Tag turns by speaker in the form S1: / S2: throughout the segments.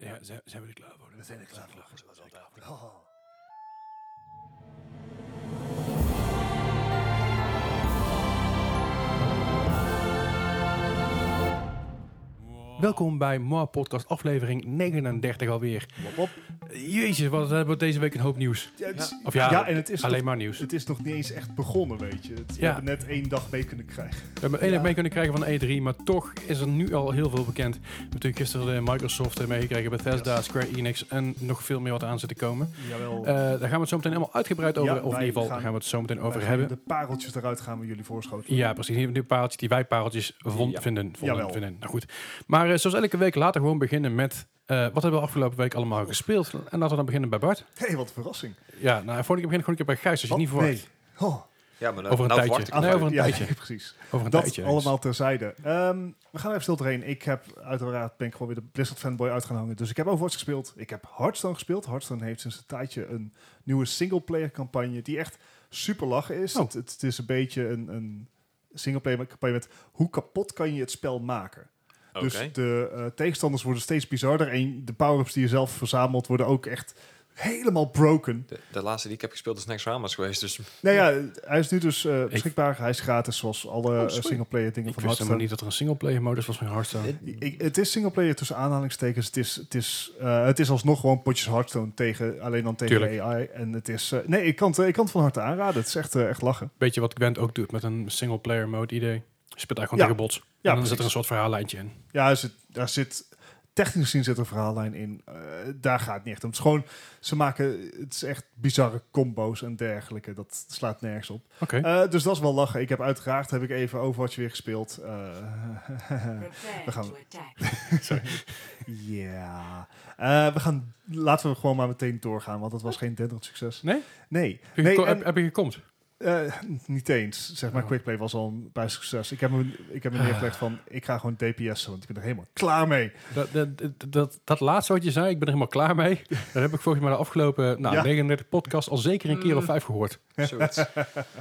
S1: Zijn, zijn, zijn we er klaar voor?
S2: We zijn er klaar voor, zoals altijd. Oh.
S1: Welkom bij Moa Podcast, aflevering 39 alweer.
S2: op.
S1: Jezus, wat hebben we deze week een hoop nieuws.
S2: Ja, het is-
S1: Of ja,
S2: Ja, en het is
S1: alleen
S2: nog-
S1: maar nieuws.
S2: Het is nog niet eens echt begonnen, weet je. Het, We
S1: Ja.
S2: hebben net één dag mee kunnen krijgen.
S1: We hebben één dag mee kunnen krijgen van de E3, maar toch is er nu al heel veel bekend. We hebben natuurlijk gisteren eh, Microsoft eh, meegekregen, Bethesda,
S2: Yes.
S1: Square Enix en nog veel meer wat aan zit te komen.
S2: Jawel.
S1: Eh, daar gaan we het zo meteen helemaal uitgebreid over,
S2: Ja,
S1: of in
S2: wij
S1: ieder geval
S2: gaan-
S1: daar gaan we het zo meteen over hebben.
S2: De pareltjes eruit gaan we jullie voorschoten.
S1: Ja, precies. Die, die pareltjes die wij pareltjes vond,
S3: Ja.
S1: vinden, vonden,
S2: Jawel.
S1: vinden. Nou goed. Maar eh, zoals elke week laten we gewoon beginnen met eh, wat hebben we afgelopen week allemaal gespeeld. En laten we dan beginnen bij Bart.
S2: Hé, hey, wat een verrassing.
S1: Ja, nou, voor ik begin gewoon een keer bij Gijs, als je
S2: Wat?
S1: het niet verwacht.
S2: Nee. Oh,
S3: Ja, maar nou,
S1: Over een
S3: nou
S1: tijdje.
S3: verwacht
S2: Ah,
S3: ik
S1: Nee,
S3: het
S1: over een
S2: ja,
S1: tijdje.
S2: precies.
S1: Over een
S2: Dat
S1: tijdje. eens.
S2: allemaal terzijde. Ehm, we gaan even stil doorheen. Ik heb uiteraard ben ik gewoon weer de Blizzard fanboy uit gaan hangen. Dus ik heb Overwatch gespeeld. Ik heb Hearthstone gespeeld. Hearthstone heeft sinds een tijdje een nieuwe singleplayer campagne die echt super lachen is.
S1: Oh.
S2: Het, het is een beetje een, een singleplayer campagne met hoe kapot kan je het spel maken.
S3: Oké.
S2: Dus de eh, tegenstanders worden steeds bizarder en de power-ups die je zelf verzamelt worden ook echt helemaal broken.
S3: De, de laatste die ik heb gespeeld is Next Ramas geweest, dus
S2: Nou ja, hij is nu dus eh, beschikbaar. hij is gratis zoals alle eh, singleplayer dingen
S1: Oh, Ik
S2: van
S1: wist helemaal
S2: Hearthstone.
S1: niet dat er een singleplayer modus was van Hearthstone.
S2: Ik, het is singleplayer tussen aanhalingstekens. Het is, het, is, eh, het is alsnog gewoon potjes Hearthstone tegen, alleen dan tegen
S1: Tuurlijk.
S2: AI. En het is, eh, nee, ik kan, het, ik kan het van harte aanraden. Het is echt, eh, echt lachen.
S1: Weet je wat Gwent ook doet met een singleplayer mode idee? Je speelt eigenlijk gewoon
S2: Ja.
S1: tegen bots.
S2: Ja,
S1: en dan zit
S2: precies.
S1: er een soort verhaallijntje in.
S2: Ja, er zit, daar zit, technisch gezien zit er een verhaallijn in. Eh, daar gaat het niet echt om. Het is gewoon, ze maken, het is echt bizarre combo's en dergelijke. Dat slaat nergens op.
S1: Oké.
S2: Eh, dus dat is wel lachen. Ik heb uiteraard, heb ik even Overwatch weer gespeeld. Eh,
S4: Prepare
S2: we gaan-
S4: to attack.
S2: Ja. Eh, we gaan, laten we gewoon maar meteen doorgaan, want dat was geen denderend succes.
S1: Nee?
S2: Nee.
S1: Heb je
S2: nee
S1: geko-
S2: en,
S1: heb, heb je gekomt?
S2: eh, niet eens. Zeg maar, Quickplay was al een bij succes. Ik heb hem, ik heb hem neergelegd van, ik ga gewoon DPS'en, want ik ben er helemaal klaar mee.
S1: Dat, dat, dat, dat, dat laatste wat je zei, ik ben er helemaal klaar mee. Daar heb ik volgens mij de afgelopen nou,
S2: Ja. Mm.
S1: 39 podcast al zeker een keer of vijf gehoord.
S3: zoiets.
S1: Nou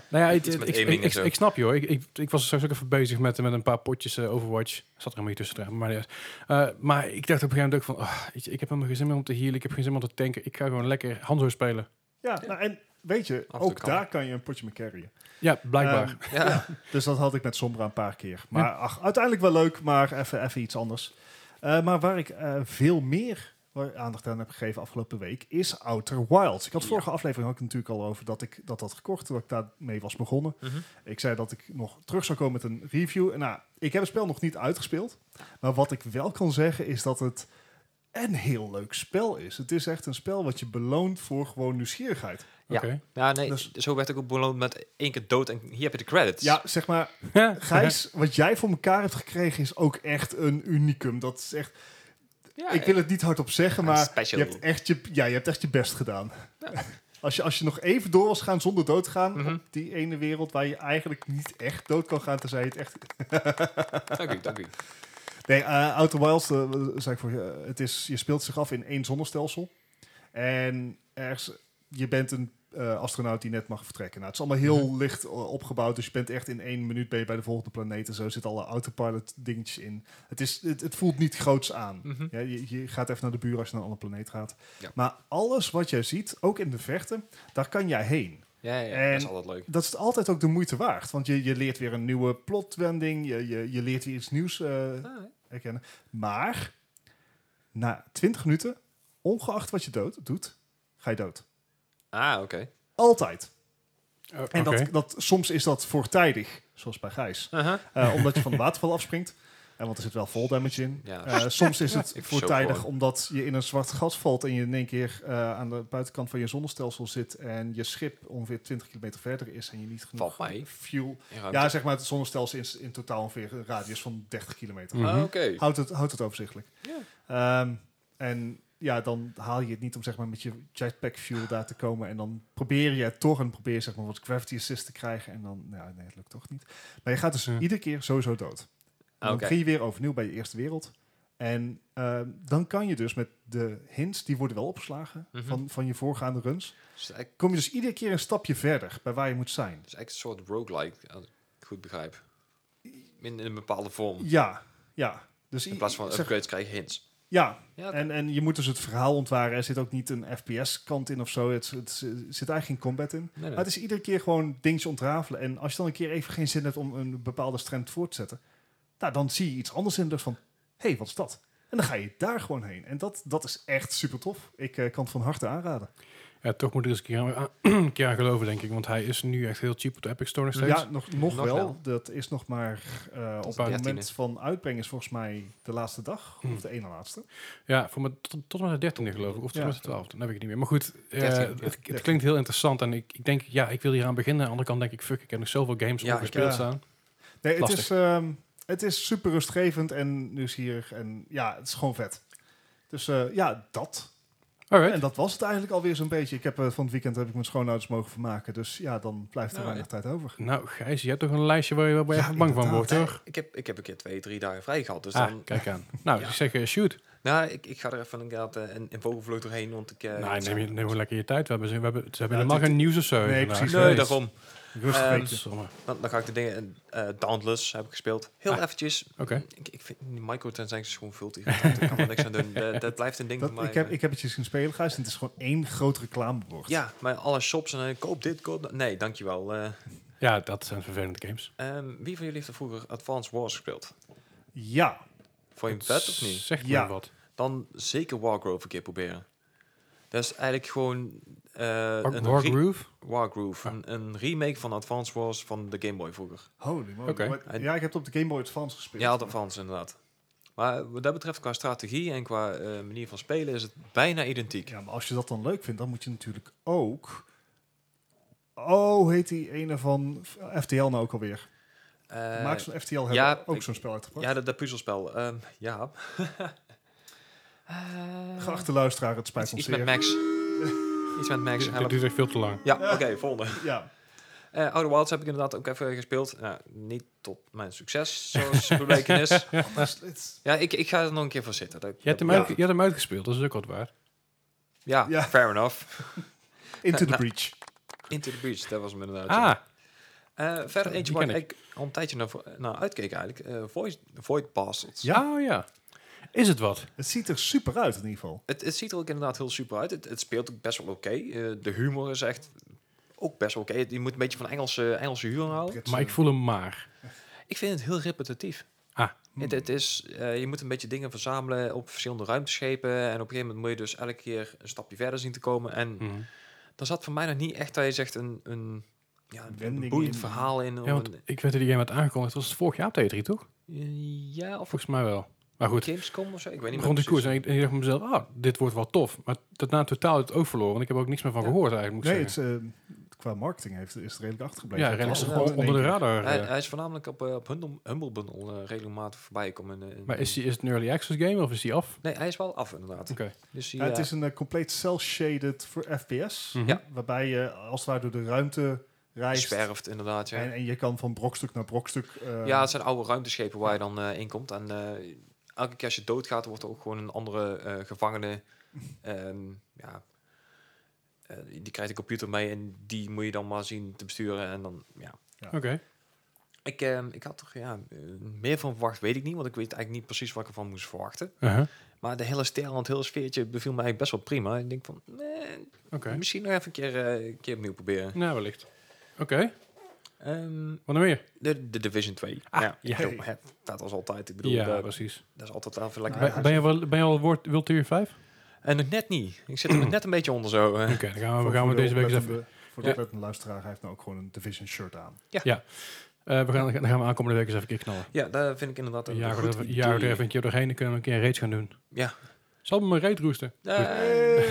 S1: ja, het-
S3: Iets
S1: het-
S3: met
S1: ik,
S3: aiming
S1: ik,
S3: en
S1: ik,
S3: zo.
S1: ik snap je hoor. Ik, ik, ik was straks ook even bezig met, met een paar potjes eh, Overwatch. Ik zat er een beetje tussen trouwens, maar, niet uit. Eh, maar ik dacht op een gegeven moment ook van... ah, weet je, ik heb helemaal geen zin meer om te healen. Ik heb geen zin meer om te tanken. Ik ga gewoon lekker Hanzo spelen.
S2: Ja, nou, en weet je,
S3: toe
S2: ook
S3: kan.
S2: daar kan je een potje mee carryen.
S1: Ja, blijkbaar.
S2: Ehm,
S3: ja.
S2: dus dat had ik met Sombra een paar keer. Maar ach, uiteindelijk wel leuk, maar even, even iets anders. Eh, maar waar ik eh, veel meer waar- aandacht aan heb gegeven afgelopen week is Outer Wilds. Ik had vorige aflevering had ik het natuurlijk al over dat ik dat had gekocht, dat ik daarmee was begonnen.
S3: Mhm.
S2: Ik zei dat ik nog terug zou komen met een review. En nou, ik heb het spel nog niet uitgespeeld. Maar wat ik wel kan zeggen is dat het een heel leuk spel is. Het is echt een spel wat je beloont voor gewoon nieuwsgierigheid.
S3: Ja.
S1: Oké.
S3: Ja, nee,
S2: Dus-
S3: zo werd ik ook beloond met één keer dood en hier heb je de credits.
S2: Ja, zeg maar,
S1: Ja.
S2: Gijs, wat jij voor elkaar hebt gekregen is ook echt een unicum. Dat is echt,
S3: Ja,
S2: ik wil het niet hardop zeggen,
S3: Ja,
S2: maar je
S3: special.
S2: hebt, echt je, ja, je hebt echt je best gedaan. Als, je, als je nog even door was gaan zonder dood te gaan
S3: Mhm.
S2: op die ene wereld waar je eigenlijk niet echt dood kan gaan, tenzij je het echt...
S3: Dank u, dank u.
S2: Nee, eh Outer Wilds, eh, zei ik voor je, eh, het is, je speelt zich af in één zonnestelsel. En ergens, je bent een eh, astronaut die net mag vertrekken. Nou, het is allemaal heel
S3: Mhm.
S2: licht eh, opgebouwd, dus je bent echt in één minuut ben je bij de volgende planeet. En zo zitten alle autopilot dingetjes in. Het, is, het, het voelt niet groots aan.
S3: Mhm.
S2: Ja, je, je gaat even naar de buur als je naar een andere planeet gaat.
S3: Ja.
S2: Maar alles wat jij ziet, ook in de vechten, daar kan jij heen
S3: Ja, ja,
S2: En-
S3: dat is altijd leuk.
S2: dat is altijd ook de moeite waard. Want je, je leert weer een nieuwe plotwending. Je, je, je leert weer iets nieuws eh, herkennen. Maar na 20 minuten, ongeacht wat je dood, doet, ga je dood.
S3: Ah, oké.
S2: Altijd.
S1: Oh,
S2: En
S1: oké.
S2: dat, dat, soms is dat voortijdig, zoals bij Gijs.
S3: Uh-huh.
S2: Eh, omdat je van de waterval afspringt. En want er zit wel vol damage in.
S3: Ja.
S2: Eh, soms is het
S3: Ik schrok
S2: voortijdig
S3: gewoon.
S2: omdat je in een zwart gat valt en je in één keer eh, aan de buitenkant van je zonnestelsel zit en je schip ongeveer 20 kilometer verder is en je niet genoeg
S3: Valt mij.
S2: fuel
S3: In ruimte.
S2: Ja, zeg maar, het zonnestelsel is in totaal ongeveer een radius van 30 kilometer.
S1: Mhm.
S3: Ah, oké.
S2: Houdt, het, houdt het overzichtelijk. Ehm, en ja, dan haal je het niet om zeg maar, met je jetpack fuel daar te komen. En dan probeer je het toch en probeer je zeg maar, wat gravity assist te krijgen. En dan, nou, nee, het lukt toch niet. Maar je gaat dus
S1: Ja.
S2: iedere keer sowieso dood. En
S3: Ah,
S2: dan
S3: oké.
S2: begin je weer overnieuw bij je eerste wereld. En ehm, dan kan je dus met de hints, die worden wel opgeslagen
S3: Mhm.
S2: van, van je voorgaande runs,
S3: Dus, eigenlijk,
S2: kom je dus iedere keer een stapje verder bij waar je moet zijn.
S3: dus eigenlijk een soort roguelike, als ik het goed begrijp. In, in een bepaalde vorm.
S2: Ja, ja. Dus i-
S3: In plaats van
S2: zeg-
S3: upgrades krijg je hints.
S2: Ja,
S3: Ja,
S2: en, en je moet dus het verhaal ontwaren. Er zit ook niet een FPS-kant in of zo. Het, het, er zit eigenlijk geen combat in.
S3: nee, nee.
S2: Maar het is iedere keer gewoon dingetje ontrafelen. En als je dan een keer even geen zin hebt om een bepaalde strand voor te zetten, nou, dan zie je iets anders in. Dus van, hé, hey, wat is dat? En dan ga je daar gewoon heen. En dat, dat is echt super tof. Ik eh, kan het van harte aanraden.
S1: Ja, toch moet ik er eens een keer aan, een keer aan geloven, denk ik. Want hij is nu echt heel cheap op de Epic Store nog steeds.
S2: Ja, nog, nog,
S3: Nog
S2: wel.
S3: wel.
S2: Dat is nog maar eh, op het
S3: 13e.
S2: moment van uitbrengen is volgens mij de laatste dag.
S3: Hmm.
S2: Of de ene laatste.
S1: Ja, voor me, tot, tot en met de dertiende geloof ik. Of tot en
S2: Ja.
S1: met de twaalfde. Dan heb ik het niet meer. Maar goed, eh,
S3: 13e, ja.
S1: het, het
S2: 13e.
S1: klinkt heel interessant. En ik, ik denk, ja, ik wil hier aan beginnen. Aan de andere kant denk ik, fuck, ik heb nog zoveel games
S3: Ja,
S1: ongespeeld
S2: ik- eh, ja.
S1: staan.
S2: Nee, het
S1: Lastig.
S2: is, ehm, het is super rustgevend en nieuwsgierig. En ja, het is gewoon vet. Dus eh, ja, dat.
S1: Alright.
S2: En dat was het eigenlijk alweer zo'n beetje. Ik heb, eh, van het weekend heb ik mijn schoonouders mogen vermaken. Dus ja, dan blijft er
S3: Nou,
S2: weinig tijd over.
S1: Nou, Gijs, je hebt toch een lijstje waar je wel
S2: Ja,
S1: echt bang van wordt,
S2: inderdaad.
S1: hoor?
S3: Ik heb, ik heb een keer twee, drie dagen vrij gehad. Dus
S1: ah,
S3: dan,
S1: kijk aan. Nou,
S3: Ja.
S1: ik zeg, eh, shoot.
S3: nou, ik, ik ga er even inderdaad eh, een, een vogelvlucht doorheen, want ik... eh,
S1: nee, Nou, neem, je, neem gewoon lekker je tijd. We hebben, ze we hebben, ze hebben
S2: Ja,
S1: helemaal
S2: dit-
S1: geen nieuws of zo.
S2: Nee,
S1: vandaag.
S2: precies.
S3: Nee,
S2: geweest.
S3: daarom.
S2: Rustig
S3: Ehm,
S2: weekje.
S1: Godverdomme.
S3: Dan, dan ga ik de dingen... eh Dauntless heb ik gespeeld. Heel
S1: Ah.
S3: eventjes.
S1: Oké.
S3: Ik, ik vind die microtransactions gewoon veel te irritant. Daar kan er niks aan doen. Dat, dat blijft een ding
S2: Dat,
S3: voor mij. eh,
S2: ik, heb, ik heb het eens gaan spelen, Gijs. En het is gewoon één groot reclamebord.
S3: Ja, maar alle shops en eh, koop dit, koop dat. Nee, dankjewel. Eh
S1: Ja, dat zijn vervelende games.
S3: ehm, wie van jullie heeft er vroeger Advanced Wars gespeeld?
S2: Ja.
S3: Vond je het vet of niet?
S1: Zegt
S2: Ja.
S1: me wat.
S3: Dan zeker Wargroove een keer proberen. Dat is eigenlijk gewoon eh een
S1: War
S3: re-
S1: Groove?
S3: Wargroove.
S1: Ah.
S3: Een, een remake van Advanced Wars van de Game Boy vroeger.
S2: Holy moly.
S1: Oké.
S2: Maar- Ja, ik heb het op de Game Boy Advance gespeeld.
S3: Ja, Advance inderdaad. Maar wat dat betreft, qua strategie en qua eh, manier van spelen, is het bijna identiek.
S2: Ja, maar als je dat dan leuk vindt, dan moet je natuurlijk ook... Oh, heet die ene van FTL nou ook alweer?
S3: Eh,
S2: Maak zo'n FTL hebben
S3: ja,
S2: ook
S3: ik-
S2: zo'n spel uitgebracht.
S3: ja, dat, dat puzzelspel. Ehm, ja. Eh,
S2: Geachte luisteraar, het spijt
S3: iets,
S2: ons
S3: iets met
S2: zeer.
S3: Max. Iets met Max.
S1: Dit dit
S3: help.
S1: duurt echt veel te lang.
S3: Ja, oké, volgende.
S2: Ja,
S3: Eh Outer Wilds heb ik inderdaad ook even gespeeld. Nou, niet tot mijn succes, zoals gebleken is.
S2: anders- het-
S3: Ja, ik, ik ga er nog een keer voor zitten. Dat,
S1: Je hebt, hem
S2: Ja.
S1: uit- je hebt hem uitgespeeld, dat is ook wat waard.
S3: ja,
S2: Ja.
S3: fair enough.
S2: Into the
S3: Nou,
S2: Breach.
S3: Into the Breach, dat was hem inderdaad. ja.
S1: Ah,
S3: Eh, verder eentje
S1: Die
S3: waar
S1: ken
S3: ik al een tijdje naar, vo- naar uitkeek eigenlijk. eh Void, Void Bastards.
S2: Ja.
S1: ja. Oh, ja. Is het wat?
S2: Het ziet er super uit in ieder geval.
S3: Het, het ziet er ook inderdaad heel super uit. Het, het speelt ook best wel oké. Eh, de humor is echt ook best wel oké. Je moet een beetje van Engelse, Engelse humor houden.
S2: Britse-
S1: Maar ik voel hem maar.
S3: Ik vind het heel repetitief.
S1: Ah.
S3: Het, het is, eh, je moet een beetje dingen verzamelen op verschillende ruimteschepen. En op een gegeven moment moet je dus elke keer een stapje verder zien te komen. En
S1: Mhm.
S3: daar zat voor mij nog niet echt, dat je zegt, een, een, ja, een
S2: Wending
S3: boeiend
S2: in.
S3: verhaal in.
S1: Ja,
S3: Ja,
S1: want ik weet dat die game werd aangekondigd. Dat was het vorig jaar op de E3, toch?
S3: eh, ja of
S1: Volgens mij wel. Maar goed,
S3: Gamescom of zo, ik weet niet
S1: rond de
S3: meer
S1: koers.
S3: precies.
S1: En ik, en ik dacht bij mezelf, ah, dit wordt wel tof. Maar daarna totaal het ook verloren. Want ik heb er ook niks meer van
S3: Ja.
S1: gehoord eigenlijk, moet ik
S2: Nee,
S1: zeggen.
S2: het, eh, qua marketing heeft, is het redelijk achtergebleven.
S1: Ja,
S2: Het
S1: rennen
S2: was
S1: ze
S3: Ja,
S2: er
S1: gewoon
S2: in
S1: onder de
S2: één
S1: radar.
S3: Hij,
S1: eh.
S3: hij is voornamelijk op, eh, op Humble, Humble Bundle eh, regelmatig voorbij komen. in, eh, in-
S1: maar is, die, is het een early access game of is die af?
S3: Nee, hij is wel af inderdaad.
S1: Oké.
S3: Dus
S2: keer.
S3: die,
S2: Ja, het
S3: eh,
S2: is een eh, compleet cel-shaded voor FPS.
S1: Mhm.
S3: Ja.
S2: Waarbij je eh, als het ware door de ruimte reist.
S3: zwerft inderdaad, ja.
S2: En, en je kan van brokstuk naar brokstuk... eh,
S3: ja, het zijn oude ruimteschepen waar je dan eh, in komt. En eh, elke keer als je doodgaat, wordt er ook gewoon een andere eh, gevangene. ehm, ja, eh, die krijgt een computer mee en die moet je dan maar zien te besturen. En dan, ja.
S1: Oké.
S3: Ik, ehm, ik had er ja, eh, meer van verwacht, weet ik niet. Want ik weet eigenlijk niet precies wat ik ervan moest verwachten.
S1: Uh-huh.
S3: Maar de hele stijl en het hele sfeertje beviel me eigenlijk best wel prima. Ik denk van, eh,
S1: Oké.
S3: misschien nog even een keer, eh, een keer opnieuw proberen.
S1: Nou, wellicht. Oké,
S3: Ehm,
S1: wat nog meer?
S3: de, de Division 2.
S1: Ah,
S3: ja,
S1: ja.
S3: joh, hè, dat was altijd. Ik bedoel,
S1: ja,
S3: dat,
S1: precies.
S3: dat is altijd wel even lekker.
S2: Nou,
S1: ben, ben je wel, ben je al woord, World Tier 5? Oké,
S3: En nog net niet. Ik zit er nog net een beetje onder zo. eh.
S1: dan gaan Nou, we,
S2: voor-
S1: we gaan we
S2: voor de
S1: deze week eens even...
S2: oplettende- Voor de oplettende luisteraar, hij heeft nou ook gewoon een Division shirt aan.
S1: eh, we gaan, dan gaan we aankomende week eens even een keer knallen.
S3: Ja, dat vind ik inderdaad een
S1: Ja,
S3: goed
S1: er
S3: idee.
S1: ja, er even een keer doorheen. Dan kunnen we een keer een race gaan doen.
S3: Ja.
S1: Zal me mijn reet roesten.
S3: Eh,
S2: Hey!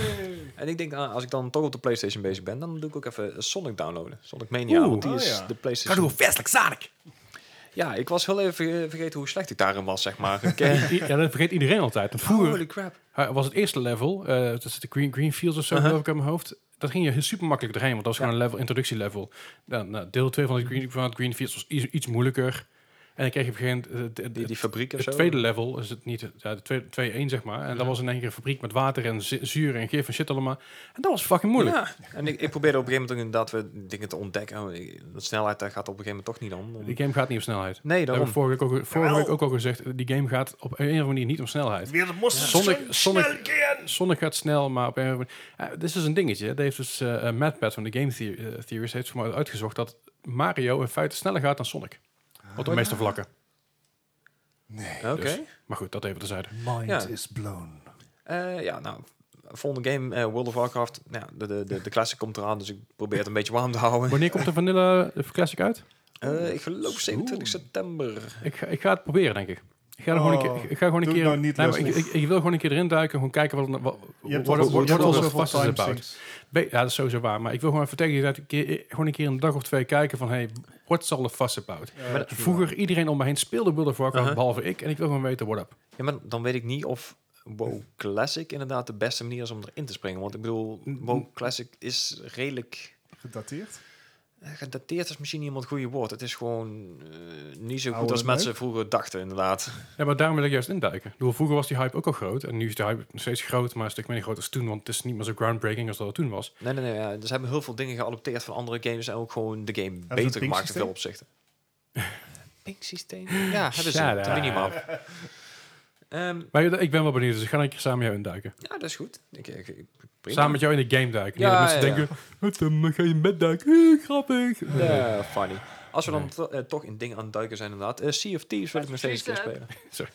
S3: En ik denk, ah, als ik dan toch op de PlayStation bezig ben, dan doe ik ook even Sonic downloaden. Sonic Mania,
S1: Oeh. Oh,
S3: want die
S2: Ah,
S3: is
S2: ja.
S3: de PlayStation.
S1: vestelijk Sonic!
S3: Ja, ik was heel even verge- vergeten hoe slecht ik daarin was, zeg maar. Ik, eh,
S1: Ja, dat vergeet iedereen altijd. Want vroeger
S3: Holy crap.
S1: eh, was het eerste level, eh, dat is de Green, Greenfields of zo,
S3: Uh-huh.
S1: geloof ik uit mijn hoofd. Dat ging je heel super makkelijk doorheen, want dat was
S3: Ja.
S1: gewoon een level, introductielevel. Dan, nou, deel 2 van, het green, van het Greenfields was iets, iets moeilijker. En ik kreeg op een gegeven moment eh, d- d-
S3: Die, die fabriek en
S1: het
S3: zo.
S1: tweede level is het niet, het- ja, de tweede- 2-1 zeg maar. En dat
S3: Ja.
S1: was in één keer een fabriek met water en zi- zuur en gif en shit allemaal. En dat was fucking moeilijk.
S3: Ja, en ik, ik probeerde op een gegeven moment ook inderdaad we dingen te ontdekken. Oh, ik- De snelheid daar gaat op een gegeven moment toch niet om.
S1: Die game gaat niet op snelheid.
S3: Nee,
S1: Dat heb
S3: daarom.
S1: ik vorige, week ook, vorige
S2: Jawel.
S1: week ook al gezegd. Die game gaat op een of andere manier niet om snelheid.
S2: Weer de monster
S1: Sonic- Sonic- Sonic gaat snel, maar op een of andere manier... Eh, Dit is dus een dingetje. Dat heeft dus eh eh, Matt Pat van de Game the eh, Theorist heeft voor mij uitgezocht dat Mario in feite sneller gaat dan Sonic. Op de meeste vlakken.
S2: Nee.
S3: Oké.
S1: Dus- Maar goed, dat even terzijde.
S2: Mind
S3: Ja.
S2: is blown.
S3: Eh, ja, nou, volgende game, eh, World of Warcraft. Nou, de, de, de, de classic komt eraan, dus ik probeer het een beetje warm te houden.
S1: Wanneer komt de Vanilla Classic uit?
S3: Eh, ik geloof 27 september.
S1: Ik ga, ik ga het proberen, denk ik. Ik ga, er gewoon een
S2: Oh,
S1: keer, ik ga gewoon een
S2: doe
S1: keer.
S2: het nou niet,
S1: Nee, maar ik,
S2: Leslie.
S1: ik, ik wil gewoon een keer erin duiken. Gewoon kijken wat. wat,
S2: Je hebt
S1: wat, wat,
S2: al zoveel-
S1: wat,
S2: je hebt al
S1: wat,
S2: zoveel
S1: wat is
S2: time
S1: about.
S2: sinks.
S1: Be- Ja, dat is sowieso waar. Maar ik wil gewoon even tegen je dat ik keer- gewoon een keer een dag of twee kijken van hey, what's all the fuss about?
S2: Ja,
S1: Vroeger iedereen om me heen speelde World of Warcraft,
S3: Uh-huh.
S1: behalve ik. En ik wil gewoon weten what up.
S3: Ja, maar dan weet ik niet of WoW Classic inderdaad de beste manier is om erin te springen. Want ik bedoel,
S1: Mm-hmm.
S3: WoW Classic is redelijk...
S2: Gedateerd?
S3: eh, Gedateerd is misschien niet helemaal het goede woord. Het is gewoon eh, niet zo goed
S2: Oude
S3: als
S2: meuk?
S3: mensen vroeger dachten, inderdaad.
S1: Ja, maar daarom wil ik juist induiken. Ik bedoel, vroeger was die hype ook al groot. En nu is de hype nog steeds groot, maar een stuk minder groot als toen. Want het is niet meer zo groundbreaking als dat het toen was.
S3: Nee, nee, nee. Ja. Dus ze hebben heel veel dingen geadopteerd van andere games en ook gewoon de game
S2: een
S3: beter gemaakt in
S2: ping-systeem?
S3: veel opzichten. Pink systeem? Ja, hebben ze.
S1: Shut
S3: Dat
S1: up.
S3: weet ik niet meer af. Ehm,
S1: Maar ik ben wel benieuwd, dus ik ga een keer samen jou induiken.
S3: ja, dat is goed. Ik, ik, ik- prima.
S1: Samen met jou in de game duiken. Ja,
S3: Ja,
S1: dat mensen
S3: ja, ja.
S1: denken, wat dan ga je in bed duiken? Eh, grappig.
S3: Ja, funny. Als we dan to- eh, toch in dingen aan het duiken zijn inderdaad. eh sea of Thieves wil ik nog steeds een keer spelen.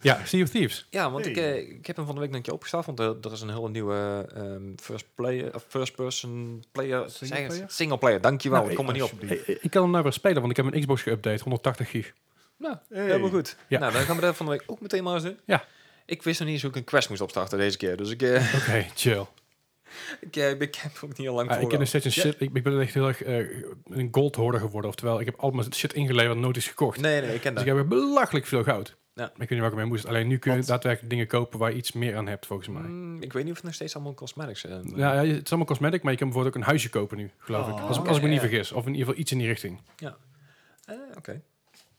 S1: Ja, Sea of Thieves.
S3: Ja, want ik,
S2: Hey.
S3: eh, ik heb hem van de week nog een keer opgestaan. Want eh, er is een hele nieuwe ehm, first, player, of first person player...
S2: Single
S3: zeg het,
S2: player?
S3: Single player, dankjewel.
S1: Nou,
S3: ik kom er niet op.
S1: Ik, ik kan hem nou weer spelen, want ik heb mijn Xbox geüpdate, 180 gig.
S3: Nou,
S2: Hey.
S3: helemaal goed.
S1: Ja.
S3: Nou, dan gaan we dat van de week ook meteen maar eens doen.
S1: Ja.
S3: Ik wist nog niet eens hoe ik een quest moest opstarten deze keer. Dus ik, eh,
S1: Oké, chill.
S3: ik, eh, ik heb er ook niet al lang
S1: Ah, ik,
S3: voor.
S1: ken nog steeds een
S3: Ja.
S1: shit, ik, ik ben echt heel erg eh, een gold hoarder geworden. Oftewel, ik heb al mijn shit ingeleverd en nooit is gekocht.
S3: Nee, nee, ik ken
S1: Dus
S3: dat.
S1: ik heb weer belachelijk veel goud.
S3: Ja.
S1: Maar Ik weet niet waar ik mee moest. Alleen nu kun je
S2: Want-
S1: daadwerkelijk dingen kopen waar je iets meer aan hebt, volgens mij.
S3: Mm, ik weet niet of het nog steeds allemaal cosmetics eh, zijn.
S1: Ja, ja, het is allemaal cosmetic, maar je kan bijvoorbeeld ook een huisje kopen nu, geloof ik.
S2: Oh,
S1: Als, als
S3: oké,
S1: ik me niet
S3: ja.
S1: vergis. Of in ieder geval iets in die richting.
S3: Eh, Oké.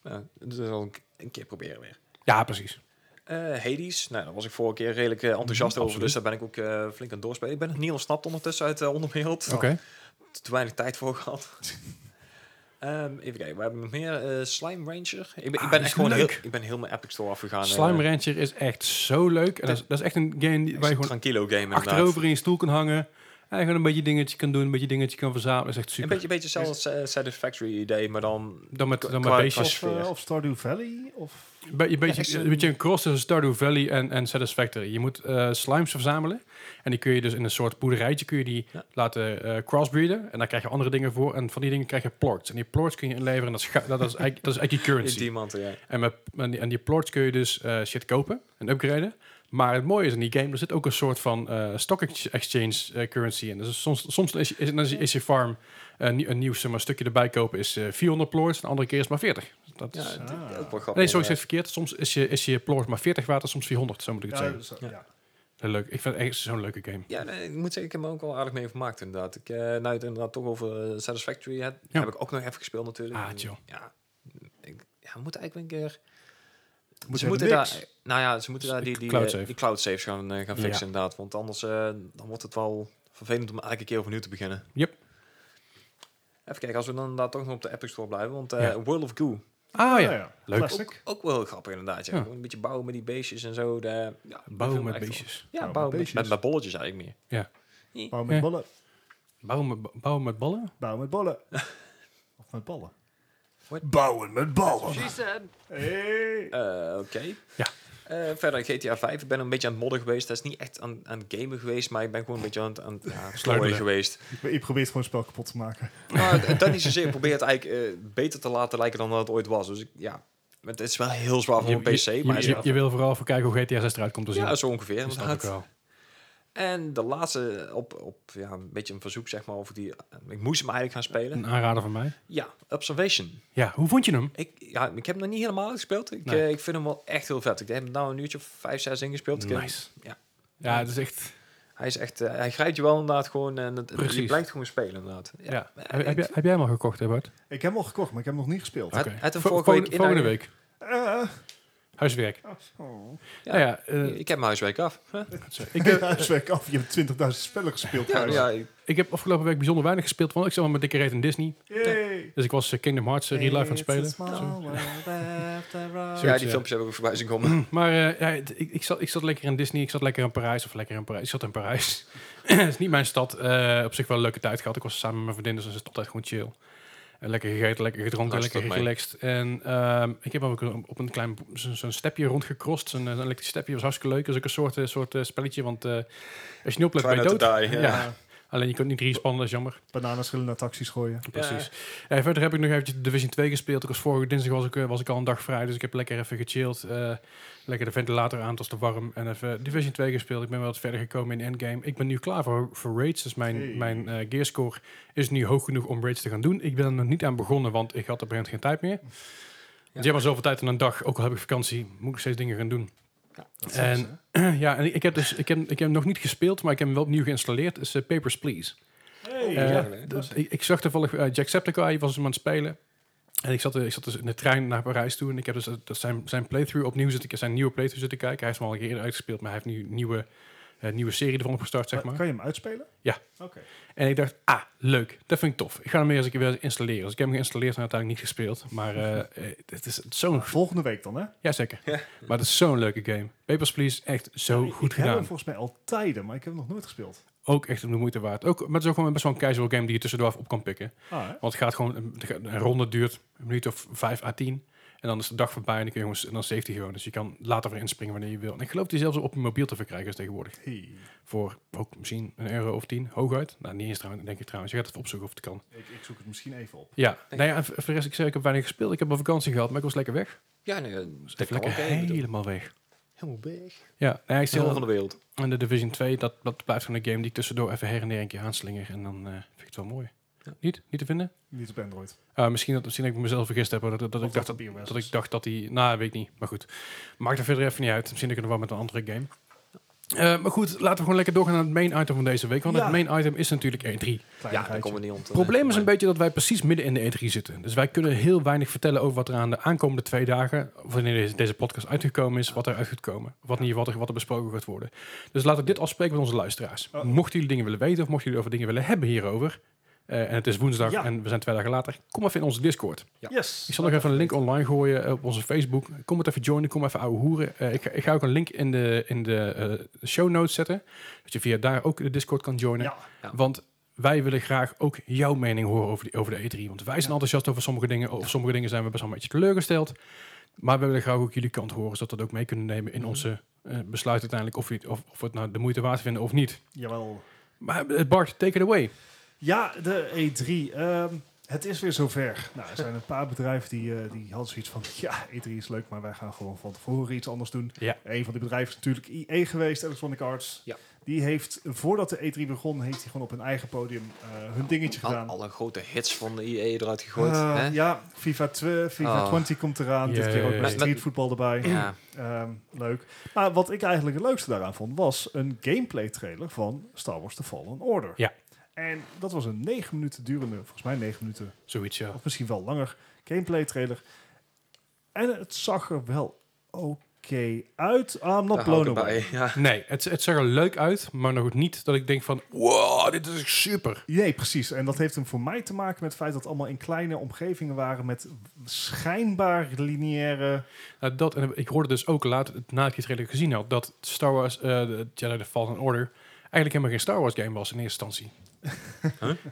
S3: Nou, dus dat zal ik een keer proberen weer.
S1: Ja, precies.
S3: Eh, Hades, nou, daar was ik vorige keer redelijk eh, enthousiast
S1: Mhm,
S3: over, dus daar ben ik ook eh, flink aan het doorspelen. Ik ben nog niet ontsnapt ondertussen uit de onderwereld.
S1: Oké.
S3: Te weinig tijd voor gehad. Ehm, even kijken, we hebben nog meer eh, Slime Ranger. Ik ben,
S1: Ah,
S3: ik
S1: die
S3: ben
S1: is
S3: echt gewoon heel,
S1: leuk.
S3: ik ben heel mijn Epic Store afgegaan. eh,
S1: Slime Rancher is echt zo leuk. En dat, is, dat is echt een game die- waar je
S3: Ranger.
S1: gewoon
S3: Tranquilo game inderdaad.
S1: achterover in je stoel kan hangen. En gewoon een beetje dingetje kan doen, een beetje dingetje kan verzamelen. Dat is echt
S3: Een
S1: super.
S3: beetje, beetje zelfs eh, Satisfactory idee, maar dan...
S1: dan met, dan met
S3: qua-
S1: beestjes.
S2: Of,
S3: Sfeer.
S2: eh, of Stardew Valley? Of...
S1: Een beetje,
S3: Ja, echt
S1: beetje,
S3: zo'n-
S1: een beetje een cross tussen Stardew Valley en, en Satisfactory. Je moet eh, slimes verzamelen. En die kun je dus in een soort boerderijtje kun je die
S3: Ja.
S1: laten eh, crossbreeden. En daar krijg je andere dingen voor. En van die dingen krijg je plorts. En die plorts kun je inleveren. En dat is, ga- dat is, eigenlijk, dat is eigenlijk je currency.
S3: Diamant, ja.
S1: En, met, en, die, en die plorts kun je dus eh, shit kopen en upgraden. Maar het mooie is in die game, er zit ook een soort van eh, stock ex- exchange eh, currency in. Dus soms, soms is, is, is, is je farm eh, nie- een nieuw zeg maar, stukje erbij kopen is eh, 400 plorts. En de andere keer is maar 40. Dat
S3: Ja,
S1: is,
S3: het-
S2: Ah.
S3: ook wel grappig.
S1: nee, sorry, ik
S3: ja.
S1: zeg het verkeerd. Soms is je, is je plorts maar 40 waard en soms 400. Zo moet ik het
S2: Ja,
S1: zeggen.
S2: zo-
S3: Ja.
S2: ja.
S1: Heel Leuk. Ik vind het echt zo'n leuke game.
S3: Ja, nee, ik moet zeggen, ik heb me ook wel aardig mee vermaakt inderdaad. Ik, eh nou, het inderdaad toch over eh, Satisfactory heb,
S1: Ja.
S3: heb ik ook nog even gespeeld natuurlijk.
S1: Ah,
S3: En,
S1: chill.
S3: Ja, ik, ja, we moeten eigenlijk een keer...
S2: Moet
S3: ze
S2: je
S3: moeten
S2: niks?
S3: daar, nou ja, ze moeten
S1: Dus
S3: daar die,
S1: ik-
S3: die,
S1: cloud
S3: eh,
S1: safe.
S3: die cloud saves gaan, eh, gaan
S1: Ja.
S3: fixen inderdaad. Want anders eh, dan wordt het wel vervelend om elke keer overnieuw te beginnen.
S1: Yep.
S3: Even kijken, als we dan inderdaad toch nog op de Epic Store blijven. Want eh,
S1: Ja.
S3: World of Goo,
S1: Ah
S2: Ah,
S1: ja. Leuk.
S2: Plastic.
S3: ook wel heel grappig inderdaad. Ja.
S1: Ja.
S3: Gewoon Een beetje bouwen met die beestjes en zo. De, ja,
S1: Bouwen met
S3: ik vind het echt wel-
S1: beestjes.
S2: Bouwen
S3: Ja,
S2: met
S3: bouwen met,
S2: beestjes.
S3: met, met bolletjes eigenlijk meer.
S2: Bouw met
S1: Ja.
S2: ballen.
S1: Bouwen met, bouwen met ballen?
S2: Bouwen met ballen. of met ballen.
S3: What?
S2: Bouwen met ballen. Hey.
S3: Eh, Oké.
S1: Ja.
S3: Eh, verder GTA 5. Ik ben een beetje aan het modden geweest. Dat is niet echt aan, aan het gamen geweest, maar ik ben gewoon een beetje aan het aan, het- ja, klooien geweest.
S2: Je probeert gewoon het spel kapot te maken.
S3: Maar dat niet zozeer. Ik probeer het eigenlijk eh, beter te laten lijken dan dat het ooit was. Dus ik, ja, het is wel heel zwaar voor
S1: Je-
S3: een PC.
S1: je,
S3: maar
S1: je,
S3: is
S1: je,
S3: wel-
S1: je wil vooral voor kijken hoe GTA 6 eruit komt te zien.
S3: ja, zo ongeveer.
S1: dat snap ik
S3: Inderdaad.
S1: wel.
S3: En de laatste op, op ja, een beetje een verzoek, zeg maar, over die. eh, Ik moest hem eigenlijk gaan spelen.
S1: Een aanrader van mij.
S3: Ja, Observation.
S1: Ja, hoe vond je hem?
S3: Ik, ja, ik heb hem nog niet helemaal gespeeld. Ik,
S1: Nee.
S3: eh, ik vind hem wel echt heel vet. Ik heb hem nou een uurtje of vijf, zes ingespeeld. Ik heb-
S1: Nice.
S3: ja.
S1: Ja, het is echt...
S3: Hij is echt, eh, hij grijpt je wel inderdaad gewoon en het, het- je
S1: Precies.
S3: blijkt gewoon spelen inderdaad.
S1: Ja.
S3: Ja.
S1: Heb, heb, jij- heb jij hem al gekocht, hè Bart?
S2: Ik heb hem al gekocht, maar ik heb hem nog niet gespeeld.
S3: Hij-
S1: Oké.
S3: hij had hem
S1: Vo-
S3: vorige
S1: volgende-
S3: week in-
S1: volgende week.
S2: Eh,
S1: Huiswerk.
S2: oh.
S3: Ja.
S1: Nou ja, eh,
S3: Ik heb mijn huiswerk af. Huh?
S1: ik, eh, heb,
S2: Ja, zwek af. Je hebt 20.000 spellen gespeeld.
S3: Ja,
S1: dus-
S2: trouwens.
S3: ja, ik-
S1: ik heb afgelopen week bijzonder weinig gespeeld, want ik zat met dikke reet in Disney.
S2: Yay.
S1: Dus ik was eh, Kingdom Hearts eh, real life aan het spelen. Zo.
S3: ja,
S1: Zoiets,
S3: die
S1: ja.
S3: filmpjes heb ik ook voorbij zien komen.
S1: Maar eh, ja, het- ik, ik, zat, ik zat lekker in Disney, ik zat lekker in Parijs. Of lekker in Parijs, ik zat in Parijs. Het is niet mijn stad. Eh, op zich wel een leuke tijd gehad. Ik was samen met mijn vriendin, dus het is altijd gewoon chill. En lekker gegeten, lekker gedronken,
S3: Luister
S1: lekker
S3: op mij.
S1: relaxed. En ehm, ik heb ook een- op een klein bo- zo- zo'n stepje rondgecrossed. Zo'n eh, zo'n elektrisch stepje was hartstikke leuk. Dat is ook een soort, eh, soort eh, spelletje, want eh, als je niet oplet
S3: Try
S1: ben je
S3: not
S1: dood.
S3: to die, ja.
S1: Ja. Alleen je kunt niet respannen, dat is jammer.
S2: Bananenschillen naar taxis gooien.
S1: Precies. Eh, verder heb ik nog eventjes Division 2 gespeeld. Ik was vorige dinsdag was ik, eh, was ik al een dag vrij, dus ik heb lekker even gechilled. eh, lekker de ventilator aan, het was te warm. En even Division 2 gespeeld. Ik ben wel wat verder gekomen in Endgame. Ik ben nu klaar voor, voor raids, dus mijn,
S2: Hey.
S1: mijn eh, gearscore is nu hoog genoeg om raids te gaan doen. Ik ben er nog niet aan begonnen, want ik had op een gegeven moment geen tijd meer. Dus Want je hebt maar zoveel tijd in een dag, ook al heb ik vakantie, moet ik nog steeds dingen gaan doen. En-
S2: En,
S1: ja, en ik, ik heb dus, ik, heb, ik heb hem nog niet gespeeld, maar ik heb hem wel opnieuw geïnstalleerd. Het is eh, Papers, Please. Eh,
S3: Ja,
S1: d-
S3: dat
S1: ik, ik zag toevallig uh, Jacksepticeye was hem aan het spelen. En ik zat, eh, ik zat dus in de trein naar Parijs toe. En ik heb dus eh, dat zijn, zijn playthrough opnieuw zitten, zijn nieuwe playthrough zitten kijken. Hij heeft hem al een keer eerder uitgespeeld, maar hij heeft nu een nieuwe, eh, nieuwe serie ervan opgestart, zeg maar.
S2: Kan je hem uitspelen?
S1: Ja.
S2: Oké.
S1: En ik dacht, ah, leuk. Dat vind ik tof. Ik ga hem weer eens een keer weer installeren. Dus ik heb hem geïnstalleerd en uiteindelijk niet gespeeld. Maar eh, eh, het is zo'n...
S2: Volgende week dan, hè?
S1: Jazeker. Maar het is zo'n leuke game. Papers, Please, echt zo
S2: Ik-
S1: goed
S2: ik heb hem
S1: gedaan.
S2: volgens mij al tijden, maar ik heb hem nog nooit gespeeld.
S1: Ook echt de moeite waard. Ook, maar het is ook gewoon best wel een casual game die je tussendoor even op kan pikken.
S2: Ah, hè?
S1: Want het gaat gewoon, een- een ronde duurt een minuut of 5 à 10. En dan is de dag voorbij en dan, kun je gewoon, en dan safety gewoon. Dus je kan later weer inspringen wanneer je wil. En ik geloof die zelfs op je mobiel te verkrijgen is tegenwoordig.
S2: Hey.
S1: Voor ook misschien een euro of tien, hooguit. Nou, niet eens trouwens, denk ik trouwens. Je gaat het opzoeken of het kan.
S2: Ik, ik zoek het misschien even op.
S1: Ja, nou ja, en voor voor de rest, ik zei, ik heb weinig gespeeld. Ik heb een vakantie gehad, maar ik was lekker weg.
S3: ja, nee, dat is
S1: Dus even lekker helemaal weg.
S3: helemaal weg.
S1: Ja, nou ja, ik
S3: Stil
S1: stel
S3: van de wereld.
S1: en de Division 2, dat, dat blijft gewoon een game die ik tussendoor even her en der een keer aanslinger. En dan eh, vind ik het wel mooi.
S3: Ja.
S1: Niet? Niet te vinden?
S2: Niet op Android.
S1: Ah, misschien, dat, misschien dat ik mezelf vergist heb. hoor, Dat, dat, dat
S2: Of
S1: ik dacht
S2: dat
S1: dat,
S2: het BOS
S1: dat
S2: is.
S1: ik dacht dat hij... Nou, weet ik niet. Maar goed. Maakt er verder even niet uit. Misschien dat ik er wel met een andere game. Eh, maar goed, laten we gewoon lekker doorgaan naar het main item van deze week. Want
S2: Ja.
S1: het main item is natuurlijk E E3.
S3: Ja, daar
S2: Kleinigheidje.
S3: komen we niet om.
S1: Het probleem is een beetje dat wij precies midden in de E3 zitten. Dus wij kunnen heel weinig vertellen over wat er aan de aankomende twee dagen, of wanneer deze, deze podcast uitgekomen is, wat er uit gaat komen. Wat, in ieder geval, wat er- wat er besproken gaat worden. Dus laten we dit afspreken met onze luisteraars.
S2: Oh.
S1: Mochten jullie dingen willen weten of mochten jullie over dingen willen hebben hierover, eh, en het is woensdag
S2: Ja.
S1: en we zijn twee dagen later, kom even in onze Discord.
S3: Ja.
S2: Yes.
S1: Ik zal nog even een link online gooien eh, op onze Facebook. Kom het even joinen, kom even ouwe hoeren. Eh, ik, ga- ik ga ook een link in de, in de eh, show notes zetten, dat je via daar ook de Discord kan joinen.
S2: Ja.
S1: Want wij willen graag ook jouw mening horen over, die, over de E3. Want wij zijn enthousiast over sommige dingen. Of sommige dingen zijn we best wel een beetje teleurgesteld. Maar we willen graag ook jullie kant horen. Zodat we dat ook mee kunnen nemen in onze eh, besluit uiteindelijk. Of, we- of, of we het nou de moeite waard vinden of niet.
S2: Jawel.
S1: Maar eh, Bart, take it away.
S2: Ja, de E3. ehm, het is weer zover. Nou, er zijn een paar bedrijven die, eh, die hadden zoiets van... Ja, E3 is leuk, maar wij gaan gewoon van tevoren iets anders doen.
S1: Ja.
S2: Een van die bedrijven is natuurlijk IE geweest, Electronic Arts.
S3: Ja.
S2: Die heeft, voordat de E3 begon, heeft hij gewoon op een eigen podium eh, hun dingetje gedaan.
S3: Alle grote hits van de IE eruit gegooid.
S1: Oh,
S2: Eh,
S3: hè?
S2: ja, FIFA, 2, FIFA
S3: Oh.
S2: 20 komt eraan. Dit keer ook
S1: Jee.
S2: met
S3: Met-
S2: streetvoetbal erbij.
S1: Mm.
S3: Ja.
S2: Ehm, leuk. Maar wat ik eigenlijk het leukste daaraan vond, was een gameplay trailer van Star Wars The Fallen Order.
S1: Ja.
S2: En dat was een 9 minuten durende, volgens mij 9 minuten,
S1: Zoiets, ja.
S2: of misschien wel langer, gameplay trailer. En het zag er wel oké uit. I'm
S3: Daar
S2: not
S3: hou ik
S2: blown
S3: het
S2: away.
S3: bij. Ja.
S1: Nee, het, het zag er leuk uit. Maar nog niet dat ik denk van... Wow, dit is echt super.
S2: Nee, precies. En dat heeft hem voor mij te maken met het feit dat het allemaal in kleine omgevingen waren met schijnbaar lineaire...
S1: Nou, dat, en ik hoorde dus ook laat, nadat ik die trailer gezien had... dat Star Wars eh, de Jedi The Fallen Order... eigenlijk helemaal geen Star Wars game was in eerste instantie.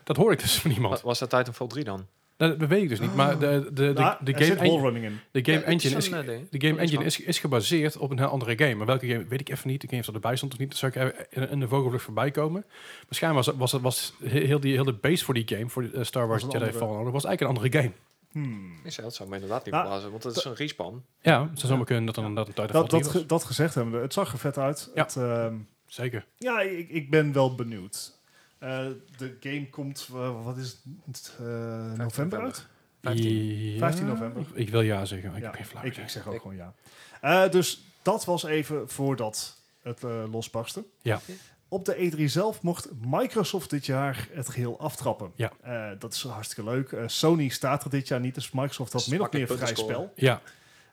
S1: Dat hoorde ik dus van iemand.
S3: Wat was dat Titanfall 3 dan?
S1: Nou, dat weet ik dus niet, maar de, de, de,
S2: Nou,
S1: de,
S2: er
S1: game,
S2: zit
S1: en-
S2: wallrunning in.
S1: de game
S3: Ja, het
S1: engine, is,
S3: een,
S1: ge-
S3: eh, ding.
S1: de game
S3: Dat is
S1: engine is, is gebaseerd op een heel andere game. Maar welke game weet ik even niet. Ik weet niet of dat erbij stond of niet. Dat zou ik even in, in de vogelvlucht voorbij komen. Maar schijnbaar was, was, was heel, die, heel de base voor die game, voor die, eh, Star Wars
S2: een
S1: Jedi
S2: andere.
S1: Fallen Order, was eigenlijk een andere game.
S2: Hmm.
S3: waar. Nee, dat zou me inderdaad niet
S2: Nou,
S3: verbazen, want het is een respawn.
S1: Ja, het zou zomaar kunnen dat dan dat een tijd
S2: Dat, dat,
S1: was.
S2: ge- dat gezegd hebben, het zag er vet uit.
S1: Ja.
S2: Het, ehm,
S1: Zeker.
S2: ja ik, ik ben wel benieuwd. Eh, de game komt, eh, wat is het, eh, november
S3: november.
S2: uit?
S1: 15,
S2: 15 november.
S1: Ik wil ja zeggen, maar ik
S2: ja,
S1: heb geen flauw
S2: ik,
S1: idee.
S2: ik zeg ook
S3: Ik-
S2: gewoon ja. Eh, dus dat was even voordat het eh, losbarstte.
S1: Ja.
S2: Op de E3 zelf mocht Microsoft dit jaar het geheel aftrappen.
S1: Ja.
S2: Eh, dat is hartstikke leuk. Eh, Sony staat er dit jaar niet, dus Microsoft had min of
S3: Smakke
S2: meer vrij
S3: punten
S2: spel.
S3: scoren.
S1: Ja,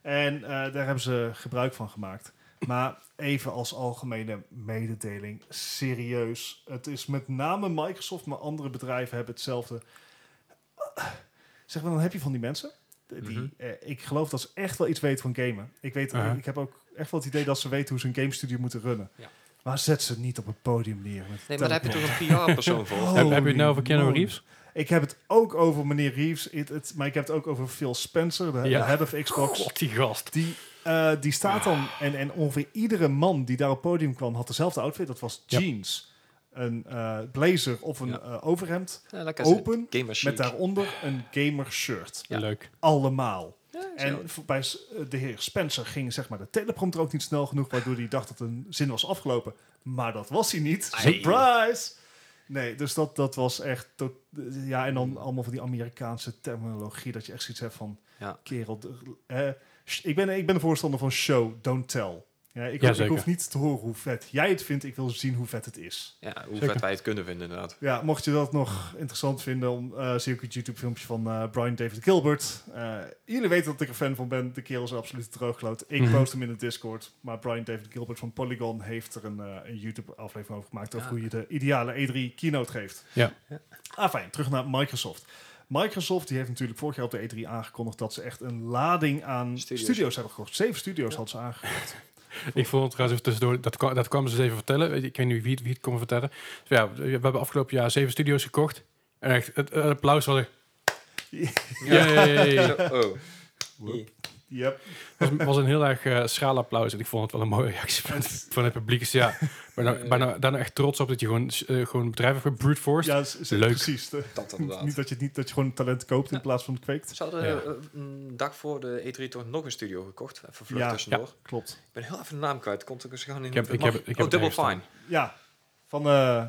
S2: En eh, daar hebben ze gebruik van gemaakt. Maar even als algemene mededeling, serieus. Het is met name Microsoft, maar andere bedrijven hebben hetzelfde. Zeg maar, dan heb je van die mensen. Die,
S3: Mhm.
S2: eh, ik geloof dat ze echt wel iets weten van gamen. Ik, weet,
S1: Ja.
S2: ik heb ook echt wel het idee dat ze weten hoe ze een game studio moeten runnen.
S3: Ja.
S2: Maar zet ze niet op het podium neer. met
S3: Nee, maar daar heb je
S2: teleprompter.
S3: toch een PR-persoon voor?
S2: Oh.
S1: heb, heb je het nou over Keanu
S2: moly.
S1: Reeves?
S2: Ik heb het ook over meneer Reeves, het- het- maar ik heb het ook over Phil Spencer, de,
S1: Ja.
S2: de head of Xbox.
S1: God, die gast.
S2: Die, eh, die staat dan, en, en ongeveer iedere man die daar op het podium kwam, had dezelfde outfit. Dat was
S1: Ja.
S2: jeans, een eh, blazer of een
S3: Ja.
S2: eh, overhemd.
S3: Ja, lekker
S2: Open,
S3: gamer chic.
S2: met daaronder een gamer shirt.
S3: Ja.
S1: Leuk.
S2: Allemaal.
S3: Ja, dat is heel-
S2: En voor- bij s- eh, de heer Spencer ging zeg maar, de teleprompter ook niet snel genoeg, waardoor hij dacht dat een zin was afgelopen. Maar dat was hij niet.
S3: Ai.
S2: Surprise! Nee, dus dat, dat was echt... tot- ja, en dan allemaal van die Amerikaanse terminologie, dat je echt zoiets hebt van...
S3: Ja.
S2: Kerel, de- eh, sh- ik, ben, ik ben een voorstander van show, don't tell. Ja, ik,
S1: Ja,
S2: ik
S1: zeker.
S2: hoef niet te horen hoe vet jij het vindt, ik wil zien hoe vet het is.
S3: ja, hoe
S1: Zeker.
S3: vet wij het kunnen vinden, inderdaad.
S2: Ja, mocht je dat nog interessant vinden, om, eh, zie ik het YouTube-filmpje van eh, Brian David Gilbert. Eh, jullie weten dat ik er fan van ben. De kerel is absoluut droogloot. Ik
S1: Mhm.
S2: post hem in de Discord. Maar Brian David Gilbert van Polygon heeft er een, eh, een YouTube-aflevering over gemaakt. Over
S3: Ja.
S2: hoe je de ideale E3 keynote geeft.
S1: Ja.
S3: Ja.
S2: Ah, fijn. Terug naar Microsoft. Microsoft die heeft natuurlijk vorig jaar op de E3 aangekondigd dat ze echt een lading aan
S3: Studios.
S2: studios, hebben gekocht. Zeven studios had ze aangekocht.
S1: Ik vond het trouwens even tussendoor, dat, kwa- dat kwamen ze eens even vertellen. Weet je, Ik weet niet wie het, wie het kon vertellen. Dus ja, we hebben afgelopen jaar zeven studio's gekocht. En echt, het, het applaus was echt... Yay!
S3: Zo, oh.
S2: Yep.
S1: Het was, was een heel erg eh, schraal applaus. En ik vond het wel een mooie reactie van het, van het publiek. Dus ja, ben nou, ben nou, daar nou echt trots op dat je gewoon, eh, gewoon bedrijven hebt brute force.
S2: Ja, is, is
S1: Leuk.
S2: precies. De-
S3: Dat inderdaad.
S2: niet dat je het niet dat je gewoon talent koopt in
S3: Ja.
S2: plaats van kweekt.
S3: Ze hadden
S1: Ja.
S3: eh, een dag voor de E3 toch nog een studio gekocht. Even vlug
S2: Ja.
S3: tussendoor.
S2: Klopt.
S3: Ik ben heel even de naam kwijt. Komt ook eens gewoon in.
S1: Ik heb-
S3: het
S1: ik
S3: mag-
S1: heb- ik heb
S3: oh,
S1: het
S3: Double
S1: ergens
S3: Fine.
S2: Ja, van eh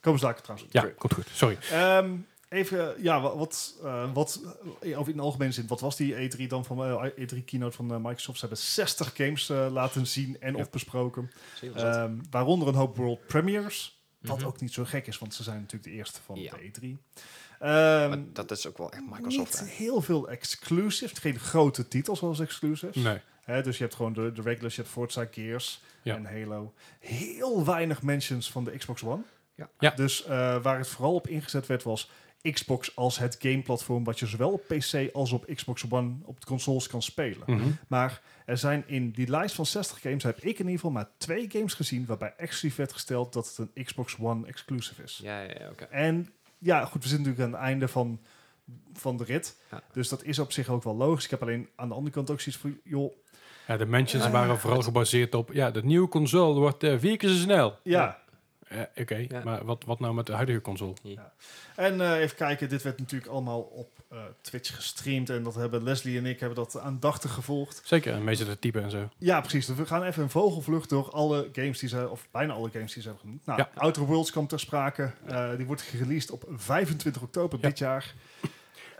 S2: komen ze daar trouwens.
S1: Ja, komt goed. Sorry.
S2: Ehm, even, ja, wa- wat, eh, wat, eh, of in de algemene zin, wat was die E3 dan van eh, E3 keynote van eh, Microsoft? Ze hebben 60 games eh, laten zien en
S1: Ja.
S2: of besproken,
S3: Zie je wel zitten.
S2: Ehm, waaronder een hoop world premiers. Wat
S3: Mhm.
S2: ook niet zo gek is, want ze zijn natuurlijk de eerste van
S3: Ja.
S2: de E3. Ehm,
S3: Maar dat is ook wel echt Microsoft.
S2: Niet
S3: hè.
S2: heel veel exclusives, geen grote titels als exclusives.
S1: Nee.
S2: Hè, dus je hebt gewoon de, de regulars, je hebt Forza, Gears
S1: Ja.
S2: en Halo. Heel weinig mentions van de Xbox One.
S3: Ja.
S1: Ja.
S2: Dus eh, waar het vooral op ingezet werd was Xbox als het gameplatform... wat je zowel op PC als op Xbox One op de consoles kan spelen.
S1: Mhm.
S2: Maar er zijn in die lijst van 60 games, heb ik in ieder geval maar twee games gezien... waarbij exclusief werd gesteld dat het een Xbox One exclusive is.
S3: Ja, ja, ja, oké.
S2: En ja, goed, we zitten natuurlijk aan het einde van, van de rit.
S3: Ja.
S2: Dus dat is op zich ook wel logisch. Ik heb alleen aan de andere kant ook zoiets van... joh,
S1: Ja, de mentions
S2: Ah.
S1: waren vooral gebaseerd op... Ja, de nieuwe console wordt eh, vier keer zo snel.
S2: ja.
S1: Eh, Oké,
S3: Ja.
S1: maar wat, wat nou met de huidige console?
S2: En eh, even kijken, dit werd natuurlijk allemaal op eh, Twitch gestreamd. En dat hebben Leslie en ik hebben dat aandachtig gevolgd.
S1: Zeker, en meestal de type en zo.
S2: Ja, precies. Dus we gaan even een vogelvlucht door alle games die ze, of bijna alle games die ze hebben genoemd. Nou,
S1: Ja.
S2: Outer Worlds kwam ter sprake. Eh, die wordt gereleased op 25 oktober
S1: Ja.
S2: dit jaar.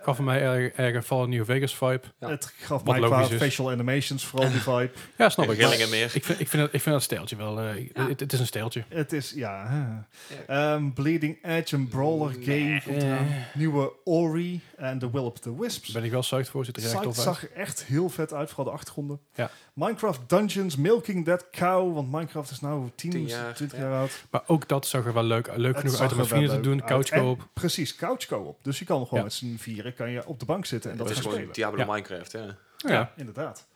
S1: Gaf mij erg, erg een Fallout New Vegas vibe.
S3: Ja.
S2: Het gaf
S1: Wat
S2: mij qua
S1: logisch is.
S2: facial animations vooral die vibe.
S1: Ja, snap ik.
S3: Geen rillingen meer.
S1: Ik vind, ik, vind dat, ik vind dat stijltje wel... eh,
S3: Ja.
S1: het, het is een stijltje.
S2: Het is, ja. hè. Ehm, Bleeding Edge, een brawler game.
S3: Nee.
S2: komt eraan. Nieuwe Ori en The Will of the Wisps.
S1: Eh, Ben ik wel psyched voor, ziet er echt
S2: Het
S1: tof
S2: site
S1: uit.
S2: zag er echt heel vet uit, vooral de achtergronden.
S1: Ja.
S2: Minecraft Dungeons, Milking That Cow, want Minecraft is nou 10,
S3: 10 jaar,
S2: 20
S3: ja.
S2: jaar oud.
S1: Maar ook dat zag er wel leuk, leuk
S2: Het
S1: genoeg uit om
S2: zag
S1: met
S2: er wel
S1: vrienden te
S2: leuk
S1: doen.
S2: uit.
S1: Couch
S2: En-
S1: co-op.
S2: Precies, couch co-op. Dus je kan gewoon
S1: Ja.
S2: met z'n vieren kan je op de bank zitten en dat,
S3: Dat is
S2: gaan
S3: gewoon
S2: spelen.
S3: Diablo
S1: Ja.
S3: Minecraft, ja.
S1: Ja.
S2: Inderdaad.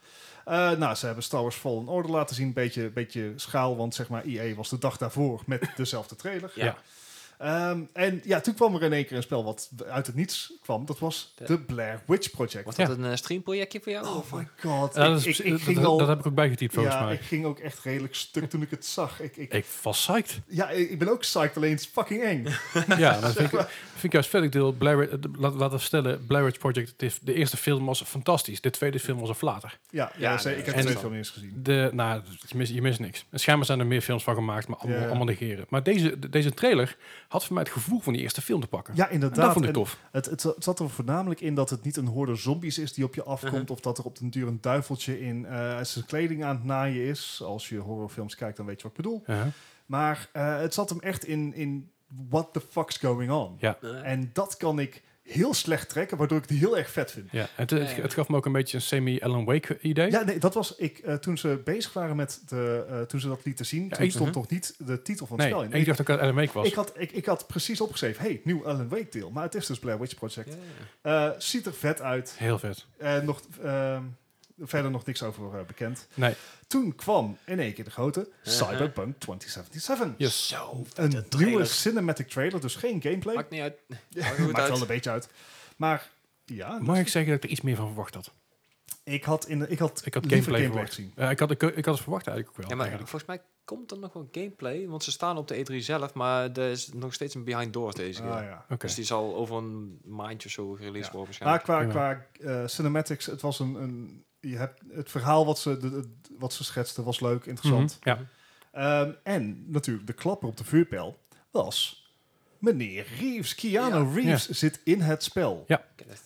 S2: Eh, nou, ze hebben Star Wars Fallen Order laten zien. Beetje, beetje schaal, want zeg maar EA was de dag daarvoor met dezelfde trailer.
S1: Ja.
S2: Ehm, en ja, toen kwam er in één keer een spel wat uit het niets kwam. Dat was
S3: De-
S2: The Blair Witch Project.
S3: Wordt dat een eh, streamprojectje voor jou?
S2: Oh my god.
S1: Ja, dat,
S2: ik,
S1: is-
S2: ik, ik
S1: dat-
S2: ging
S1: dat-
S2: al...
S1: dat heb ik ook bijgetypt volgens
S2: ja,
S1: mij.
S2: ik
S1: Ik,
S2: ging ook echt redelijk stuk toen ik het zag. Ik, ik,
S1: was psyched.
S2: ja, ik ben ook psyched, alleen het is fucking eng.
S1: ja, dat vind ik, vind ik juist vet. Ik deel Blair, Witch- eh, laat, laten we stellen, Blair Witch Project, het is- de eerste film was fantastisch. De tweede film was een flater.
S2: Ja, ja,
S3: Ja,
S2: ze- ik heb
S1: en-
S2: het veel niet eens gezien.
S1: De, nou, je mist, je mist niks. En schijnbaar zijn er meer films van gemaakt, maar allemaal,
S2: Ja.
S1: allemaal negeren. Maar deze, de- deze trailer had voor mij het gevoel van die eerste film te pakken.
S2: Ja,
S1: En dat
S2: inderdaad.
S1: vond ik
S2: En
S1: tof.
S2: het, het, het zat er voornamelijk in dat het niet een horde zombies is die op je afkomt.
S3: Mhm.
S2: Of dat er op den duur een duiveltje in eh, zijn kleding aan het naaien is. Als je horrorfilms kijkt, dan weet je wat ik bedoel.
S1: Ja.
S2: Maar eh, het zat hem echt in, in what the fuck's going on.
S3: Eh,
S2: En dat kan ik heel slecht trekken, waardoor ik het heel erg vet vind.
S1: Ja, het, het, het gaf me ook een beetje een semi-Alan Wake idee.
S2: Ja, nee, dat was ik. eh, toen ze bezig waren met de. eh, toen ze dat lieten zien, toen
S1: ik-
S2: stond
S3: Mhm.
S2: nog niet de titel van het
S1: nee,
S2: spel in.
S1: ik dacht ook dat het Alan Wake was.
S2: ik, had, ik, ik had precies opgeschreven: hey, nieuw Alan Wake deel. Maar het is dus Blair Witch Project.
S3: ja, ja.
S2: Eh, ziet er vet uit.
S1: Heel vet.
S2: Eh, nog, ehm, verder nog niks over eh, bekend.
S1: Nee.
S2: Toen kwam in één keer de grote
S3: Ja.
S2: Cyberpunk 2077.
S1: Yes.
S3: Zo.
S2: Een
S3: de
S2: nieuwe
S3: trailer.
S2: cinematic trailer, dus geen gameplay.
S3: Maakt niet uit. Maakt goed
S2: Maakt wel
S3: uit.
S2: een beetje uit. Maar ja,
S1: Mag ik zeggen dat ik er iets meer van verwacht had?
S2: ik had, in de, ik had,
S1: Ik had
S2: liever
S1: gameplay verwacht.
S2: gezien.
S1: Eh, ik, had, ik, ik had het verwacht eigenlijk ook wel.
S3: Ja, maar
S1: eigenlijk.
S3: volgens mij komt er nog wel gameplay. Want ze staan op de E3 zelf, maar er is nog steeds een behind doors deze
S2: Ah,
S3: keer.
S2: ja.
S1: Oké.
S3: Dus die zal over een maandje of zo gereleased
S2: Ja.
S3: worden
S2: Maar
S3: waarschijnlijk.
S2: qua,
S1: Prima.
S2: qua eh, cinematics, het was een, een je hebt, het verhaal wat ze, de, de- wat ze schetsten was leuk, interessant.
S1: Mhm, Ja.
S2: Ehm, en natuurlijk de klapper op de vuurpijl was meneer Reeves. Keanu
S3: Ja.
S2: Reeves zit in het spel. Dus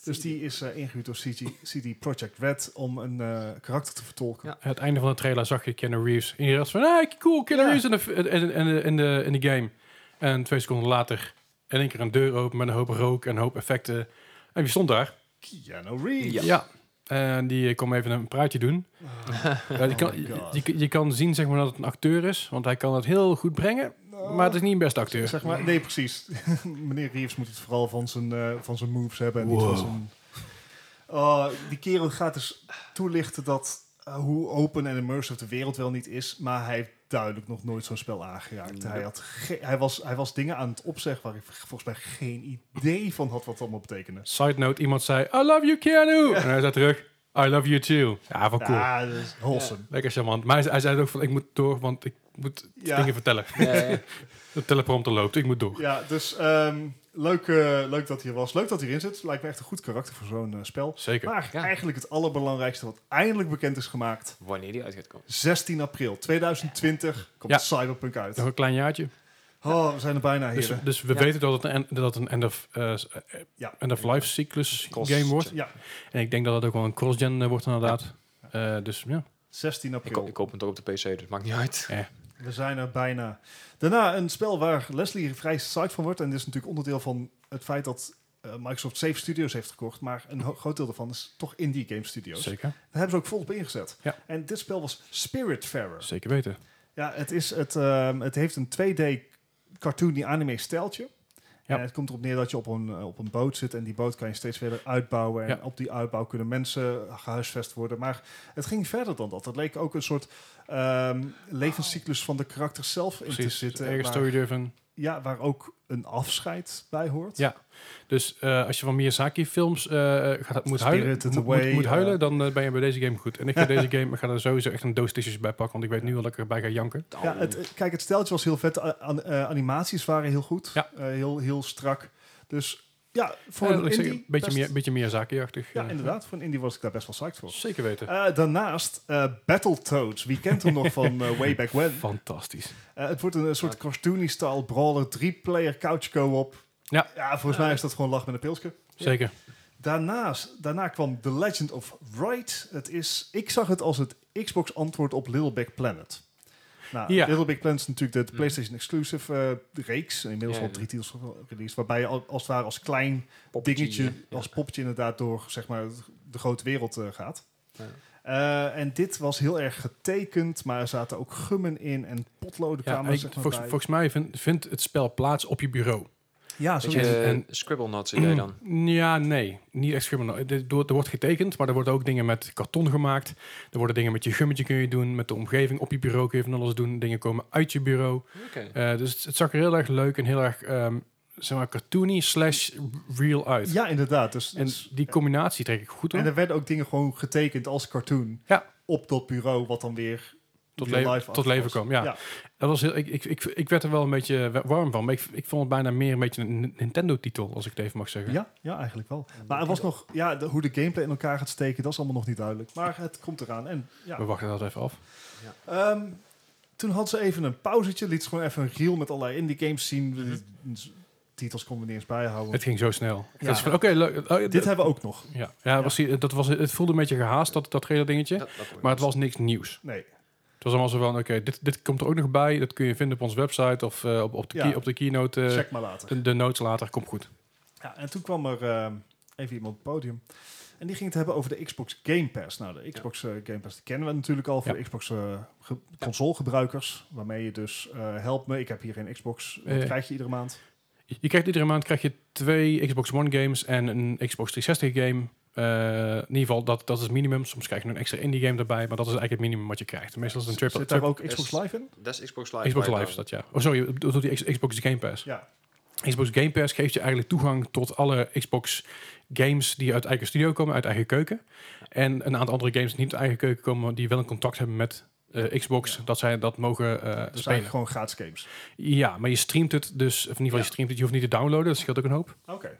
S3: Dus die...
S2: die is eh, ingehuurd door CG, CD Project Red om een eh, karakter te vertolken.
S3: Ja.
S1: Aan het einde van de trailer zag je Keanu Reeves. En je dacht van, ah, cool, Keanu
S2: Ja.
S1: Reeves in de, f- in, in, in- in de, in de game. En twee seconden later, in één keer een deur open met een hoop rook en een hoop effecten. En wie stond daar?
S2: Keanu Reeves.
S3: Ja.
S1: En die eh, kon even een praatje doen. Eh, je, kan,
S2: my God.
S1: je, je- je kan zien zeg maar, dat het een acteur is, want hij kan het heel goed brengen.
S2: Nou,
S1: Maar het is niet een beste acteur.
S2: Zeg maar, nee, precies. Meneer Reeves moet het vooral van zijn, eh, van zijn moves hebben. En niet
S1: Wow.
S2: van zijn... Oh, die kerel gaat dus toelichten dat eh, hoe open en immersive de wereld wel niet is. Maar hij heeft duidelijk nog nooit zo'n spel aangeraakt.
S3: Nee.
S2: Hij, had ge- hij, was, hij was dingen aan het opzeggen waar ik volgens mij geen idee van had wat dat allemaal betekende.
S1: Side note, iemand zei, I love you Keanu. En hij zei terug, I love you too. Ja, wel Oh, cool.
S2: Ja, dat is wholesome.
S1: Lekker charmant. Maar hij, hij zei ook van, ik moet door, want ik moet
S2: Ja.
S1: dingen vertellen.
S3: Ja, ja.
S1: De teleprompter loopt, ik moet door.
S2: Ja, dus ehm, leuk, eh, leuk dat hij er was. Leuk dat hij erin zit. Lijkt me echt een goed karakter voor zo'n eh, spel.
S1: Zeker.
S2: Maar
S3: Ja.
S2: eigenlijk het allerbelangrijkste wat eindelijk bekend is gemaakt.
S3: Wanneer die uit gaat komen.
S2: 16 april 2020 komt
S1: Ja.
S2: Cyberpunk uit.
S1: Nog een klein jaartje.
S2: Oh, we zijn er bijna,
S1: Dus,
S2: heren.
S1: dus we
S3: Ja.
S1: weten dat het een, en- dat het een end of, eh, s- eh,
S2: Ja.
S1: end of life cyclus
S3: Cross-
S1: game wordt.
S2: Ja,
S1: En ik denk dat het ook wel een cross-gen eh, wordt inderdaad. Eh, dus ja.
S2: 16
S3: Ik, ko-
S2: april.
S3: ik koop hem toch op de PC, dus maakt niet uit.
S2: We zijn er bijna. Daarna een spel waar Leslie vrij psyched van wordt. En dit is natuurlijk onderdeel van het feit dat eh, Microsoft 7 studios heeft gekocht. Maar een ho- groot deel daarvan is toch indie game studios. Daar
S1: Zeker.
S2: hebben ze ook volop ingezet.
S1: Ja.
S2: En dit spel was Spiritfarer.
S1: Zeker weten.
S2: Ja, het, is het, ehm, het heeft een 2D cartoony anime stijltje.
S1: Ja.
S2: En het komt erop neer dat je op een, eh, op een boot zit en die boot kan je steeds verder uitbouwen. En
S1: Ja.
S2: op die uitbouw kunnen mensen gehuisvest worden. Maar het ging verder dan dat. Het leek ook een soort ehm, levenscyclus van de karakter zelf in te
S1: Precies.
S2: zitten.
S1: Ergens
S2: waar,
S1: story-driven.
S2: ja, waar ook een afscheid bij hoort.
S1: Ja. Dus eh, als je van Miyazaki-films eh, gaat, moet, huilen,
S2: Spirited
S1: moet,
S2: Away,
S1: moet- moet huilen,
S2: eh.
S1: dan eh, ben je bij deze game goed. En ik ga deze game, ik ga er sowieso echt een doos tissues bij pakken, want ik weet nu al dat ik erbij ga janken.
S2: Ja, het, eh, kijk, het steltje was heel vet. De a- an- eh, animaties waren heel goed.
S1: Ja.
S2: Eh, heel, heel strak. Dus ja, voor
S1: Eh,
S2: een
S1: laat ik
S2: indie...
S1: zeggen, beetje,
S2: best-
S1: Miya- beetje Miyazaki-achtig.
S2: Ja,
S1: eh.
S2: inderdaad. Voor een indie was ik daar best wel psyched voor.
S1: Zeker weten.
S2: Eh, daarnaast eh, Battletoads. Wie kent hem nog van eh, Way Back When?
S1: Fantastisch.
S2: Eh, het wordt een, eh, soort cartoony-style brawler, drie-player couch co-op.
S1: Ja.
S2: volgens mij is dat gewoon lach met een pilsje.
S1: Zeker.
S2: Daarnaast, daarna kwam The Legend of Wright. Het is, ik zag het als het Xbox-antwoord op Little Big Planet. Nou,
S1: Ja.
S2: Little Big Planet is natuurlijk de, de
S3: Mhm.
S2: PlayStation-exclusive eh, reeks. Inmiddels
S3: Ja,
S2: al
S3: ja.
S2: drie titels released. Waarbij je al- als het ware als klein dingetje als poppetje inderdaad door zeg maar, de grote wereld eh, gaat.
S3: Ja.
S2: Eh, en dit was heel erg getekend, maar er zaten ook gummen in en potloden
S1: Ja,
S2: kwamen
S1: ik-
S2: zeg maar
S1: volgens,
S2: bij.
S1: volgens mij vindt vindt het spel plaats op je bureau.
S2: ja,
S3: Weet
S2: zo
S3: je,
S1: En-
S3: eh, Scribble Nuts idee dan.
S1: Ja, nee. Niet echt schimmel. Er wordt er wordt getekend, maar er worden ook dingen met karton gemaakt. Er worden dingen met je gummetje kun je doen. Met de omgeving op je bureau kun je van alles doen. Dingen komen uit je bureau.
S3: Oké.
S1: Eh, dus het, het zag er heel erg leuk en heel erg, ehm, zeg maar, cartoony slash real uit.
S2: ja inderdaad. Dus,
S1: En
S2: dus-
S1: die combinatie trek ik goed
S2: en
S1: hoor.
S2: er werden ook dingen gewoon getekend als cartoon
S1: Ja.
S2: op dat bureau, wat dan weer
S1: Tot
S2: real
S1: le-
S2: life
S1: tot
S2: was.
S1: leven kwam, ja. Dat was heel, ik, ik, ik, ik werd er wel een beetje wa- warm van. Maar ik, ik vond het bijna meer een beetje een Nintendo-titel, als ik het even mag zeggen.
S2: Ja, ja, eigenlijk wel. Maar er was nog, ja, de- hoe de gameplay in elkaar gaat steken, dat is allemaal nog niet duidelijk. Maar het komt eraan. En ja,
S1: We wachten dat even af.
S2: Ehm, toen had ze even een pauzetje, liet ze gewoon even een reel met allerlei indie games zien. De- de Titels konden we niet eens bijhouden.
S1: Mhm. Het ging zo snel.
S2: Ja.
S1: Dat is van, oké, leuk. Oh,
S2: Dit hebben we ook nog.
S1: Ja, ja, dat Was, die- dat was, het voelde een beetje gehaast, dat, dat gele dingetje.
S3: Dat- dat komt
S1: Maar het was niks nieuws.
S2: Nee.
S1: Het was allemaal zo van, oké, dit, dit komt er ook nog bij. Dat kun je vinden op onze website of eh, op, op, de
S2: Ja.
S1: key- op de keynote. eh,
S2: Check maar later.
S1: de, de notes later, komt goed.
S2: Ja, en toen kwam er eh, even iemand op het podium. En die ging het hebben over de Xbox Game Pass. Nou, de Xbox eh, Game Pass die kennen we natuurlijk al voor
S1: Ja.
S2: de Xbox eh, ge- consolegebruikers. Waarmee je dus, eh, help me, ik heb hier geen Xbox. Wat
S1: Eh.
S2: krijg je iedere maand?
S1: Je je krijgt iedere maand krijg je twee Xbox One games en een Xbox 360 game. Eh, in ieder geval, dat, dat is het minimum. Soms krijg je nog een extra indie game erbij, maar dat is eigenlijk het minimum wat je krijgt. Meestal is het een triple,
S2: Zit daar ook
S3: triple
S2: Xbox
S3: S.
S2: Live in?
S3: Dat is Xbox Live.
S1: Xbox
S3: waar je
S1: Live is
S3: dan-
S1: dat, ja. Oh, sorry, door die X- Xbox Game Pass.
S2: Ja.
S1: Xbox Game Pass geeft je eigenlijk toegang tot alle Xbox games die uit eigen studio komen, uit eigen keuken. En een aantal andere games die niet uit eigen keuken komen, maar die wel een contact hebben met eh, Xbox,
S2: Ja.
S1: dat zij dat mogen eh,
S2: Dat zijn
S1: spelen.
S2: dus gewoon gratis games.
S1: Ja, maar je streamt het dus, of in ieder geval je
S2: Ja.
S1: streamt het, je hoeft niet te downloaden, dat scheelt ook een hoop.
S2: Oké.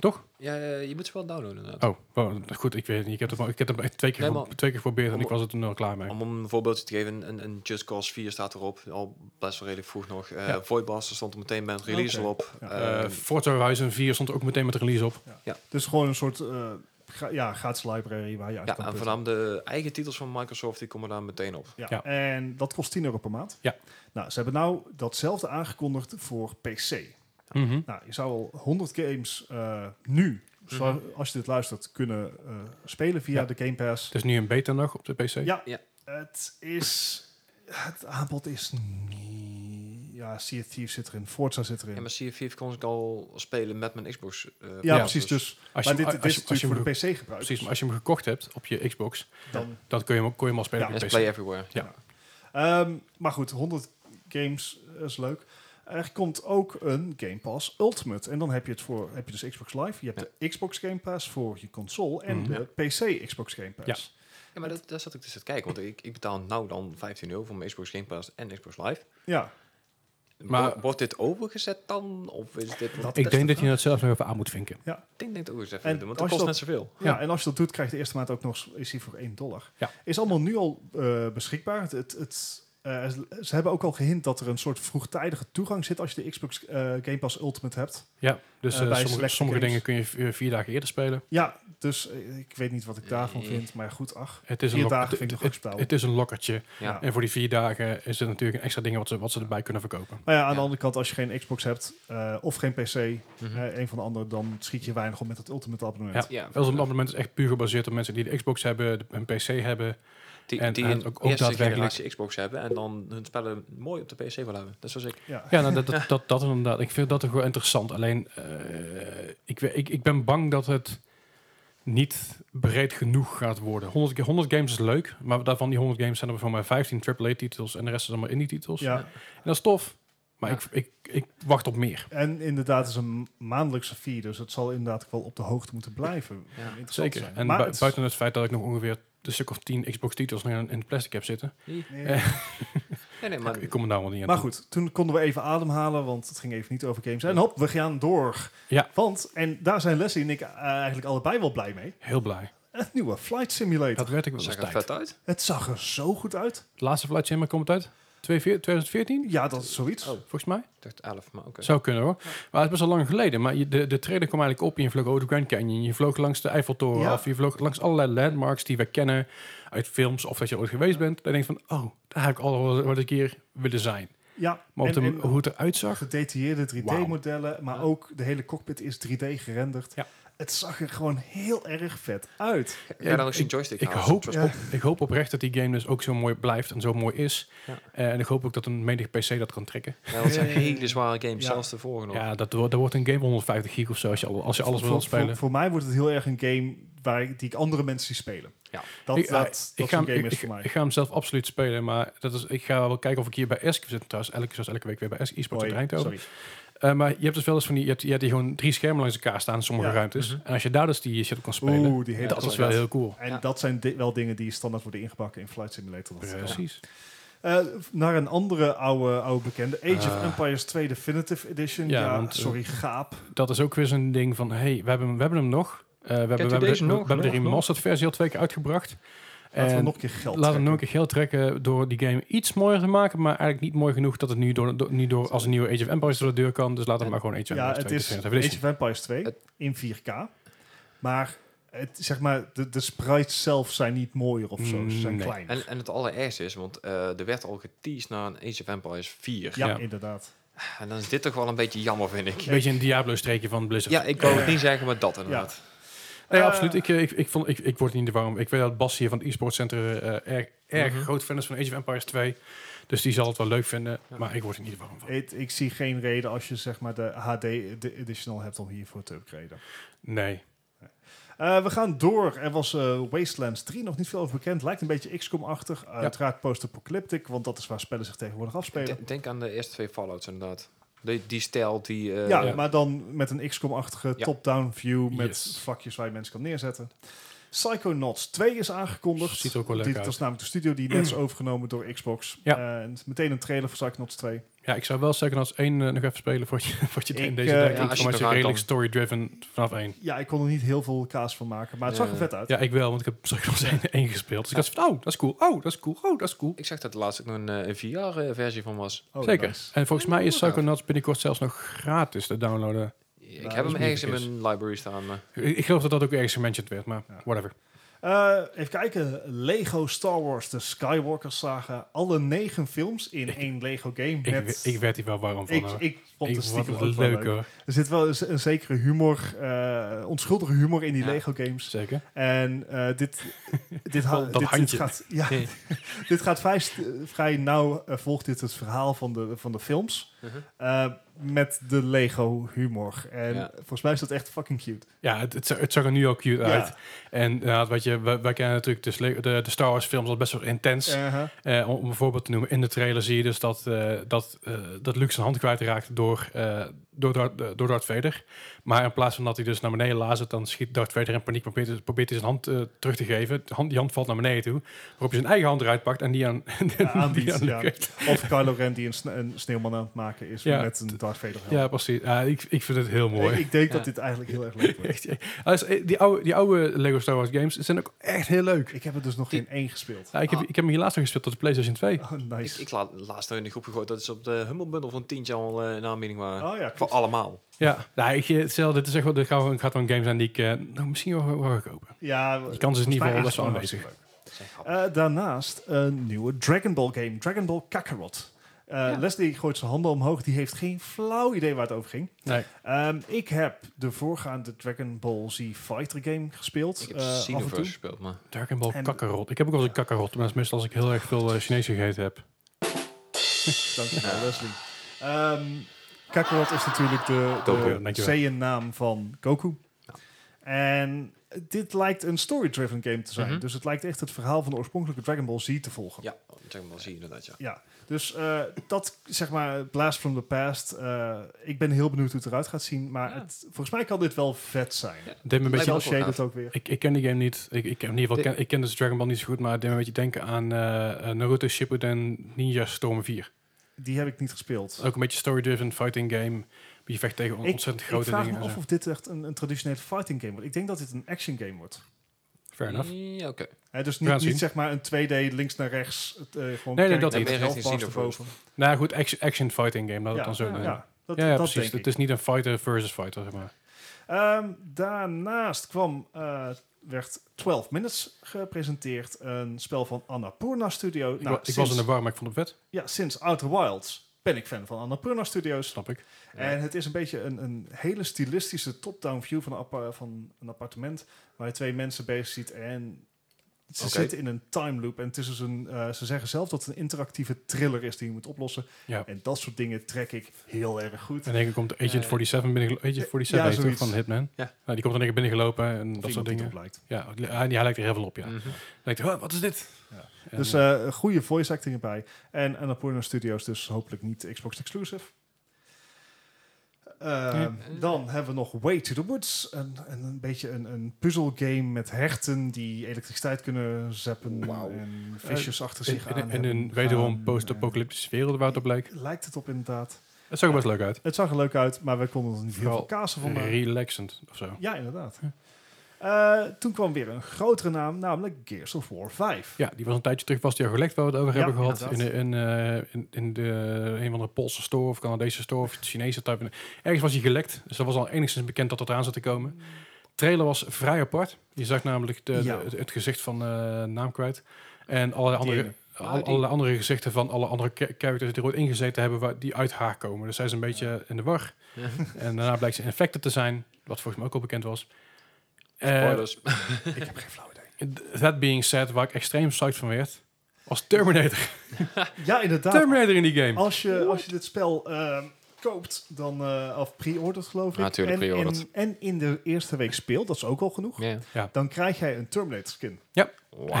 S1: Toch?
S3: Ja, eh, je moet ze wel downloaden. inderdaad.
S1: Oh, wow, goed, ik weet het niet. Ik heb het, maar- ik heb het echt twee, keer
S3: Nee,
S1: voor-
S3: maar-
S1: twee keer geprobeerd en ik
S3: Om-
S1: was er toen al klaar mee.
S3: Om een voorbeeldje te geven, een, een Just Cause 4 staat erop, al best wel redelijk vroeg nog. Eh
S1: Ja.
S3: Voidbuster stond er meteen bij het release
S2: Oké.
S3: al op.
S2: Ja.
S1: Eh
S3: Ehm,
S1: Forza Horizon 4 stond er ook meteen met de release op.
S2: Dus gewoon een soort eh, gra- ja, gratis library waar je uit
S3: ja,
S2: kan
S3: en
S2: putten.
S3: voornamelijk de eigen titels van Microsoft, die komen daar meteen op.
S2: Ja.
S1: Ja.
S2: En dat kost 10 euro per maand.
S1: Ja.
S2: Nou, ze hebben nou datzelfde aangekondigd voor PC.
S1: Mhm.
S2: Nou, je zou al 100 games eh, nu, zo-
S3: Mhm.
S2: als je dit luistert, kunnen eh, spelen via
S1: Ja.
S2: de Game Pass.
S1: Het is nu een beta nog op de PC.
S2: Ja,
S3: Ja.
S2: het is... Het aanbod is niet... Ja, Sea of Thieves zit erin, Forza zit erin. Ja,
S3: Ja, maar CF4 kon ik al spelen met mijn Xbox. eh,
S1: ja,
S2: precies. Dus,
S1: Als
S2: maar
S1: je,
S2: dit,
S1: hem-
S2: dit
S1: als
S2: is
S1: je- als je
S2: natuurlijk
S1: hem
S2: voor de
S1: ge-
S2: PC gebruikt.
S1: Precies, maar als je hem gekocht hebt op je Xbox,
S2: Dan,
S1: dan kun je hem, ook- kon je hem al spelen op
S2: Ja,
S3: En
S1: je PC.
S3: Play Everywhere.
S2: Ehm, maar goed, 100 games eh, is leuk. Er komt ook een Game Pass Ultimate. En dan heb je het voor heb je dus Xbox Live. Je hebt de Xbox Game Pass voor je console en
S1: Mhm.
S2: de PC Xbox Game Pass.
S1: Ja.
S3: Ja, maar dat, daar zat ik dus te kijken, want ik, ik betaal nou dan 15 euro voor mijn Xbox Game Pass en Xbox Live.
S2: Ja,
S1: Maar-
S3: Maar wordt dit overgezet dan? Of is dit...
S2: Dat-
S1: Ik denk
S2: de
S1: dat je dat zelf nog even aan moet vinken.
S3: ik denk dat ik ook eens even
S2: En
S3: moet doen, want dat
S2: als je
S3: kost net zoveel.
S2: ja. en als je dat doet, krijg je de eerste maand ook nog is die voor 1 dollar.
S1: Ja.
S2: Is allemaal nu al eh, beschikbaar. Het, het, het, eh, ze hebben ook al gehint dat er een soort vroegtijdige toegang zit als je de Xbox eh, Game Pass Ultimate hebt.
S1: Ja, dus
S2: Eh,
S1: eh,
S2: bij
S1: sommige,
S2: selecte
S1: sommige dingen
S2: games.
S1: kun je v- eh, vier dagen eerder spelen.
S2: Ja, dus eh, ik weet niet wat ik daarvan
S3: Eh.
S2: vind, maar goed, ach.
S1: Het is een,
S2: Vier
S1: lok-
S2: dagen
S1: het,
S2: vind ik nog
S1: het-
S2: acceptabel.
S1: het is een lokkertje.
S3: Ja.
S1: En voor die vier dagen is het natuurlijk een extra ding wat ze, wat ze erbij kunnen verkopen.
S2: Maar ja, aan de
S3: Ja.
S2: andere kant, als je geen Xbox hebt eh, of geen PC,
S3: Mhm.
S2: eh, een van de andere, dan schiet je weinig op met het Ultimate abonnement.
S1: Ja.
S3: Ja,
S1: Wel, zo'n abonnement is dus echt puur gebaseerd op mensen die de Xbox hebben, de- een PC hebben.
S3: Die,
S1: En-
S3: die
S1: en
S3: een
S1: ook- ook
S3: eerste
S1: daadwerkelijk-
S3: generatie Xbox hebben en dan hun spellen mooi op de PC willen hebben. Dat is zoals ik.
S2: Ja.
S1: Ja, nou, dat, dat, dat, dat inderdaad. Ik vind dat ook wel interessant. Alleen, eh, ik, we- ik, ik ben bang dat het niet breed genoeg gaat worden. 100, ga- 100 games is leuk, maar daarvan die 100 games zijn er voor mij 15 AAA-titels en de rest is allemaal indie-titels.
S2: Ja.
S1: En dat is tof, maar
S3: Ja.
S1: ik, ik, ik wacht op meer.
S2: En inderdaad, het is een maandelijkse fee, dus het zal inderdaad ook wel op de hoogte moeten blijven.
S3: Ja.
S2: Interessant
S1: Zeker.
S2: zijn.
S1: En
S2: Maar
S1: bui-
S2: het-
S1: buiten het feit dat ik nog ongeveer een stuk of 10 Xbox-titels nog in, in het plastic heb zitten,
S2: Nee.
S1: Eh,
S3: Nee, nee, maar
S1: ik kom er daar wel niet aan
S2: Maar
S1: toe.
S2: goed, toen konden we even ademhalen, want het ging even niet over games. En hop, we gaan door.
S1: Ja.
S2: Want, en daar zijn Leslie en ik eh, eigenlijk allebei wel blij mee.
S1: Heel blij.
S2: Het nieuwe Flight Simulator.
S1: Dat werd ik wel
S3: zag
S1: eens
S3: er
S1: tijd.
S3: vet uit.
S2: Het zag er zo goed uit.
S1: Het laatste Flight Simulator komt uit 2014,
S2: Ja, dat is zoiets.
S3: Oh.
S1: volgens mij.
S3: Ik dacht 11, maar oké.
S1: Zou kunnen hoor. Maar het is best wel lang geleden. Maar je, de, de trailer kwam eigenlijk op en je vloog over de Grand Canyon. Je vloog langs de Eiffeltoren
S2: Ja.
S1: af. Je vloog langs allerlei landmarks die we kennen uit films of dat je ooit geweest bent. Dan denk je van, oh, daar heb ik al wel wat een keer willen zijn.
S2: Ja,
S1: Maar op
S2: en-
S1: de-
S2: en-
S1: hoe het eruit zag.
S2: gedetailleerde 3D-modellen, maar
S3: Ja.
S2: ook de hele cockpit is 3D gerenderd.
S1: Ja.
S2: Het zag er gewoon heel erg vet uit.
S3: Ga je dan ook
S1: ik-
S3: zijn joystick dus
S1: Ik
S3: halen,
S1: hoop,
S3: zoals-
S2: Ja.
S1: op, ik hoop oprecht dat die game dus ook zo mooi blijft en zo mooi is.
S3: Ja.
S1: Eh, en ik hoop ook dat een menig PC dat kan trekken.
S3: Ja, want het zijn
S2: Ja.
S3: hele zware games,
S2: Ja.
S3: zelfs de vorige nog.
S1: Ja, dat, wo- dat wordt een game 150 gig of zo als je, al- als je alles
S2: Voor-
S1: wil
S2: voor,
S1: spelen.
S2: Voor, voor mij wordt het heel erg een game waar ik, die ik andere mensen zie spelen.
S3: Ja.
S2: Dat,
S1: Ik-
S2: dat,
S1: eh,
S2: dat
S1: ik, ga
S2: zo'n
S1: hem,
S2: game
S1: ik,
S2: is voor
S1: ik-
S2: mij.
S1: ik ga hem zelf absoluut spelen, maar dat is, ik ga wel kijken of ik hier bij Esk zit thuis. Elke, zoals elke week weer bij Esk e-sports uit
S2: Hoi,
S1: Eindhoven.
S2: sorry.
S1: Eh, maar je hebt dus wel eens van die, je hebt, je hebt die gewoon drie schermen langs elkaar staan in sommige
S2: Ja.
S1: ruimtes.
S3: Mhm.
S1: En als je daar dus die shit op kan spelen,
S2: Oeh, die hele
S1: dat is
S2: cockpit.
S1: wel heel cool.
S2: En
S3: Ja.
S2: dat zijn di- wel dingen die standaard worden ingebakken in Flight Simulator. Dat-
S1: Precies.
S2: Eh, naar een andere oude, oude bekende, Age of
S3: Ah.
S2: Empires 2 Definitive Edition.
S1: Ja,
S2: Ja,
S1: want, eh,
S2: sorry, gaap.
S1: Dat is ook weer zo'n ding van, hey, we hebben, hem- we hebben hem nog. Eh, we hebben, we
S3: u
S1: hebben,
S3: deze
S1: de, we
S3: nog?
S1: hebben de
S3: Nog, nog?
S1: remastered versie al twee keer uitgebracht.
S2: Laten we
S1: En
S2: nog een keer geld
S1: Laten we nog een
S2: trekken.
S1: keer geld trekken door die game iets mooier te maken, maar eigenlijk niet mooi genoeg dat het nu, door, door- nu door, als een nieuwe Age of Empires door de deur kan. Dus laten we maar gewoon Age of
S2: Ja,
S1: Empires
S2: het
S1: 2
S2: is
S1: Definitive
S2: Age
S1: Edition.
S2: of Empires 2
S3: Het-
S2: in 4K. Maar het, zeg maar, de, de sprites zelf zijn niet mooier of zo. Ze zijn
S1: Nee.
S2: klein.
S3: En, en het allerergste is, want eh, er werd al geteased naar een Age of Empires 4.
S2: ja,
S1: Ja.
S2: inderdaad.
S3: En dan is dit toch wel een beetje jammer, vind ik.
S1: Beetje een Diablo-streekje van Blizzard.
S3: Ja, ik wou het niet zeggen, maar dat inderdaad.
S1: Nee,
S2: Eh,
S1: absoluut. Ik, eh, ik, ik, vond, ik, ik word niet warm. Ik weet dat Bas hier van het e-sport center eh, erg, erg
S3: Mhm.
S1: groot fan is van Age of Empires 2. Dus die zal het wel leuk vinden.
S3: Ja.
S1: Maar ik word er niet warm van.
S2: Het- ik zie geen reden als je zeg maar de HD de Editional hebt om hiervoor te upgraden.
S1: Nee.
S2: Eh, we gaan door. Er was eh, Wastelands 3 nog niet veel over bekend. Lijkt een beetje XCOM-achtig. Uiteraard post-apocalyptic, want dat is waar spellen zich tegenwoordig
S3: Ik
S2: afspelen.
S3: de- denk aan de eerste twee Fallouts inderdaad. Die, die stijl, die... eh,
S2: ja,
S3: ja.
S2: maar dan met een XCOM-achtige
S3: Ja.
S2: top-down view met
S1: Yes.
S2: vakjes waar je mensen kan neerzetten. Psychonauts 2 is aangekondigd.
S1: Ziet er ook wel leuk
S2: Die-
S1: uit.
S2: Dat is namelijk de studio die net is overgenomen door Xbox.
S1: Ja.
S2: Eh, en meteen een trailer voor Psychonauts 2.
S1: Ja, ik zou wel zeggen als één eh, nog even spelen voordat je, voordat je het
S2: Ik,
S1: in deze
S2: eh,
S1: dag
S2: ja,
S1: doet.
S3: als je
S1: Voor mij
S3: het
S1: is het
S3: nog
S1: redelijk
S3: aan
S1: story-driven vanaf één.
S2: Ja, ik kon er niet heel veel kaas van maken, maar het zag er
S3: Eh,
S2: vet uit.
S1: Ja, ik wel, want ik heb straks nog één, één gespeeld. Dus ik dacht van, oh, dat is cool. Oh, dat is cool. Oh, dat is cool.
S3: Ik zag dat er laatst ook nog een, eh, een VR-versie van was.
S2: Oh,
S1: Zeker.
S2: nice.
S1: En volgens mij is
S3: Ja.
S1: Psychonauts binnenkort zelfs nog gratis te downloaden.
S3: Ik
S2: dat
S3: heb
S2: is
S3: hem ergens in
S1: niet
S3: mijn library staan. maar-
S1: Ik, ik geloof dat dat ook ergens gementiond werd, maar
S2: Ja.
S1: whatever.
S2: Eh, even kijken. Lego Star Wars, de Skywalker saga. Alle negen films in één Lego game.
S1: Ik,
S2: met,
S1: ik werd hier wel warm van.
S2: ik,
S1: hoor.
S2: ik vond het
S1: Ik
S2: stiekem
S1: vond
S2: ook
S1: het
S2: wel
S1: leuk
S2: leuk.
S1: hoor.
S2: Er zit wel een, een zekere humor, eh, onschuldige humor in die
S3: Ja.
S2: Lego games.
S1: Zeker.
S2: En eh, dit, dit, ha-
S1: Dat
S2: dit, dit
S1: handje.
S2: gaat, ja,
S3: Nee.
S2: dit gaat vrij, st- vrij nauw, eh, volgt dit het verhaal van de, van de films.
S3: Mhm.
S2: eh, met de Lego humor. En
S3: Ja.
S2: volgens mij is dat echt fucking cute.
S1: Ja, het, het, zag- het zag er nu al cute
S2: Ja.
S1: uit. En ja, wat je, wij, wij kennen natuurlijk de, sle- de, de Star Wars films al best wel intens.
S2: Uh-huh.
S1: Eh, om om een voorbeeld te noemen, in de trailer zie je dus dat, eh, dat, eh, dat Luke zijn hand kwijtraakt door, eh, door, Darth, eh, door Darth Vader. Maar in plaats van dat hij dus naar beneden lazert, dan schiet Darth Vader in paniek. Probeert, probeert hij zijn hand eh, terug te geven. De hand, die hand valt naar beneden toe. Waarop hij zijn eigen hand eruit pakt en die aan,
S2: aanbiedt,
S1: die aan Luke
S2: ja.
S1: geeft.
S2: Of Kylo Ren die een, sne- een sneeuwman aan het maken is
S1: Ja.
S2: met een Darth Vader helm.
S1: Ja, precies. Ja, ik, ik vind het heel mooi.
S2: Ik, ik denk dat
S3: Ja.
S2: dit eigenlijk heel erg leuk wordt.
S1: Echt, eh, als- eh, die, oude, die oude Lego Star Wars games zijn ook echt heel leuk.
S2: Ik heb er dus nog geen één gespeeld.
S1: Ja, ik, heb,
S3: Ah.
S1: ik heb hem hier laatst nog gespeeld tot de PlayStation 2.
S2: Oh,
S3: Ik,
S2: nice.
S3: ik laat laatst nog in de groep gegooid dat is op de Humble Bundle van tientje al eh in aanbieding waren.
S2: oh ja,
S3: Voor
S2: klopt.
S3: allemaal.
S1: Ja, nou, ik, eh, stel, dit is echt wel, dit gaat wel, gaat wel een game zijn die ik eh, nou, misschien wel, wel ga kopen.
S2: ja,
S1: Die kans is in ieder geval best wel
S2: volgens mij
S1: aanwezig.
S2: hartstikke
S3: Dat zijn
S2: leuk. Eh, daarnaast een nieuwe Dragon Ball game. Dragon Ball Kakarot. Eh,
S3: Ja.
S2: Leslie gooit zijn handen omhoog. Die heeft geen flauw idee waar het over ging.
S1: Nee.
S2: Ehm, ik heb de voorgaande Dragon Ball Z Fighter game gespeeld.
S3: Ik heb
S2: eh, af en
S3: Xenoverse
S2: toe.
S3: gespeeld, maar...
S1: Dragon Ball
S2: En-
S1: Kakarot. Ik heb ook wel eens een Kakarot, maar dat is meestal als ik heel erg veel eh, Chinees gegeten heb.
S2: Dankjewel, Leslie. Ehm Kakarot is natuurlijk de,
S1: Goku,
S2: de
S1: dankjewel.
S2: Saiyan-naam van Goku.
S3: Ja.
S2: En dit lijkt een story-driven game te zijn.
S3: Mhm.
S2: Dus het lijkt echt het verhaal van de oorspronkelijke Dragon Ball Z te volgen.
S3: Ja, zeg maar, zie je inderdaad, ja.
S2: Ja, dus eh, dat, zeg maar, Blast from the Past. eh, ik ben heel benieuwd hoe het eruit gaat zien. Maar
S3: Ja.
S2: het, volgens mij kan dit wel vet zijn.
S3: Ja.
S1: Het deed me een
S3: Lijkt
S1: beetje...
S3: me
S2: Cel
S3: ook wel
S2: shaded
S3: gaaf.
S2: ook weer.
S1: Ik, ik ken die game niet. Ik, ik, heb in ieder geval
S3: De-
S1: ken, ik ken dus Dragon Ball niet zo goed, maar het deed me een beetje denken aan eh, eh, Naruto Shippuden Ninja Storm 4.
S2: Die heb ik niet gespeeld.
S1: Ook een beetje story-driven fighting game. Je vecht tegen on-
S2: Ik-
S1: ontzettend
S2: ik
S1: grote
S2: vraag
S1: dingen.
S2: me
S1: en
S2: af
S1: zo.
S2: of dit echt een, een traditionele fighting game wordt. Ik denk dat dit een action game wordt.
S1: Fair enough.
S3: Ja, oké.
S2: Hè, dus
S1: We gaan
S2: niet,
S1: zien.
S2: niet zeg maar een 2D links naar rechts. Het, eh, gewoon
S1: Nee, nee, dat niet.
S2: kijken met
S3: Meer richting
S2: healthbars
S3: Xenoverse.
S2: erboven.
S1: Nou goed, action, action fighting game, laat
S2: Ja,
S1: het dan zo
S2: ja,
S1: noemen. Ja,
S2: ja. dat,
S1: ja,
S2: dat
S1: precies.
S2: denk
S1: Het
S2: ik.
S1: is niet een fighter versus fighter, zeg maar.
S2: Ehm, daarnaast kwam, eh, werd 12 Minutes gepresenteerd. Een spel van Annapurna Studio.
S1: Ik,
S2: nou,
S1: wa- ik
S2: sinds,
S1: was in de war, maar ik vond het vet.
S2: Ja, sinds Outer Wilds ben ik fan van Annapurna Studios.
S1: Snap ik.
S2: En het is een beetje een, een hele stilistische top-down view van een, appa- van een appartement. Waar je twee mensen bezig ziet en... Ze
S3: Oké.
S2: zitten in een time loop en het is dus een, eh, ze zeggen zelf dat het een interactieve thriller is die je moet oplossen.
S1: Ja.
S2: En dat soort dingen trek ik heel erg goed.
S1: En denk ik komt Agent
S3: Eh,
S1: 47 binnen. Agent 47
S2: ja,
S1: heet toch,
S2: zoiets.
S1: van Hitman.
S3: Ja.
S1: Nou, die komt dan een keer binnengelopen en dat soort dingen.
S2: Blijkt.
S1: Ja, het li- hij, hij lijkt er heel veel op, ja.
S3: Mhm.
S1: Lijkt, "Huh, wat is dit?
S2: Ja.
S1: En,
S2: dus
S1: eh,
S2: eh, goede voice acting erbij. En Annapurna Studios dus hopelijk niet Xbox exclusive. Eh,
S1: Nee.
S2: Dan hebben we nog Way to the Woods. Een, een, een beetje een, een puzzelgame met herten die elektriciteit kunnen zeppen.
S3: Wauw.
S2: En visjes achter
S1: in,
S2: zich
S1: in-
S2: aan
S1: in, Eh, een
S2: hebben
S1: wederom
S2: gaan.
S1: post-apocalyptische wereld waar het op lijkt.
S2: Eh, Lijkt het op inderdaad.
S1: Het zag er
S2: Ja.
S1: best leuk uit.
S2: Het zag er leuk uit, maar we konden er niet heel veel
S1: Vooral
S2: kaas van maken.
S1: Relaxend of zo.
S2: Ja, inderdaad. Eh, toen kwam weer een grotere naam, namelijk Gears of War 5.
S1: Ja, die was een tijdje terug, was die al gelekt waar we het over
S2: Ja,
S1: hebben gehad. In,
S2: inderdaad.
S1: de- in, eh, in, in de een van de Poolse store of Canadese store of Chinese type. Ergens was hij gelekt, dus dat was al enigszins bekend dat dat eraan zat te komen. trailer was vrij apart. Je zag namelijk de,
S2: Ja.
S1: de- het, het gezicht van eh, naam kwijt. En allerlei andere,
S3: ene.
S1: al,
S3: Ah, die.
S1: allerlei andere gezichten van alle andere cha- characters die er ooit ingezeten hebben, waar, die uit haar komen. Dus zij is een beetje in de war.
S3: Ja.
S1: En daarna blijkt ze een infected te zijn, wat volgens mij ook al bekend was. Eh,
S3: Spoilers.
S2: Ik heb geen flauw idee.
S1: That being said, waar ik extreem psyched van werd, was Terminator.
S2: Ja, inderdaad.
S1: Terminator in die game.
S2: Als je, als je dit spel ehm, koopt, dan, eh, of pre-ordert geloof ik.
S3: Ja, tuurlijk,
S2: en,
S3: pre-ordert.
S2: en, en in de eerste week speelt, dat is ook al genoeg.
S3: Ja.
S2: Dan krijg jij een Terminator skin.
S1: En
S3: Wauw.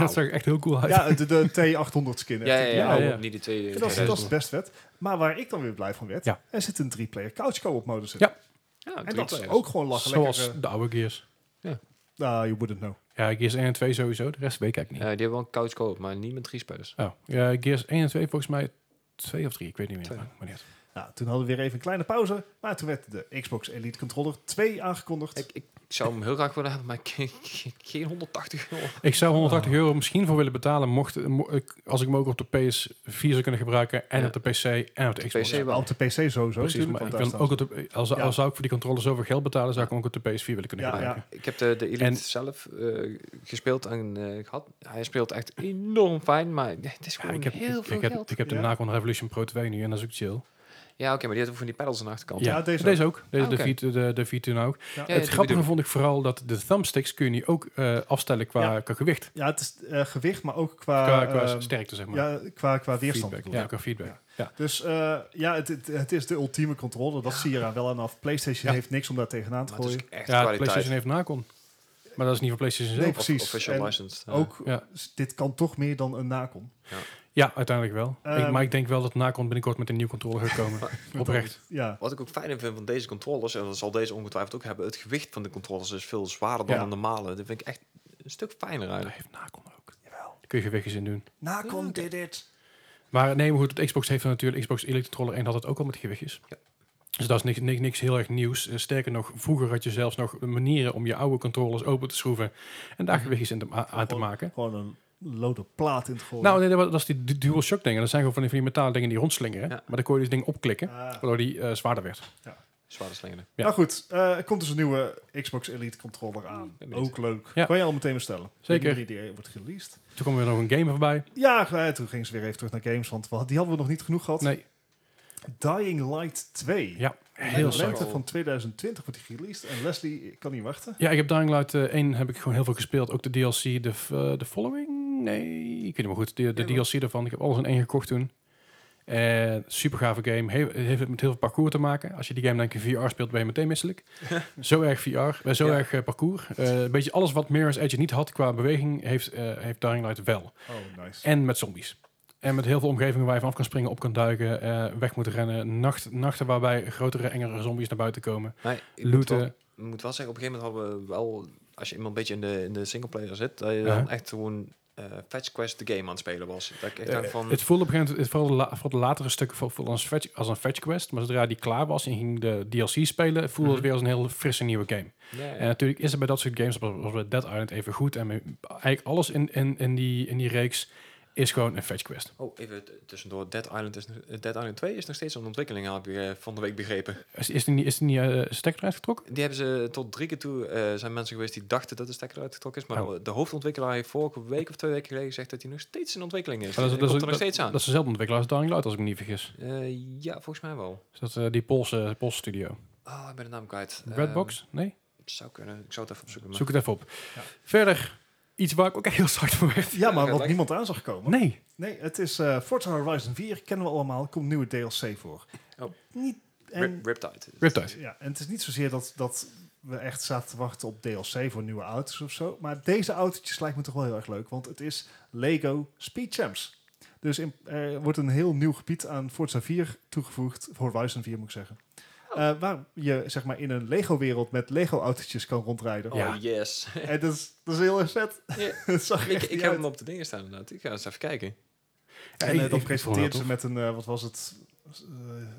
S1: dat zag er echt heel cool uit.
S2: Ja, de, de T800 skin.
S3: Ja, ja,
S2: echt.
S3: ja,
S1: Ja, ja.
S3: Niet eh, de tweede.
S2: En Dat, is,
S1: Ja,
S2: dat
S1: dat
S2: is
S1: is
S2: best vet. Maar waar ik dan weer blij van werd,
S1: Ja.
S2: er zit een drie-player couch co-op modus in.
S1: Ja.
S3: Ja,
S2: En
S3: drie
S2: dat is
S3: players.
S2: ook gewoon lachen.
S1: Zoals
S2: Lekker,
S1: de oude Gears.
S2: eh, ah, you wouldn't know.
S1: Ja, Gears 1 en 2 sowieso. De rest weet ik
S3: Eh,
S1: eigenlijk
S3: die hebben wel een couch co maar niet met drie spelers.
S1: niet. Oh, ja, Gears 1 en 2 volgens mij 2 of 3. Ik weet niet meer.
S3: Twee.
S1: Maar, maar niet.
S2: Nou, toen hadden we weer even een kleine pauze. Maar toen werd de Xbox Elite Controller 2 aangekondigd.
S3: Ik, ik zou hem heel graag willen hebben, maar ik- ik- geen 180 euro.
S1: Ik zou 180
S2: Oh.
S1: euro misschien voor willen betalen mocht, mo- ik- als ik hem ook op de PS4 zou kunnen gebruiken. En
S3: Ja.
S1: op de PC en op de Xbox.
S3: PC wel.
S2: op de PC sowieso.
S1: Precies, maar
S2: natuurlijk,
S1: ik
S2: want daar
S1: wil
S2: staan
S1: ook
S2: ze.
S1: op de, als,
S2: Ja.
S1: als zou ik voor die controle zoveel geld betalen, zou ik hem ook op de PS4 willen kunnen
S2: Ja,
S1: gebruiken.
S2: ja.
S3: Ik heb de, de Elite
S1: Ah, En-
S3: zelf eh, gespeeld en eh, gehad. Hij speelt echt enorm fijn, maar het is
S1: Ja,
S3: gewoon
S1: ik heb,
S3: heel
S1: ik,
S3: veel
S1: ik heb,
S3: geld.
S1: ik heb de
S2: Ja.
S1: Nacon Revolution Pro 2 nu en dat is ook chill.
S3: Ja, oké, maar die had ook van die pedals aan de achterkant.
S2: Ja, deze
S1: deze, ook. Deze,
S3: Ah, oké.
S1: de, v, de, de V2 nou ook.
S2: Ja.
S3: Ja,
S1: het
S3: die
S1: grappige
S3: bedoel
S1: vond ik vooral dat de thumbsticks kun je nu ook eh, afstellen qua,
S2: Ja.
S1: qua gewicht.
S2: Ja, het is eh, gewicht, maar ook qua,
S1: Qua, qua
S2: ehm,
S1: sterkte, zeg maar.
S2: ja, qua, qua weerstand.
S1: feedback.
S2: bedoel
S1: Ja,
S2: ik.
S1: qua feedback.
S2: Ja.
S1: Ja.
S2: Dus eh, ja, het, het, het is de ultieme controller. Dat zie je eraan wel aan af. PlayStation
S1: Ja.
S2: heeft niks om daar tegenaan te
S3: Maar het is
S2: gooien.
S3: echt
S1: Ja,
S3: kwaliteit.
S1: PlayStation heeft Nacon. Maar dat is niet voor PlayStation zelf.
S2: Nee, precies.
S3: Of- Official
S2: En
S3: licensed. ja.
S2: Ook,
S1: eh, Ja.
S2: s- dit kan toch meer dan een nakom.
S1: Ja, uiteindelijk wel.
S2: Ehm,
S1: ik, maar ik denk wel dat Nacon binnenkort met een nieuwe controller gaat komen. Oprecht.
S2: Ja,
S3: Wat ik ook fijn vind van deze controllers, en dat zal deze ongetwijfeld ook hebben, het gewicht van de controllers is veel zwaarder dan
S2: Ja.
S3: de normale. Dat vind ik echt een stuk fijner
S1: Dat
S3: eigenlijk.
S1: heeft Nacon ook. Daar kun je gewichtjes in doen.
S2: Nacon did it.
S1: Maar nee, maar goed, het Xbox heeft natuurlijk, Xbox Elite Controller 1 had het ook al met gewichtjes.
S3: Ja.
S1: Dus dat is niks, niks, niks heel erg nieuws. Eh, Sterker nog, vroeger had je zelfs nog manieren om je oude controllers open te schroeven en daar gewichtjes in te, ma- aan te maken.
S2: Gewoon een lode plaat in het gooien.
S1: Nou, nee, dat was- dat is die du- dual shock dingen. Dat zijn gewoon van die, van die metalen dingen die rondslingeren.
S3: Ja.
S1: Maar dan kon je dus ding opklikken,
S2: Ah.
S1: waardoor die eh, zwaarder werd.
S3: Zwaarder slingeren.
S1: ja.
S2: Maar goed, eh, er komt dus een nieuwe Xbox Elite controller aan.
S3: ben benieuwd.
S2: Ook leuk.
S1: Ja.
S2: Kan je al meteen bestellen.
S1: Zeker.
S2: Die 3D wordt released.
S1: Toen kwam er nog een game voorbij.
S2: Ja, eh, toen ging ze weer even terug naar games, want we had- die hadden we nog niet genoeg gehad.
S1: Nee,
S2: Dying Light 2.
S1: ja,
S2: In
S1: heel
S2: de
S3: leuk.
S1: zacht.
S2: lente van 2020 wordt die released. En Leslie kan niet wachten.
S1: Ja, ik heb Dying Light eh, 1 heb ik gewoon heel veel gespeeld. Ook de DLC, de, f- eh, de Following? Nee, ik weet niet meer goed. De, de
S3: Jawel.
S1: DLC daarvan. Ik heb alles in één gekocht toen. Eh super gave game. He- heeft het met heel veel parcours te maken. Als je die game denk ik in VR speelt, ben je meteen misselijk. zo erg VR, eh, zo
S3: Ja.
S1: erg eh, parcours. Eh, een beetje alles wat Mirror's Edge niet had qua beweging, heeft, eh, heeft Dying Light wel.
S2: Oh, nice.
S1: En met zombies. En met heel veel omgevingen waar je vanaf kan springen, op kan duiken, eh, weg moet rennen. Nacht, nachten waarbij grotere, engere zombies naar buiten komen.
S3: Maar ik moet wel,
S1: Looten.
S3: ik moet wel zeggen, op een gegeven moment hadden we wel, als je iemand een beetje in de, in de singleplayer zit, dat je
S1: Ja.
S3: dan echt gewoon eh Fetch Quest de game aan het spelen was. Dat ik echt dacht van,
S1: Eh, Het voelde op een gegeven moment, het vooral de, la- vooral de latere stukken voelde voelde als, een fetch, als een fetch quest. Maar zodra die klaar was en ging de DLC spelen, voelde het
S3: Mhm.
S1: weer als een heel frisse nieuwe game.
S3: ja, ja.
S1: En natuurlijk is het bij dat soort games, zoals bij Dead Island, even goed. En bij- eigenlijk alles in, in, in, die, in die reeks is gewoon een fetch quest.
S3: Oh, even t- tussendoor, Dead Island, is, nog- Dead Island 2 is nog steeds een ontwikkeling, heb ik eh, van de week begrepen.
S1: Is, is die niet, is die niet eh, stekker eruit getrokken?
S3: Die hebben ze tot drie keer toe eh, zijn mensen geweest die dachten dat de stekker uitgetrokken is. Maar
S1: Oh.
S3: de hoofdontwikkelaar heeft vorige week of twee weken geleden gezegd dat hij nog steeds in ontwikkeling is.
S1: Ja, dat is-
S3: Hij
S1: dat is-
S3: komt er nog steeds aan.
S1: Dat is dezelfde ontwikkelaar als Dying Light, als ik me niet vergis.
S3: Eh, ja, volgens mij wel.
S1: Is dat eh, die Poolse, Poolse studio?
S3: Ah, ik ben de naam kwijt.
S1: Redbox? Nee?
S3: Ehm, zou kunnen. Ik zou het even opzoeken. maar-
S1: Zoek het even op.
S2: Ja.
S1: Verder, iets waar ik ook echt heel zacht van werd.
S2: Ja, maar
S3: Ja,
S2: wat
S3: lekker.
S2: niemand aan zag komen.
S1: Nee.
S2: Nee, het is eh, Forza Horizon 4, kennen we allemaal, komt nieuwe DLC voor.
S3: Oh.
S2: Niet,
S3: Rip-
S2: en,
S3: Riptide.
S1: Riptide.
S2: ja, en het is niet zozeer dat, dat we echt zaten te wachten op DLC voor nieuwe auto's of zo. Maar deze autootjes lijkt me toch wel heel erg leuk, want het is Lego Speed Champs. Dus in- er wordt een heel nieuw gebied aan Forza 4 toegevoegd, Horizon 4 moet ik zeggen.
S3: Oh.
S2: Eh, waar je zeg maar in een Lego-wereld met Lego-autootjes kan rondrijden.
S3: Oh,
S1: Ja.
S3: yes.
S2: En dat is, dat is heel erg vet.
S3: Ja.
S2: dat zag er
S3: ik
S2: echt
S3: ik
S2: niet
S3: heb
S2: uit.
S3: hem op de dingen staan inderdaad. Ik ga eens even kijken.
S2: En eh,
S1: Ik-
S2: dan
S1: ik- ik
S2: presenteert
S1: vond
S2: ze
S1: dat
S2: met een, eh, wat was het? Eh,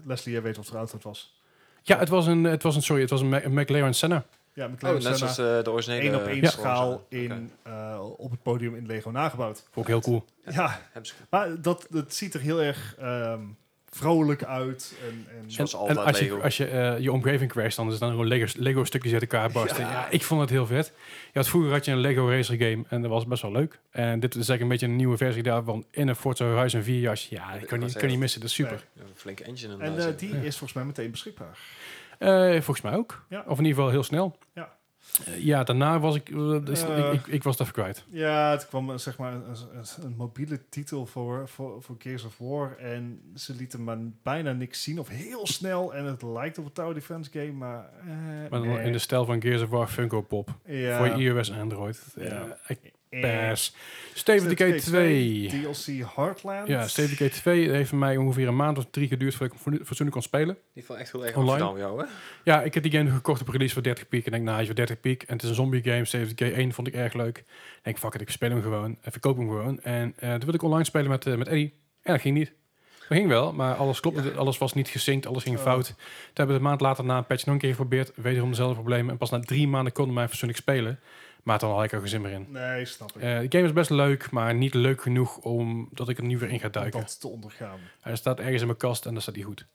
S2: Leslie, jij weet wat voor auto het was.
S1: tof. Ja, het was een, het was een sorry, het was een Ma- een McLaren Senna.
S2: Ja, met
S3: Oh,
S2: Leo
S3: net zoals eh, de originele.
S2: één op één
S3: eh,
S2: schaal
S3: Forza.
S2: in,
S3: Oké.
S2: eh, op het podium in Lego nagebouwd.
S1: Vond ik heel cool.
S2: Ja,
S3: Hebben ze-
S2: maar dat, dat ziet er heel erg ehm, vrolijk uit. En, en
S3: Zoals
S1: en
S3: altijd
S1: als
S3: Lego.
S1: je, als je eh, je omgeving kwijt, dan is dan gewoon Lego, Lego stukjes uit elkaar barsten. Ja. ik vond het heel vet. Je had, vroeger had je een Lego racer game en dat was best wel leuk. En dit is eigenlijk een beetje een nieuwe versie daarvan in een Forza Horizon 4 jas. Ja, ik kan niet, kan niet missen. Dat is super.
S2: Nee.
S3: Een flinke engine
S2: en
S3: inderdaad.
S2: eh,
S3: ja.
S2: die
S1: Ja.
S2: is volgens mij meteen beschikbaar.
S1: Eh, volgens mij ook.
S2: Ja.
S1: Of in ieder geval heel snel.
S2: Ja.
S1: Eh, ja, daarna was ik, eh, is-
S2: Eh.
S1: ik, ik, ik was het even kwijt.
S2: Ja, het kwam eh, zeg maar een, een- een mobiele titel voor, voor, voor Gears of War. En ze lieten maar bijna niks zien. Of heel snel. En het lijkt op een Tower Defense game. Maar, eh,
S1: Maar dan
S2: nee.
S1: in de stijl van Gears of War Funko Pop.
S2: ja,
S1: Voor iOS en Android. Ja.
S2: Ja.
S1: ik
S2: eh,
S1: Pers. Steven de Gate 2.
S2: DLC Heartland.
S1: Ja, Steven Gate 2 heeft voor mij ongeveer een maand of drie geduurd voordat ik hem fatsoenlijk kon spelen.
S3: Die vond ik echt heel erg
S1: Online?
S3: online. Gedaan, jou, hè?
S1: Ja, ik heb die game gekocht op release voor 30 piek. En denk, nou, hij is voor 30 piek. En het is een zombie game. Steven Gate 1 vond ik erg leuk. Ik denk, fuck it, ik speel hem gewoon. En verkoop hem gewoon. En eh toen wilde ik online spelen met, eh, met Eddie. En dat ging niet. Dat ging wel, maar alles klopte. niet. Alles was niet gesynct, alles ging
S2: Oh.
S1: fout. Toen hebben we een maand later na een patch nog een keer geprobeerd. Wederom dezelfde problemen. En pas na drie maanden konden mij fatsoenlijk spelen. Maar dan had ik er geen zin meer in.
S2: Nee, snap ik.
S1: Eh, de game is best leuk, maar niet leuk genoeg om dat ik er nu weer in ga
S2: om
S1: duiken.
S2: dat te ondergaan.
S1: Hij staat ergens in mijn kast en daar staat hij goed.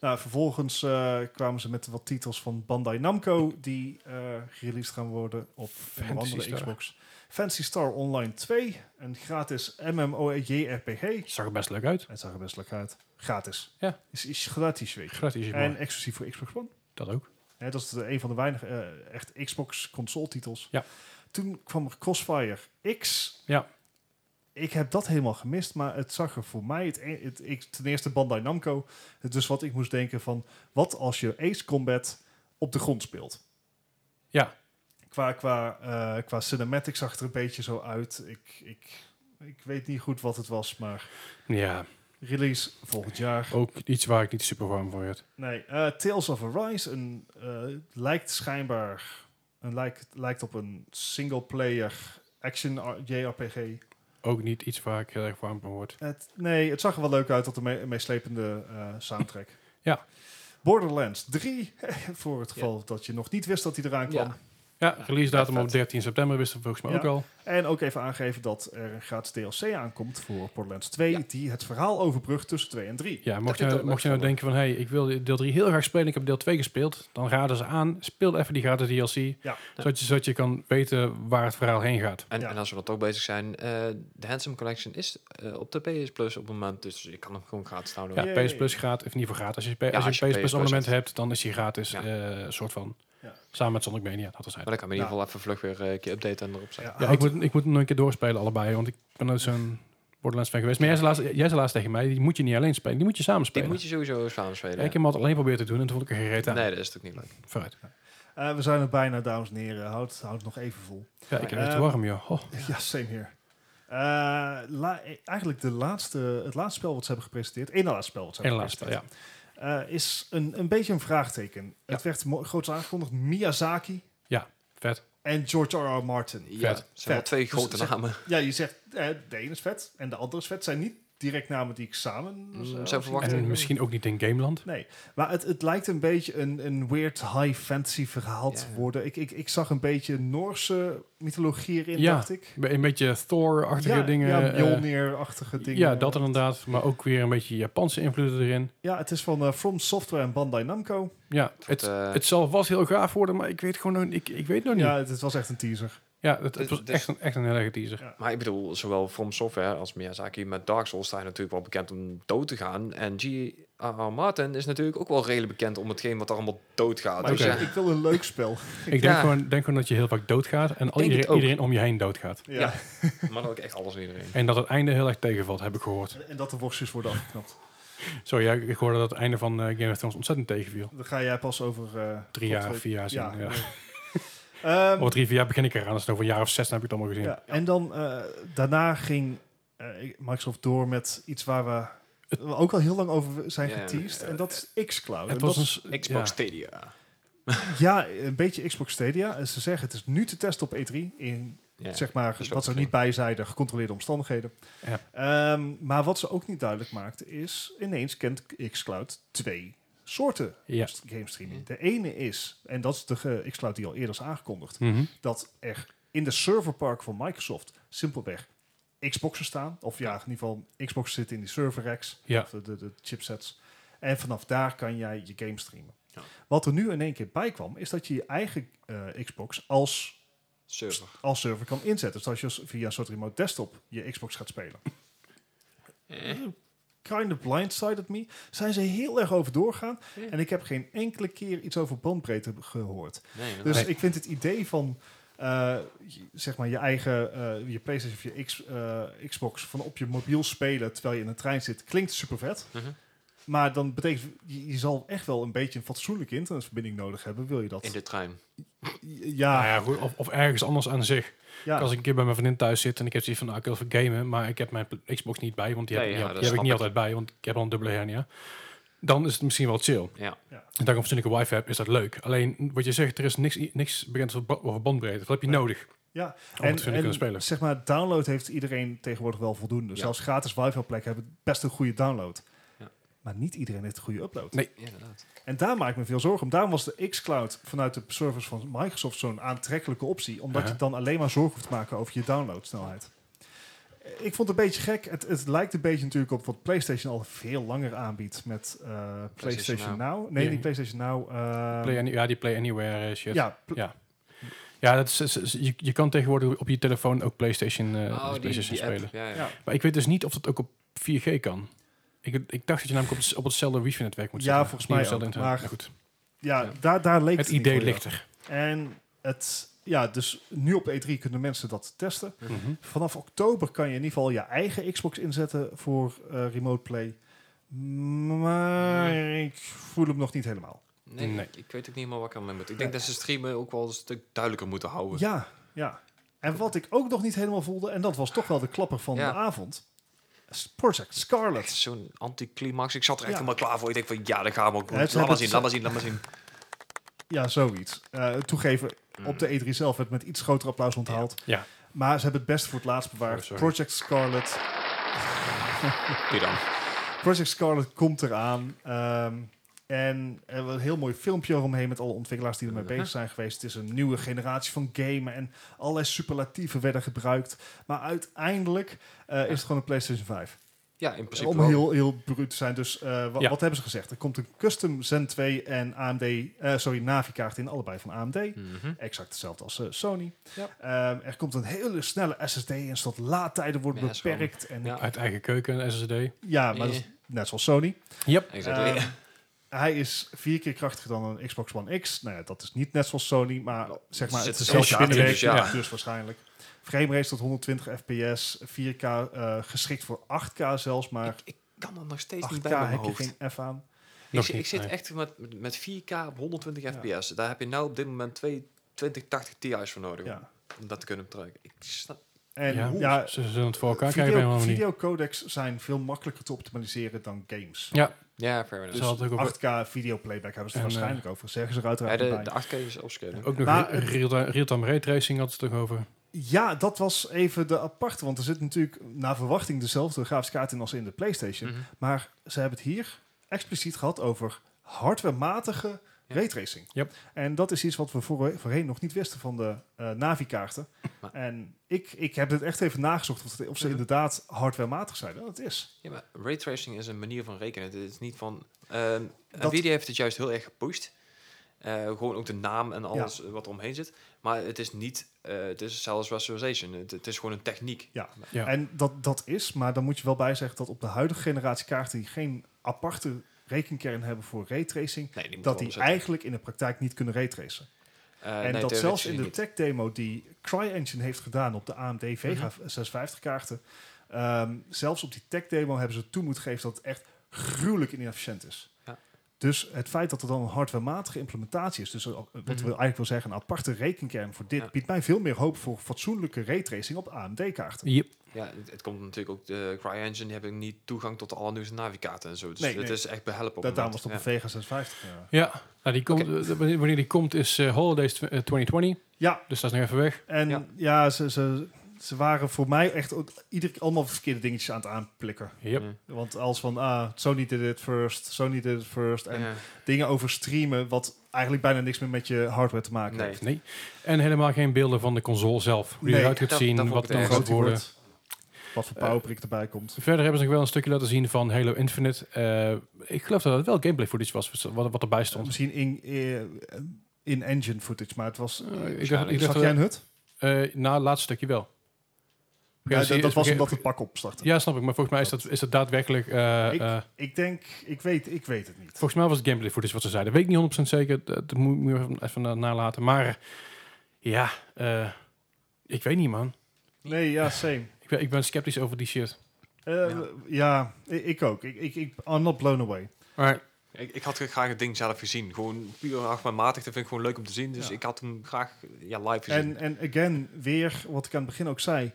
S2: Nou, vervolgens eh, kwamen ze met wat titels van Bandai Namco die eh gereleased gaan worden op
S1: Fantasy
S2: een andere
S1: Star.
S2: Xbox. Fancy Star Online 2, een gratis MMORPG.
S1: Zag er best leuk uit.
S2: Het zag er best leuk uit. Gratis.
S1: Ja.
S2: Is, is gratis, weet je.
S1: Gratis, maar
S2: En exclusief voor Xbox One.
S1: dat ook.
S2: Hè, dat is de- een van de weinige eh, echt Xbox console titels.
S1: Ja.
S2: Toen kwam er Crossfire X.
S1: Ja.
S2: Ik heb dat helemaal gemist, maar het zag er voor mij... Het, e- het, ik, ten eerste Bandai Namco. Het dus wat ik moest denken van... Wat als je Ace Combat op de grond speelt?
S1: Ja.
S2: Qua, qua, eh, qua cinematics zag het er een beetje zo uit. Ik, ik, ik weet niet goed wat het was, maar...
S1: Ja,
S2: Release volgend jaar.
S1: ook iets waar ik niet super warm voor werd.
S2: Nee, eh, Tales of Arise een, eh, lijkt schijnbaar een, lijkt, lijkt op een single-player action R- JRPG.
S1: Ook niet iets waar ik heel erg warm van word.
S2: Het, nee, het zag er wel leuk uit tot de me- meeslepende eh, soundtrack.
S1: Ja.
S2: Borderlands 3, voor het geval dat je nog niet wist dat hij eraan kwam.
S3: Ja.
S1: Ja, release datum
S3: vet.
S1: op 13 september wisten we volgens mij
S2: Ja.
S1: ook al.
S2: En ook even aangeven dat er een gratis DLC aankomt voor Borderlands 2,
S3: Ja.
S2: die het verhaal overbrugt tussen 2 en 3.
S1: Ja, mocht
S3: vind
S1: je,
S3: ik
S1: nou-
S3: ook
S1: mocht je nou
S3: leuk.
S1: denken van... hé, hey, ik wil deel 3 heel graag spelen, ik heb deel 2 gespeeld. Dan raden ze aan, speel even die gratis DLC.
S2: Ja.
S1: Zodat, je, zodat je kan weten waar het verhaal heen gaat.
S3: En,
S2: Ja.
S3: en als we dan toch bezig zijn, eh, de Handsome Collection is eh, op de PS Plus op het moment, dus je kan hem gewoon gratis
S1: Ja,
S3: downloaden.
S2: Yay.
S1: PS Plus gratis, of niet voor gratis. Als je, P- als je
S3: als je
S1: een PS
S3: PS
S1: Plus
S3: Plus
S1: abonnement
S3: hebt.
S1: hebt, dan is die gratis.
S3: Ja.
S1: eh, soort van.
S2: Ja.
S1: Samen met Sonic Mania, dat was het.
S3: Maar dan kan we in ieder geval even vlug weer eh, een keer updaten en erop zetten.
S1: Ja, ik
S2: houd-
S1: moet, ik moet nog een keer doorspelen allebei, want ik ben nooit zo'n Borderlands fan geweest. Maar jij zei, laatst, jij zei laatst tegen mij, die moet je niet alleen spelen, die moet je samen
S3: Die
S1: spelen.
S3: moet je sowieso samen
S1: Ja,
S3: spelen.
S1: ik heb hem altijd alleen proberen te doen en toen vond ik er gereed aan.
S3: Nee, dat is natuurlijk niet leuk.
S1: Vooruit.
S2: Eh, we zijn er bijna, dames en heren. Houd, houd nog even vol.
S1: Ja, ik heb het
S2: Ehm,
S1: warm, joh. Ho.
S2: Ja, same here. Eh, la- eigenlijk de laatste, het laatste spel wat ze hebben gepresenteerd, één laatste spel wat ze
S1: En
S2: hebben
S1: laatst, ja.
S2: gepresenteerd, eh, is een, een beetje een vraagteken. Het werd mo- groots aangekondigd Miyazaki
S1: Vet.
S2: en George R.R. Martin.
S3: Ja,
S1: Vet.
S3: het zijn wel
S2: Vet.
S3: twee
S2: Dus
S3: grote
S2: zeg-
S3: namen.
S2: Ja, je zegt eh, de ene is vet en de andere is vet. Zijn niet direct namen die ik samen
S3: Mm,
S2: zou
S3: zou
S2: zien.
S3: verwachten.
S1: En
S3: even.
S1: misschien ook niet in Gameland.
S2: Nee, maar het, het lijkt een beetje een, een weird high fantasy verhaal te
S3: Ja.
S2: worden. Ik, ik, ik zag een beetje Noorse mythologie erin,
S1: Ja.
S2: dacht ik.
S1: Een beetje Thor-achtige
S2: ja,
S1: dingen.
S2: ja,
S1: eh,
S2: Mjolnir-achtige dingen.
S1: ja, dat inderdaad. Maar ook weer een beetje Japanse invloeden erin.
S2: Ja, het is van eh, From Software en Bandai Namco.
S1: Ja, het,
S3: eh,
S1: het zal vast heel gaaf worden, maar ik weet gewoon nog, ik, ik weet nog
S2: Ja,
S1: niet.
S2: het, het was echt een teaser.
S1: Ja, het, het
S3: Dus-
S1: was
S3: dus-
S1: echt een, echt een heel erg teaser.
S3: Maar ik bedoel, zowel From Software als Miyazaki met Dark Souls zijn natuurlijk wel bekend om dood te gaan. En G.R.R. Martin is natuurlijk ook wel redelijk bekend om hetgeen wat er allemaal dood gaat.
S2: Maar
S3: Dus
S1: Oké.
S2: ik, ik wil een leuk spel.
S1: Ik denk,
S3: Ja.
S1: gewoon, denk gewoon dat je heel vaak doodgaat en al
S3: denk het
S1: iedereen,
S3: ook.
S1: iedereen om je heen doodgaat.
S2: Ja.
S3: Ja. ja, maar dan ook echt alles en iedereen.
S1: En dat het einde heel erg tegenvalt, heb ik gehoord.
S2: En dat de worstjes worden afgeknapt.
S1: Sorry, ja, ik ik hoorde dat het einde van eh, Game of Thrones ontzettend tegenviel.
S2: Dan ga jij pas over... eh,
S1: Drie
S2: God
S1: jaar,
S2: weet-
S1: vier jaar zien. Ja,
S2: Ja. Ehm,
S1: Over drie, vier jaar begin ik eraan. Dus over een jaar of zes dan heb ik het allemaal gezien.
S2: ja. En dan eh, daarna ging eh, Microsoft door met iets waar we, we ook al heel lang over zijn
S3: Ja. eh,
S2: geteased. En dat is Xcloud.
S1: Het
S2: En
S1: was
S2: dat
S1: een,
S2: is-
S1: s-
S3: Xbox
S1: ja.
S3: Stadia.
S2: ja, een beetje Xbox Stadia. En ze zeggen het is nu te testen op E3 in
S3: Ja.
S2: zeg maar,
S3: is
S2: wat
S3: wel
S2: ze er
S3: slim.
S2: niet bij zeiden, gecontroleerde omstandigheden.
S1: Ja.
S2: Ehm, maar wat ze ook niet duidelijk maakte, is ineens kent Xcloud twee soorten
S1: Ja.
S2: st- game
S3: Mm.
S2: streaming. De ene is, en dat is de eh, Xcloud die al eerder is aangekondigd,
S1: Mhm.
S2: dat er in de serverpark van Microsoft simpelweg Xboxen staan. Of ja, in ieder geval, Xboxen zitten in die server racks,
S1: Ja.
S2: of de, de, de chipsets. En vanaf daar kan jij je game streamen.
S3: Ja.
S2: Wat er nu in één keer bij kwam, is dat je je eigen eh, Xbox als,
S3: Server.
S2: als server kan inzetten. Dus als je als- via een soort remote desktop je Xbox gaat spelen. Eh. Kind of blindsided me. Zijn ze heel erg over doorgaan.
S3: Ja.
S2: En ik heb geen enkele keer iets over bandbreedte gehoord.
S3: Nee,
S2: Dus
S1: Nee.
S2: ik vind het idee van eh, je- zeg maar je eigen eh, je PlayStation of je X, eh, Xbox van op je mobiel spelen terwijl je in een trein zit, klinkt super vet.
S3: Mhm.
S2: Maar dan betekent je, je zal echt wel een beetje een fatsoenlijke internetverbinding nodig hebben. Wil je dat?
S3: In de trein.
S1: Nou
S2: Ja,
S1: ja, goed, of, of ergens anders aan zich.
S2: Ah. ja.
S1: Als ik een keer bij mijn vriendin thuis zit en ik heb zoiets van, nou, ik wil even gamen, maar ik heb mijn pl- Xbox niet bij, want die, heb,
S3: Nee,
S1: ik niet
S3: ja,
S1: al-
S3: dat
S1: die heb ik
S3: snap
S1: niet
S3: ik.
S1: altijd bij, want ik heb al een dubbele hernia. Dan is het misschien wel chill.
S3: Ja.
S2: Ja.
S1: En dan ik een wifi heb, is dat leuk. Alleen, wat je zegt, er is niks, niks bekend over ba- over bandbreedte. Wat heb je
S2: Nee.
S1: nodig?
S2: Ja.
S1: Om het te kunnen spelen.
S2: zeg maar download heeft iedereen tegenwoordig wel voldoende.
S3: Ja.
S2: Zelfs gratis wifi plekken hebben best een goede download.
S3: Ja.
S2: Maar niet iedereen heeft een goede upload.
S1: Nee.
S3: Ja, inderdaad.
S2: En daar maak ik me veel zorgen om. Daarom was de xCloud vanuit de servers van Microsoft zo'n aantrekkelijke optie. Omdat
S1: Ja.
S2: je dan alleen maar zorgen hoeft te maken over je downloadsnelheid. Eh, Ik vond het een beetje gek. Het, het lijkt een beetje natuurlijk op wat PlayStation al veel langer aanbiedt met eh, PlayStation, Now. Nee,
S1: Ja.
S2: niet PlayStation Now. eh,
S1: Play any- ja, die Play Anywhere eh, shit. Ja,
S2: ja, pl-
S1: Ja. dat is, is- is- je, je kan tegenwoordig op je telefoon ook PlayStation, eh,
S3: oh, die,
S1: PlayStation
S3: die app.
S1: spelen.
S3: Ja, ja.
S2: Ja.
S1: Maar ik weet dus niet of dat ook op 4G kan. Ik, ik dacht dat je namelijk op, het- op hetzelfde wifi-netwerk moet
S2: Ja,
S1: zitten.
S2: volgens
S1: Niet op
S2: mij
S1: hetzelfde
S2: ook,
S1: internet. goed,
S2: maar- ja,
S3: Ja.
S2: Daar, daar leek
S1: het
S2: niet
S1: idee
S2: voor jou.
S1: ligt er.
S2: En het, ja, dus nu op E3 kunnen mensen dat testen.
S1: Mhm.
S2: Vanaf oktober kan je in ieder geval je eigen Xbox inzetten voor eh, remote play. Maar ik voel hem nog niet helemaal.
S3: Nee,
S1: Nee.
S3: Ik, ik weet ook niet meer wat ik aan mijn moet. Ik denk dat ze streamen ook wel een stuk duidelijker moeten houden.
S2: Ja, ja. En wat ik ook nog niet helemaal voelde, en dat was toch wel de klapper van
S3: Ja.
S2: de avond. S- Project Scarlet.
S3: Echt zo'n anticlimax. Ik zat er echt
S2: Ja.
S3: helemaal klaar voor. Ik denk van, ja, dat gaan we ook doen.
S2: Ja, ze
S3: Laat
S2: hebben
S3: maar zien,
S2: het-
S3: laat maar zien, laat maar zien.
S2: Ja, zoiets. Eh, toegeven, op de E3 zelf werd met iets groter applaus onthaald.
S1: Mm. Ja.
S2: Maar ze hebben het best voor het laatst bewaard.
S1: Oh, sorry.
S2: Project Scarlet.
S3: Die dan.
S2: Project Scarlet komt eraan. Ehm, en er was een heel mooi filmpje eromheen met alle ontwikkelaars die ermee
S3: Mhm.
S2: bezig zijn geweest. Het is een nieuwe generatie van gamen en allerlei superlatieven werden gebruikt. Maar uiteindelijk eh, is het gewoon een PlayStation 5.
S3: Mm. Ja, in principe
S2: Om
S3: wel.
S2: heel, heel bruut te zijn. Dus eh, wa-
S1: Ja.
S2: wat hebben ze gezegd? Er komt een custom Zen 2 en AMD, eh, sorry, Navi-kaart in, allebei van AMD.
S3: Mhm.
S2: Exact hetzelfde als eh, Sony.
S3: Ja.
S2: Ehm, er komt een hele snelle SSD en zodat laadtijden worden
S3: Ja, is gewoon-
S2: beperkt. En, ja.
S3: Ja.
S1: Uit eigen keuken, SSD.
S2: maar dat is
S3: Eh.
S2: net zoals Sony.
S1: Yep.
S3: Exactly.
S2: Ehm, hij is vier keer krachtiger dan een Xbox One X. Nou ja, dat is niet net zoals Sony, maar zeg maar,
S3: zit
S2: het is
S3: er
S2: zelfs
S3: zelfs in,
S2: binnenwerk, dus,
S3: dus ja.
S2: waarschijnlijk. Frame rate tot 120 fps, 4K eh, geschikt voor 8K zelfs, maar
S3: ik, ik kan er nog steeds niet
S2: 8K
S3: bij in mijn
S2: heb je
S3: hoofd.
S2: geen F aan.
S1: Nog
S3: Ik, zi-
S1: niet,
S3: ik zit
S1: nee.
S3: echt met, met- met 4K op 120
S2: Ja.
S3: fps. Daar heb je nou op dit moment twee 2080 Ti's voor nodig
S2: Ja.
S3: om dat te kunnen betrekken. Ik snap...
S2: En
S1: ja,
S2: ja,
S1: ze ze zullen het voor elkaar krijgen op een of andere
S2: video,
S1: manier.
S2: videocodecs zijn veel makkelijker te optimaliseren dan games.
S1: Ja,
S3: Ja, fair
S1: ze
S3: enough.
S1: hadden ook, ook,
S2: 8K videoplayback hebben ze er
S1: En, eh,
S2: waarschijnlijk over. Zeggen ze er uiteraard
S3: Ja, de,
S2: bij.
S3: de 8K is opscaling.
S1: ook nog
S2: Maar
S1: re-
S2: het-
S1: real- real-time raytracing hadden ze het toch over.
S2: Ja, dat was even de aparte, want er zit natuurlijk naar verwachting dezelfde grafische kaart in als in de PlayStation.
S3: Mhm.
S2: Maar ze hebben het hier expliciet gehad over hardwarematige
S3: Ja.
S2: raytracing.
S1: Yep.
S2: En dat is iets wat we voor, voorheen nog niet wisten van de eh Navi-kaarten.
S3: Maar-
S2: En ik, ik heb het echt even nagezocht of, het- of ze
S3: Mhm.
S2: inderdaad hardwarematig zijn. Nou, dat is.
S3: Ja, maar raytracing is een manier van rekenen. Het is niet van... ehm
S2: Dat-
S3: Nvidia heeft het juist heel erg gepusht. Eh, gewoon ook de naam en alles eh, wat er omheen zit. Maar het is niet... eh, het is zelfs visualization. Het, het is gewoon een techniek.
S1: Ja.
S2: En dat, dat is, maar dan moet je wel bij zeggen dat op de huidige generatie kaarten die geen aparte rekenkern hebben voor raytracing,
S3: Nee, die
S2: dat
S3: moet wel
S2: die
S3: omzetten.
S2: eigenlijk in de praktijk niet kunnen raytracen.
S3: Eh,
S2: En
S3: nee,
S2: dat
S3: theoretisch
S2: zelfs in de
S3: niet.
S2: tech-demo die CryEngine heeft gedaan op de AMD Vega
S3: Mhm.
S2: 650-kaarten, zelfs op die tech-demo hebben ze toe moeten geven dat het echt gruwelijk inefficiënt is.
S3: Ja.
S2: Dus het feit dat er dan een hardwarematige implementatie is, dus ook- wat we eigenlijk wil zeggen, een aparte rekenkern voor dit,
S3: Mhm. Ja.
S2: biedt mij veel meer hoop voor fatsoenlijke raytracing op AMD-kaarten.
S1: Yep.
S3: Ja, het, het komt natuurlijk ook de CryEngine, die hebben niet toegang tot de allernieuwste navigaten en zo. Dus
S2: Nee,
S3: het
S2: nee.
S3: is echt behelpen. op
S2: Dat
S3: het
S2: daarom was
S3: moment.
S2: het op
S3: Ja.
S2: de Vega 650. eh.
S1: Ja, nou, die komt,
S3: Oké.
S1: eh, wanneer wanneer die komt is eh, Holidays tw- eh, 2020,
S2: Ja,
S1: dus dat is nog even weg.
S2: en ja,
S3: Ja.
S2: ze, ze, ze waren voor mij echt ook ieder, allemaal verkeerde dingetjes aan het aanplikken.
S1: Yep.
S3: Ja.
S2: Want als van, ah, Sony did it first, Sony did it first. En
S3: Ja.
S2: dingen over streamen, wat eigenlijk bijna niks meer met je hardware te maken
S3: Nee.
S2: heeft.
S1: Nee. En helemaal geen beelden van de console zelf. Hoe die
S2: Nee,
S1: eruit gaat
S3: dat-
S1: zien,
S3: dat vond
S1: wat
S3: ik
S1: het dan
S3: erg.
S2: Hoe groot
S1: gaat
S2: die
S1: worden. Eh,
S2: wordt. Wat voor power prick erbij komt.
S1: Verder hebben ze nog wel een stukje laten zien van Halo Infinite. Eh, ik geloof dat het wel gameplay footage was wat, wat erbij stond.
S2: Eh, Misschien in, eh, in- in-engine footage, maar het was...
S1: Eh, ik dacht,
S3: waarschijnlijk.
S1: ik
S2: Zag
S1: dacht
S2: jij een hut?
S1: eh, na het laatste stukje wel.
S2: Ja,
S1: dus
S2: dat, dat
S1: is-
S2: was omdat het pak opstartte.
S1: Ja, snap ik. Maar volgens mij is dat, is dat daadwerkelijk... eh,
S2: Ik-
S1: eh,
S2: Ik denk, ik weet, ik weet het niet.
S1: Volgens mij was het gameplay footage wat ze zeiden. Weet ik niet 100% zeker. Dat dat moet moet ik even- even na- nalaten. Maar ja, eh, ik weet niet, man.
S2: Nee, ja, same.
S1: Ik ben, ik ben sceptisch over die shit.
S2: Eh, ja, i- ik, ook. Ik, ik, ik, I'm not blown away.
S1: Maar
S3: Ik, ik had graag het ding zelf gezien. Gewoon puur achtbaarmatig. Dat vind ik gewoon leuk om te zien. Dus
S2: Ja.
S3: ik had hem graag ja, live gezien.
S2: En, en again, weer wat ik aan het begin ook zei.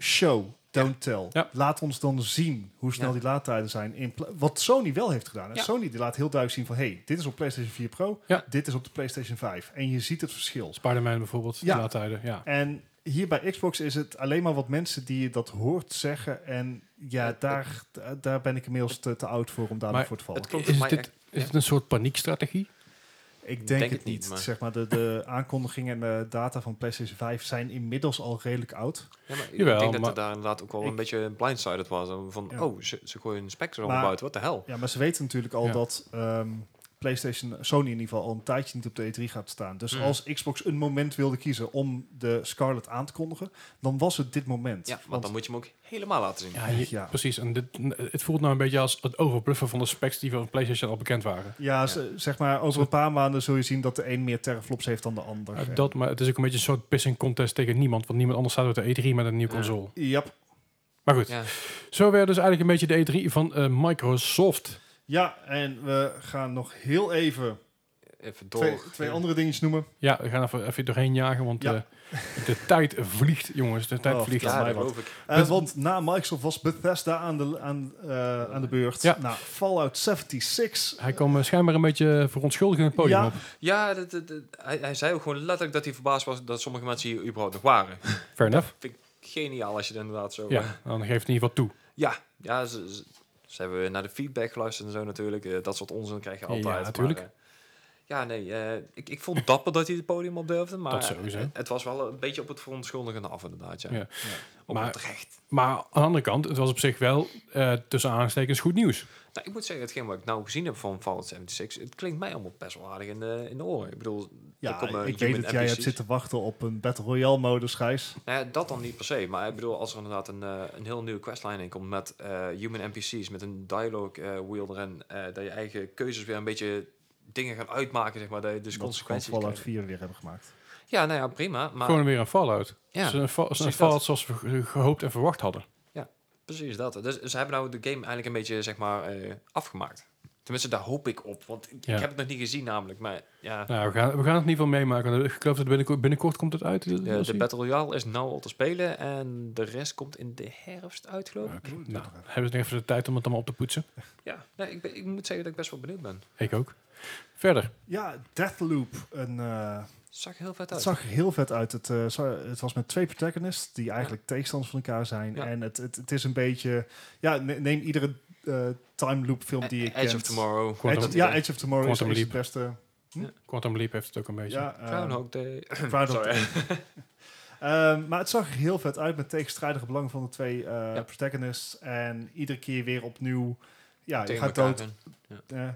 S2: Show, don't tell.
S1: Ja.
S2: Laat ons dan zien hoe snel
S3: Ja.
S2: die laadtijden zijn. In pla- wat Sony wel heeft gedaan. hè.
S3: Ja.
S2: Sony die laat heel duidelijk zien van... hey, dit is op PlayStation 4 Pro,
S1: Ja.
S2: dit is op de PlayStation 5. En je ziet het verschil.
S1: Spider-Man bijvoorbeeld,
S2: Ja.
S1: de laadtijden. Ja.
S2: En hier bij Xbox is het alleen maar wat mensen die je dat hoort zeggen. En ja, daar, da- daar ben ik inmiddels te, te oud voor om daarvoor
S1: Maar
S2: voor te vallen.
S3: het klonk
S1: Is,
S3: voor mij
S1: dit,
S3: echt-
S1: is
S3: ja.
S1: het een soort paniekstrategie?
S2: Ik denk,
S3: Denk
S2: het
S3: het niet,
S2: niet.
S3: maar-
S2: Zeg maar, de, de aankondigingen en de data van PlayStation 5 zijn inmiddels al redelijk oud.
S3: Ja, maar ik
S1: Jawel,
S3: denk dat
S1: maar-
S3: het daar inderdaad ook wel
S2: Ik-
S3: een beetje blindsided was. Zo Van,
S2: Ja.
S3: oh, ze, ze gooien een Spectre
S2: Maar-
S3: allemaal buiten. Wat de hel?
S2: Ja, maar ze weten natuurlijk al
S1: Ja.
S2: dat ehm, PlayStation, Sony in ieder geval, al een tijdje niet op de E3 gaat staan. Dus
S3: Hmm.
S2: als Xbox een moment wilde kiezen om de Scarlett aan te kondigen, dan was het dit moment.
S3: Ja, want dan moet je hem ook helemaal laten zien.
S1: Ja, je-
S2: Ja.
S1: precies. En dit, het voelt nou een beetje als het overbluffen van de specs die van PlayStation al bekend waren.
S2: ja, ze- zeg maar, over een paar maanden zul je zien dat de een meer teraflops heeft dan de ander.
S1: Uh, dat, maar het is ook een beetje een soort pissing contest tegen niemand. Want niemand anders staat op de E3 met een nieuwe
S3: Ja.
S1: console.
S2: Yep.
S1: Maar goed,
S3: Ja.
S1: zo werd dus eigenlijk een beetje de E3 van eh, Microsoft.
S2: Ja, en we gaan nog heel even
S3: Even door.
S2: twee, twee andere dingetjes noemen.
S1: Ja, we gaan even, even doorheen jagen, want
S2: Ja.
S1: eh, de tijd vliegt, jongens. De tijd
S2: Oh,
S1: vliegt.
S2: dat
S3: Ja,
S2: mij
S3: dat
S2: wat.
S3: geloof ik.
S2: Eh,
S1: Beth-
S2: want na Microsoft was Bethesda aan de, aan, eh, aan de beurt.
S1: Ja.
S2: Nou, Fallout 76.
S1: Hij kwam eh, schijnbaar een beetje verontschuldigend het podium
S2: Ja.
S1: op.
S3: Ja, dat, dat- dat- hij, hij zei ook gewoon letterlijk dat hij verbaasd was dat sommige mensen hier überhaupt nog waren.
S1: Fair enough.
S3: Geniaal als je het inderdaad zo... eh,
S1: Ja, dan geeft het in ieder geval toe.
S3: ja, ja, ze, ze- ze hebben naar de feedback geluisterd en zo natuurlijk. Eh, dat soort onzin krijg je
S1: Ja,
S3: altijd. maar,
S1: natuurlijk.
S3: eh, ja, nee, eh, ik, ik vond dapper dat hij het podium op durfde, maar eh,
S1: Dat sowieso.
S3: het, het was wel een beetje op het verontschuldigende af inderdaad, ja.
S1: Ja. Maar-
S3: Maar, terecht.
S1: Maar aan de andere kant, het was op zich wel eh, tussen aanhalingstekens goed nieuws.
S3: Nou, ik moet zeggen, hetgeen wat ik nou gezien heb van Fallout 76, het klinkt mij allemaal best wel aardig in de, in de oren. Ik bedoel,
S2: Ja,
S3: er komen
S2: ik weet
S3: human
S2: dat jij hebt
S3: NPC's.
S2: zitten wachten op een Battle Royale modus, Gijs.
S3: Nou ja, dat dan niet per se, maar ik bedoel, als er inderdaad een, eh, een heel nieuwe questline in komt met eh, human NPC's, met een dialogue eh, wheel erin, eh, dat je eigen keuzes weer een beetje dingen gaan uitmaken, zeg maar, dat je dus
S2: Dat we gewoon
S3: consequenties
S2: Fallout
S3: krijgt.
S2: 4 weer hebben gemaakt.
S3: Ja, nou ja, prima, maar
S1: Gewoon weer een Fallout.
S3: ja,
S1: Dus een, fa-
S3: precies
S1: een Fallout zoals we ge- gehoopt en verwacht hadden.
S3: precies dat. Dus ze hebben nou de game eigenlijk een beetje, zeg maar, eh, afgemaakt. Tenminste, daar hoop ik op, want ik,
S1: Ja.
S3: ik heb het nog niet gezien namelijk, maar ja,
S1: Nou, we gaan, we gaan het in ieder geval meemaken. Ik geloof dat binnenkort, binnenkort komt het uit.
S3: de, de Battle Royale is nou al te spelen en de rest komt in de herfst uit, geloof ik.
S1: Oké, Nou, hebben ze nog even de tijd om het allemaal op te poetsen?
S3: Ja, nee, ik, ben- ik moet zeggen dat ik best wel benieuwd ben.
S1: Ik ook. Verder.
S2: Ja, Deathloop. Een, eh,
S3: Zag er heel vet
S2: het
S3: uit.
S2: zag er heel vet uit. Het, eh, za- het was met twee protagonists die eigenlijk tegenstanders van elkaar zijn.
S3: Ja.
S2: En het, het, het is een beetje... Ja, ne- neem iedere eh, time loop film die ik
S3: E-, Edge
S2: kent.
S3: of Tomorrow.
S1: Quantum-
S2: Edge, ja, Edge of Tomorrow
S1: Quantum
S2: is, is het
S1: Leap.
S2: beste.
S1: Quantum Leap heeft het ook een beetje.
S2: Ja, eh,
S3: Groundhog Day.
S2: Proud of
S3: Sorry.
S2: the- Ehm, maar het zag er heel vet uit met tegenstrijdige belangen van de twee eh,
S3: Ja.
S2: protagonists. En iedere keer weer opnieuw. Ja, je
S3: Tegen
S2: gaat
S3: elkaar
S2: dood.
S3: in.
S2: eh,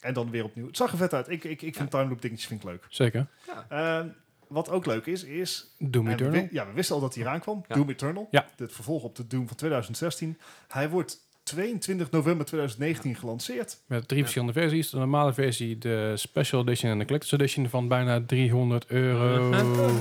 S2: en dan weer opnieuw. Het zag er vet uit. Ik, ik, ik vind time loop dingetjes vind ik leuk.
S1: Zeker.
S3: Ja.
S2: Ehm, wat ook leuk is, is...
S1: Doom
S2: en we
S1: Eternal.
S2: wi- ja, we wisten al dat hij eraan kwam.
S3: Ja.
S2: Doom Eternal.
S1: Ja.
S2: Het vervolg op de Doom van 2016. Hij wordt 22 november 2019 gelanceerd.
S1: Met drie verschillende versies. De normale versie, de Special Edition en de Collector's Edition van bijna 300 euro.
S2: Eh,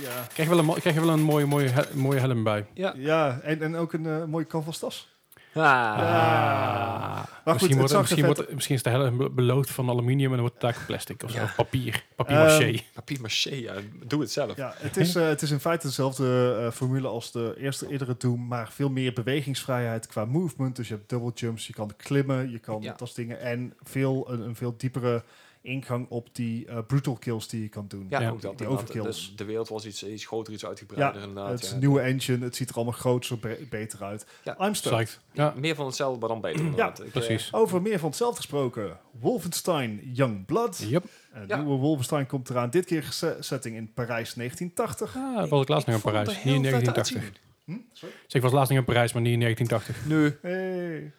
S2: ja,
S1: Krijg je wel een, mo- krijg je wel een mooie, mooie, he- mooie helm bij.
S3: Ja.
S2: ja en, en ook een eh, mooie canvas tas.
S1: Ah.
S2: Maar
S1: misschien,
S2: goed, het
S1: wordt,
S2: zag
S1: misschien,
S2: er
S1: wordt, misschien is de helm be- beloofd van aluminium en dan wordt het eigenlijk plastic of zo.
S3: Ja.
S1: Papier. Papier-maché.
S2: Ehm,
S3: Papier maché, ja. Doe het zelf.
S2: Ja, het is, eh, het is in feite dezelfde eh, formule als de eerste eerdere Doom, maar veel meer bewegingsvrijheid qua movement. Dus je hebt double jumps, je kan klimmen, je kan
S3: Ja.
S2: dat soort dingen. En veel, een, een veel diepere ingang op die eh, brutal kills die je kan doen.
S3: Ja,
S1: Ja.
S3: ook dat.
S2: Die
S3: inderdaad. Dus
S2: overkills.
S3: De, de wereld was iets, iets groter, iets uitgebreider inderdaad.
S2: het is
S3: ja.
S2: een nieuwe engine, het ziet er allemaal groter, be- beter uit.
S3: Ja.
S2: I'm stoked.
S1: Psyched. Ja,
S3: Meer van hetzelfde, maar dan beter. inderdaad. Ik, eh,
S1: precies.
S2: Over meer van hetzelfde gesproken. Wolfenstein Young Blood.
S1: Yep.
S2: Een
S3: Ja.
S2: nieuwe Wolfenstein komt eraan. Dit keer se- setting in Parijs 1980.
S1: Ah, was ik laatst nog in
S3: vond het
S1: Parijs.
S3: er
S1: Hier in
S3: heel vet
S1: 1980.
S3: uitzien.
S2: Hm? Sorry?
S1: Dus ik was laatst nog in Parijs, maar niet in 1980.
S3: Nu.
S2: Hey.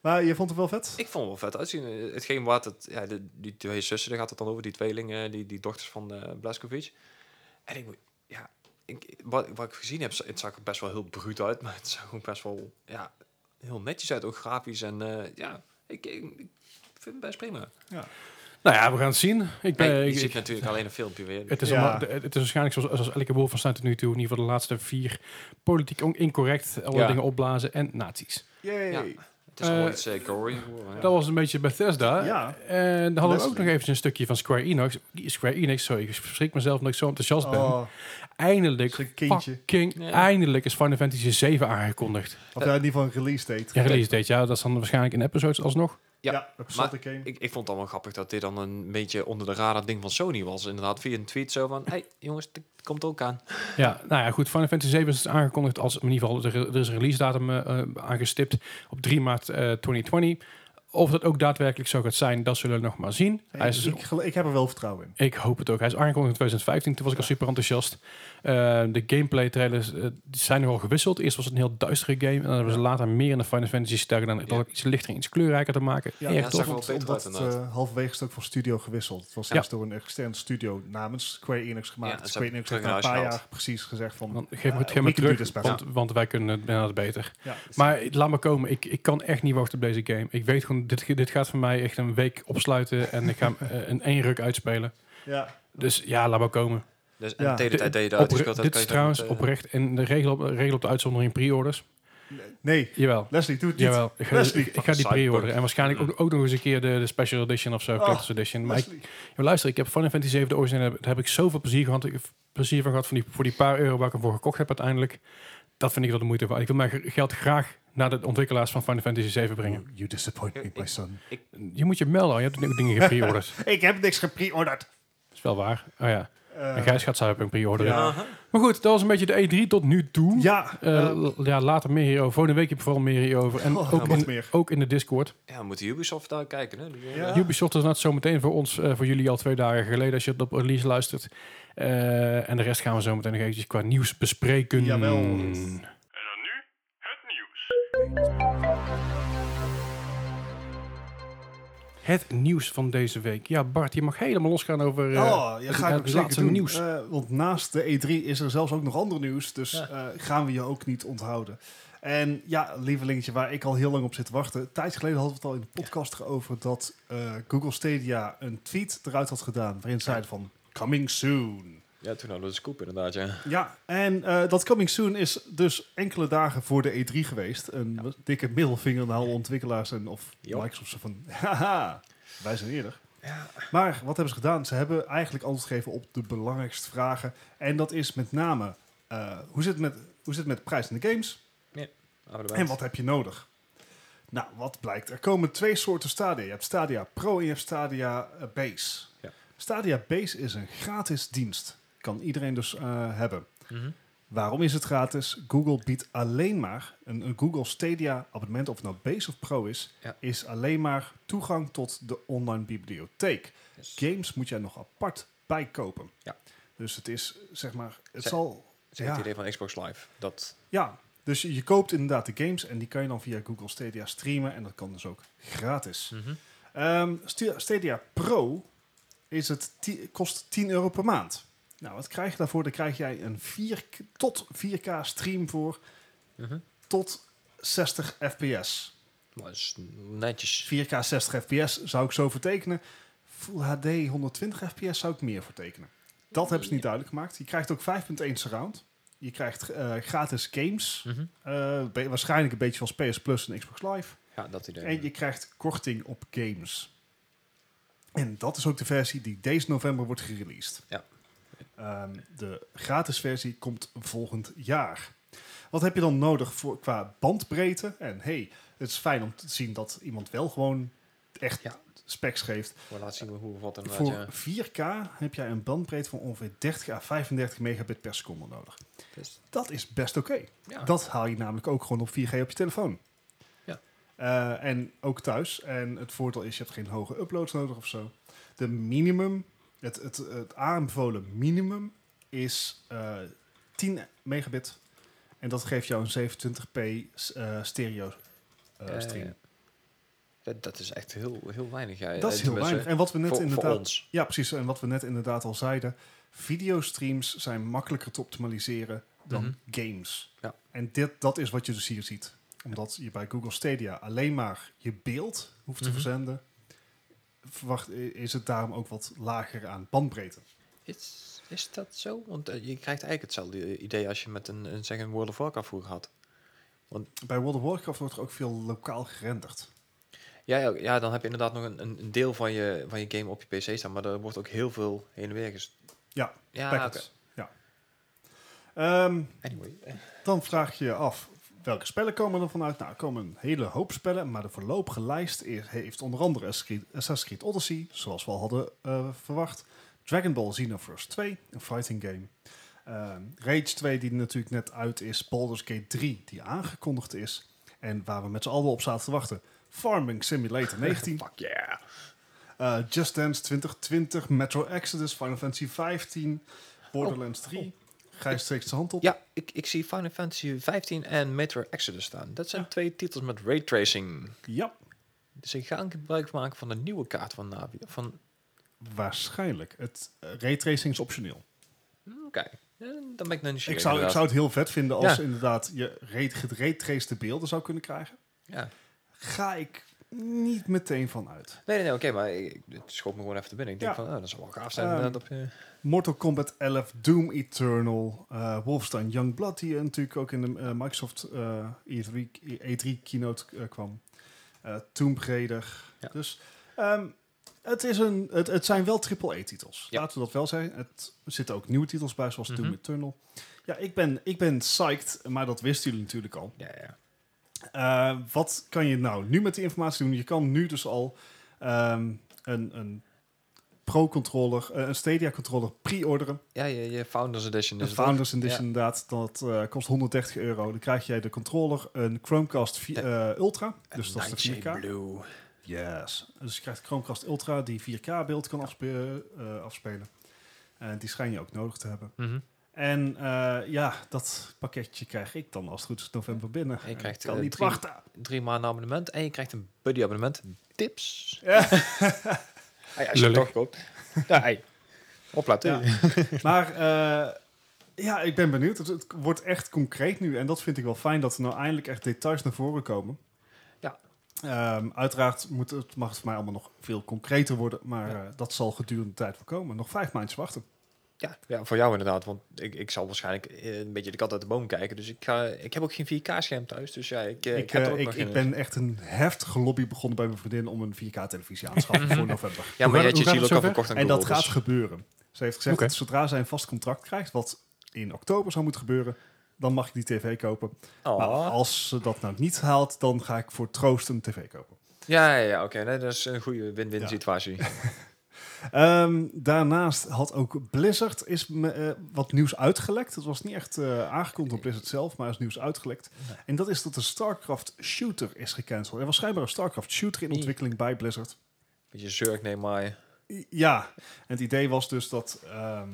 S2: Maar je vond het wel vet?
S3: Ik vond het wel vet uitzien. Eh, Hetgeen wat het, ja, de, die twee zussen, daar gaat het dan over, die tweelingen, die, die dochters van eh Blaskovic. En ik moet, ja, ik, wat, wat ik gezien heb, het zag er best wel heel bruut uit, maar het zag ook best wel, ja, heel netjes uit, ook grafisch. En eh, ja, ik, ik, ik vind het best prima.
S1: Nou ja, we gaan het zien. Ik ben,
S3: Nee, je
S1: ik-
S3: ziet
S1: ik-
S3: natuurlijk alleen een filmpje weer.
S1: het, is
S2: Ja.
S1: allemaal- de- het is waarschijnlijk zoals, zoals elke boel van staat tot nu toe, in ieder geval de laatste vier, politiek on- incorrect, alle
S3: Ja.
S1: dingen opblazen en nazi's.
S2: Yay.
S3: Ja. het is
S1: eh,
S3: gewoon iets eh, gory. geworden, ja.
S1: Dat was een beetje Bethesda.
S3: Eh,
S2: Ja.
S1: En dan hadden we ook
S2: Leslie.
S1: nog eventjes een stukje van Square Enix. Square Enix, sorry, ik verschrik mezelf omdat ik zo enthousiast ben.
S2: Oh,
S1: Eindelijk,
S2: Zijn kindje.
S1: fucking,
S3: Ja.
S1: eindelijk is Final Fantasy 7 aangekondigd.
S2: of ja, in ieder geval een release date.
S1: Eh. Ja, release date, ja, dat is dan waarschijnlijk in episodes alsnog.
S3: Ja,
S2: Ja, dat zat ik heen.
S3: Ik, ik vond het allemaal grappig dat dit dan een beetje onder de radar ding van Sony was. Inderdaad, via een tweet zo van, hey jongens, dit komt ook aan.
S1: Ja, nou ja, goed. Final Fantasy 7 is dus aangekondigd als in ieder geval er, er is een release datum eh, eh, aangestipt op 3 maart eh, 2020. Of dat ook daadwerkelijk zo gaat zijn, dat zullen we nog maar zien. Hij is,
S2: dus ik, gel- ik heb er wel vertrouwen in.
S1: ik hoop het ook. Hij is aangekondigd in 2015. Toen was ik al super enthousiast. Eh, de gameplay trailers eh, die zijn nogal gewisseld. Eerst was het een heel duistere game. En dan hebben ze later meer in de Final Fantasy sterker dan
S3: Ja.
S1: dat iets lichter en iets kleurrijker te maken.
S2: Ja,
S1: Ja, Erg
S3: dat
S1: tof.
S3: zag ik wel
S2: Want-
S3: beter
S2: omdat
S3: uit,
S2: het eh, halverwege is het ook van studio gewisseld. Het was
S1: Ja.
S2: eerst door een externe studio namens Square Enix
S3: Ja,
S2: gemaakt. Dus
S3: dat
S2: Square
S3: ze
S2: Enix heeft
S3: hebben
S2: na een
S3: terug
S2: paar
S3: naar huis
S2: jaar precies gezegd van...
S1: Want Geef me het
S2: eh,
S1: geef me
S2: we can do
S1: terug,
S2: this better.
S1: want, want wij kunnen het inderdaad beter.
S2: Ja,
S1: Maar laat me komen. Ik, ik kan echt niet wachten op deze game. Ik weet gewoon, dit, dit gaat voor mij echt een week opsluiten. En ik ga hem eh, in één ruk uitspelen.
S2: ja.
S1: Dus ja, laat me komen.
S3: Dus en
S2: Ja.
S3: de hele tijd deed je dat. dus
S1: Opre- dit
S3: uitgespeeld hebt,
S1: is
S3: kan je
S1: trouwens
S3: dat niet, eh,
S1: oprecht in de regel op, regel op de uitzondering pre-orders.
S2: Nee,
S1: Jawel.
S2: Leslie, doe het niet.
S1: Jawel, ik ga,
S2: Leslie.
S1: ik, ik ga die pre-orderen. En waarschijnlijk ook, ook nog eens een keer de, de special edition
S2: Oh,
S1: of zo, collector's edition. Maar ik,
S2: Leslie.
S1: maar luister, ik heb Final Fantasy 7 de originele, daar heb ik zoveel plezier gehad. Ik heb plezier van gehad van die, voor die paar euro waar ik hem voor gekocht heb uiteindelijk. Dat vind ik wel de moeite waard. Ik wil mijn ge- geld graag naar de ontwikkelaars van Final Fantasy 7 brengen.
S2: You disappoint me, my son.
S1: Je moet je melden, je hebt ook dingen gepreorderd.
S2: Ik heb niks gepreorderd.
S1: Dat is wel waar. Oh ja.
S2: Eh,
S1: En Gijs gaat Cyberpunk pre-orderen.
S2: ja.
S3: Aha.
S1: Maar goed, dat was een beetje de E3 tot nu toe.
S2: Ja,
S1: Eh, l- ja, later meer hierover. Volgende week heb je vooral meer hierover. En
S2: Oh,
S1: ook,
S2: wat
S1: in,
S2: meer.
S1: ook in de Discord.
S3: Ja, we moeten Ubisoft daar kijken. Hè? Die, eh,
S2: Ja.
S1: Ubisoft is net zo meteen voor ons, eh, voor jullie al twee dagen geleden, als je het op release luistert. Eh, en de rest gaan we zo meteen nog eventjes qua nieuws bespreken.
S2: Jawel.
S4: En dan nu het nieuws.
S1: Het nieuws van deze week. Ja, Bart, je mag helemaal losgaan over eh,
S2: oh, ja,
S1: het,
S2: ga ik
S1: het
S2: ook zeker
S1: laatste
S2: doen.
S1: nieuws.
S2: Eh, want naast de E3 is er zelfs ook nog ander nieuws. Dus eh, gaan we je ook niet onthouden. En ja, lievelingetje, waar ik al heel lang op zit te wachten. Een tijd geleden hadden we het al in de podcast over dat eh, Google Stadia een tweet eruit had gedaan. Waarin zeiden van, coming soon.
S3: ja, toen hadden we de scoop inderdaad, ja.
S2: Ja, en eh, dat coming soon is dus enkele dagen voor de E3 geweest. Een dikke middelvinger naar alle ontwikkelaars en of
S3: Ja.
S2: Microsoft zo van, haha, wij zijn eerder. Maar wat hebben ze gedaan? Ze hebben eigenlijk antwoord gegeven op de belangrijkste vragen. En dat is met name, eh, hoe, zit het met, hoe zit het met de prijs in de games? En wat heb je nodig? Nou, wat blijkt? Er komen twee soorten stadia. Je hebt Stadia Pro en je hebt Stadia eh, Base.
S3: Ja.
S2: Stadia Base is een gratis dienst. Kan iedereen dus eh, hebben.
S3: Mhm.
S2: Waarom is het gratis? Google biedt alleen maar een, een Google Stadia abonnement, of het nou Base of Pro is,
S3: Ja.
S2: is alleen maar toegang tot de online bibliotheek.
S3: Yes.
S2: Games moet jij nog apart bijkopen.
S3: Ja.
S2: Dus het is, zeg maar, het
S3: Ze-
S2: zal...
S3: Dat is echt
S2: ja.
S3: het idee van Xbox Live. Dat,
S2: Ja, dus je, je koopt inderdaad de games en die kan je dan via Google Stadia streamen en dat kan dus ook gratis. Ehm, Stu- Stadia Pro is het ti- kost 10 euro per maand. Nou, wat krijg je daarvoor? Dan krijg jij een 4, k- tot 4K stream voor
S3: Mhm.
S2: tot 60 fps.
S3: Maar dat is netjes.
S2: 4K 60 fps zou ik zo vertekenen. Full HD 120 fps zou ik meer vertekenen. Dat hebben ze niet duidelijk gemaakt. Je krijgt ook 5.1 surround. Je krijgt eh, gratis games.
S3: Mhm.
S2: Eh, be- waarschijnlijk een beetje zoals PS Plus en Xbox Live.
S3: Ja, dat idee.
S2: En je krijgt korting op games. En dat is ook de versie die deze november wordt gereleased.
S3: Ja.
S2: Ehm, de gratis versie komt volgend jaar. Wat heb je dan nodig voor, qua bandbreedte? En hey, het is fijn om te zien dat iemand wel gewoon echt
S3: Ja.
S2: specs geeft.
S3: We laten zien hoe wat inderdaad,
S2: Voor
S3: ja.
S2: 4K heb jij een bandbreedte van ongeveer 30 à 35 megabit per seconde nodig.
S3: Dus,
S2: Dat is best oké.
S3: ja.
S2: Dat haal je namelijk ook gewoon op 4G op je telefoon.
S3: Ja.
S2: Eh, en ook thuis. En het voordeel is, je hebt geen hoge uploads nodig of zo. De minimum, het, het, het aanbevolen minimum is eh, 10 megabit. En dat geeft jou een 720p eh, stereo eh,
S3: Eh,
S2: stream.
S3: dat, dat is echt heel, heel weinig. Ja.
S2: dat is heel
S3: Tenminste,
S2: weinig. En wat we net
S3: eh, dus, voor, voor
S2: inderdaad...
S3: ons.
S2: Ja, precies. En wat we net inderdaad al zeiden. Videostreams zijn makkelijker te optimaliseren dan games.
S3: Mhm. Ja.
S2: En dit, dat is wat je dus hier ziet. Omdat je bij Google Stadia alleen maar je beeld hoeft te
S3: Mhm.
S2: verzenden... Verwacht, is het daarom ook wat lager aan bandbreedte.
S3: Is, is dat zo? Want eh, je krijgt eigenlijk hetzelfde idee als je met een, een, zeg een World of Warcraft vroeger had.
S2: Bij World of Warcraft wordt er ook veel lokaal gerenderd.
S3: Ja, ja, ja, dan heb je inderdaad nog een, een een deel van je, van je game op je PC staan, maar er wordt ook heel veel heen en weer ges-
S2: Ja,
S3: Ja, Ah, oké.
S2: packets. Ja. Ehm,
S3: Anyway. eh,
S2: Dan vraag je je af, welke spellen komen er vanuit? Nou, er komen een hele hoop spellen, maar de voorlopige lijst is- heeft onder andere Assassin's Creed Odyssey, zoals we al hadden eh, verwacht, Dragon Ball Xenoverse 2, een fighting game, Ehm, Rage 2 die natuurlijk net uit is, Baldur's Gate 3 die aangekondigd is en waar we met z'n allen op zaten te wachten, Farming Simulator 19,
S3: Fuck yeah.
S2: eh, Just Dance 2020, Metro Exodus, Final Fantasy 15, Borderlands 3, Gijs steekt zijn hand op.
S3: Oh. Ja, ik, ik zie Final Fantasy 15 en Metro Exodus staan. Dat zijn twee titels met raytracing.
S2: ja.
S3: Dus ik ga gebruik maken van de nieuwe kaart van Navi. Van,
S2: Waarschijnlijk. Het eh, raytracing is optioneel.
S3: hmm, oké, eh, dan ben ik nog niet
S2: Ik
S3: zeker,
S2: zou, ik
S3: inderdaad.
S2: zou het heel vet vinden als
S3: Ja.
S2: inderdaad je ray- geraytraced beelden zou kunnen krijgen.
S3: Ja.
S2: Ga ik niet meteen van uit.
S3: Nee, nee, nee, oké, maar ik, het schoot me gewoon even te binnen. Ik denk
S2: Ja.
S3: van, oh, dat zou wel gaaf zijn.
S2: Ehm,
S3: inderdaad, op, eh, je.
S2: Mortal Kombat 11, Doom Eternal, eh Wolfenstein Youngblood, die eh, natuurlijk ook in de eh, Microsoft eh, E3, E3 keynote eh, kwam. eh Tomb Raider.
S3: Ja.
S2: Dus ehm, het, is een, het, het zijn wel AAA-titels.
S3: Ja.
S2: Laten we dat wel zeggen. Het, er zitten ook nieuwe titels bij, zoals
S3: Mhm.
S2: Doom Eternal. Ja, ik ben, ik ben psyched, maar dat wisten jullie natuurlijk al.
S3: Ja, ja.
S2: Eh, wat kan je nou nu met die informatie doen? Je kan nu dus al ehm, een, een Pro-controller, eh, een Stadia-controller pre-orderen.
S3: ja je, je Founders Edition
S2: De
S3: is het ook.
S2: Founders Edition
S3: Ja.
S2: inderdaad, dat eh, kost 130 euro. Dan krijg jij de controller, een Chromecast vi- eh, Ultra,
S3: En
S2: dus dat is de
S3: Nightshade
S2: 4K.
S3: Blue.
S2: Yes. Dus je krijgt Chromecast Ultra die 4K beeld kan afspe- eh, afspelen. En die schijn je ook nodig te hebben.
S3: Mhm.
S2: En eh, ja, dat pakketje krijg ik dan als het goed is november binnen.
S3: En je krijgt,
S2: kan
S3: eh,
S2: niet
S3: drie-
S2: wachten.
S3: Drie maanden abonnement en je krijgt een buddy abonnement. Tips.
S2: Ja.
S3: Hey, als je het
S1: Lullig.
S3: toch koopt. Ja, hey. Opletten.
S2: Ja. Maar eh, ja, ik ben benieuwd. Het, het wordt echt concreet nu. En dat vind ik wel fijn dat er nou eindelijk echt details naar voren komen.
S3: Ja.
S2: Ehm, uiteraard moet het, mag het voor mij allemaal nog veel concreter worden. Maar
S3: Ja.
S2: eh, dat zal gedurende de tijd wel komen. Nog vijf maandjes wachten.
S3: Ja, ja, voor jou inderdaad. Want ik, ik zal waarschijnlijk eh, een beetje de kat uit de boom kijken. Dus ik, ga, ik heb ook geen 4K-scherm thuis. Dus ja, ik, eh, ik,
S2: ik,
S3: heb
S2: eh,
S3: er ook
S2: ik,
S3: nog
S2: ik
S3: geen-
S2: ben echt een heftige lobby begonnen bij mijn vriendin om een 4K-televisie aan te schaffen voor november.
S1: Hoe
S3: Ja, maar je
S1: gaat-
S3: had je
S1: hoe gaat
S3: ziel ook
S1: het
S3: al
S1: zover?
S3: verkocht aan
S2: En dat
S3: Google.
S2: gaat
S3: dus-
S2: gebeuren. Ze heeft gezegd
S1: Oké.
S2: dat zodra zij een vast contract krijgt, wat in oktober zou moeten gebeuren, dan mag ik die tv kopen.
S3: Oh.
S2: Maar als ze dat nou niet haalt, dan ga ik voor troost een tv kopen.
S3: Ja, ja, ja oké. nee, dat is een goede win-win
S2: Ja.
S3: situatie.
S2: Ehm, daarnaast had ook Blizzard is me, eh, wat nieuws uitgelekt. Het was niet echt eh, aangekondigd door Blizzard zelf, maar is nieuws uitgelekt. En dat is dat de StarCraft shooter is gecanceld. Er was schijnbaar een StarCraft shooter in
S3: Nee.
S2: ontwikkeling bij Blizzard.
S3: Beetje zurk, nee, maar...
S2: I- Ja, en het idee was dus dat, ehm,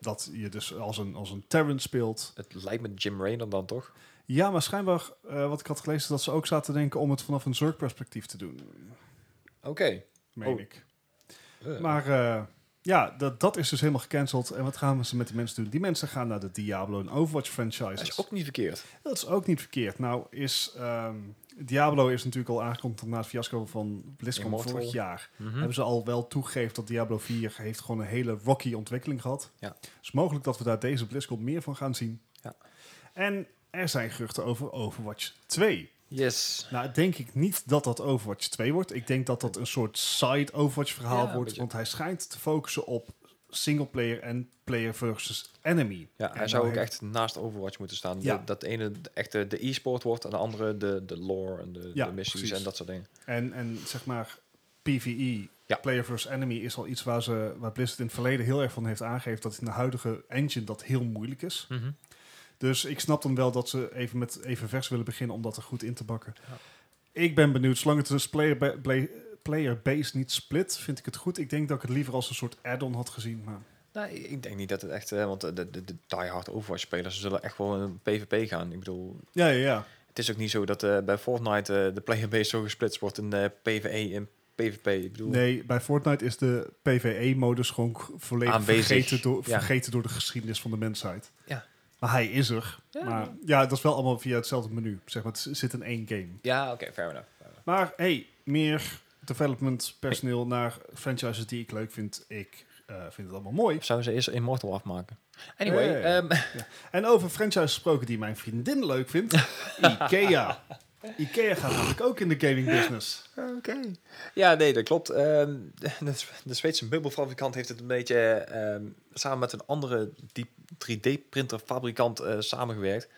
S2: dat je dus als een, als een Terran speelt.
S3: Het lijkt me Jim Raynor dan toch?
S2: Ja, maar schijnbaar, eh, wat ik had gelezen, dat ze ook zaten te denken om het vanaf een Zerg-perspectief te doen.
S3: Oké.
S2: Meen
S3: Oh.
S2: ik.
S3: Eh,
S2: Maar eh, ja, dat, dat is dus helemaal gecanceld. En wat gaan we ze met die mensen doen? Die mensen gaan naar de Diablo en Overwatch
S3: dat
S2: franchises.
S3: is ook niet verkeerd.
S2: Dat is ook niet verkeerd. Nou is... ehm, Diablo is natuurlijk al aangekondigd na het fiasco van BlizzCon
S3: Immortal.
S2: vorig jaar.
S3: Mhm.
S2: Hebben ze al wel toegegeven dat Diablo 4 heeft gewoon een hele rocky ontwikkeling gehad.
S3: Ja.
S2: Het is mogelijk dat we daar deze BlizzCon meer van gaan zien.
S3: Ja.
S2: En er zijn geruchten over Overwatch 2.
S3: Yes.
S2: Nou, denk ik niet dat dat Overwatch 2 wordt. Ik denk dat dat een soort side Overwatch verhaal
S3: Ja, een
S2: wordt.
S3: beetje.
S2: Want hij schijnt te focussen op singleplayer en player versus enemy.
S3: Ja, hij
S2: En
S3: zou
S2: nou
S3: ook
S2: heeft-
S3: echt naast Overwatch moeten staan.
S2: Ja.
S3: Dat, dat ene echt de, de e-sport wordt en de andere de, de lore en de,
S2: Ja,
S3: de missies
S2: precies.
S3: en dat soort dingen.
S2: En, en zeg maar, PvE,
S3: Ja.
S2: player versus enemy, is al iets waar, ze, waar Blizzard in het verleden heel erg van heeft aangegeven dat in de huidige engine dat heel moeilijk is. Dus ik snap dan wel dat ze even met even vers willen beginnen om dat er goed in te bakken.
S3: Ja.
S2: Ik ben benieuwd. Zolang het dus player, ba- bla- player base niet split, vind ik het goed. Ik denk dat ik het liever als een soort add-on had gezien. Maar
S3: Nou, ik denk niet dat het echt... eh, want de, de, de diehard Overwatch-spelers ze zullen echt wel een PvP gaan. Ik bedoel,
S2: Ja, ja, ja.
S3: het is ook niet zo dat eh, bij Fortnite eh, de playerbase zo gesplitst wordt in eh, PvE en PvP. Ik bedoel,
S2: Nee, bij Fortnite is de PvE-modus gewoon g- volledig
S3: Aanwezig,
S2: vergeten door,
S3: ja.
S2: vergeten door de geschiedenis van de mensheid.
S3: Ja.
S2: Maar hij is er. Maar ja, dat is wel allemaal via hetzelfde menu. Zeg maar, het z- zit in één game.
S3: Ja, oké, fair enough. Fair enough.
S2: Maar hey, meer development personeel naar franchises die ik leuk vind. Ik eh, vind het allemaal mooi.
S3: Of zouden ze eerst Immortal afmaken? Anyway,
S2: Ja, ja, ja.
S3: ehm,
S2: En over franchises gesproken die mijn vriendin leuk vindt. Ikea. Ikea gaat natuurlijk ook in de gaming business.
S3: Oké. Ja, nee, dat klopt. Ehm, de, de Zweedse meubelfabrikant heeft het een beetje ehm, samen met een andere 3D-printerfabrikant eh, samengewerkt.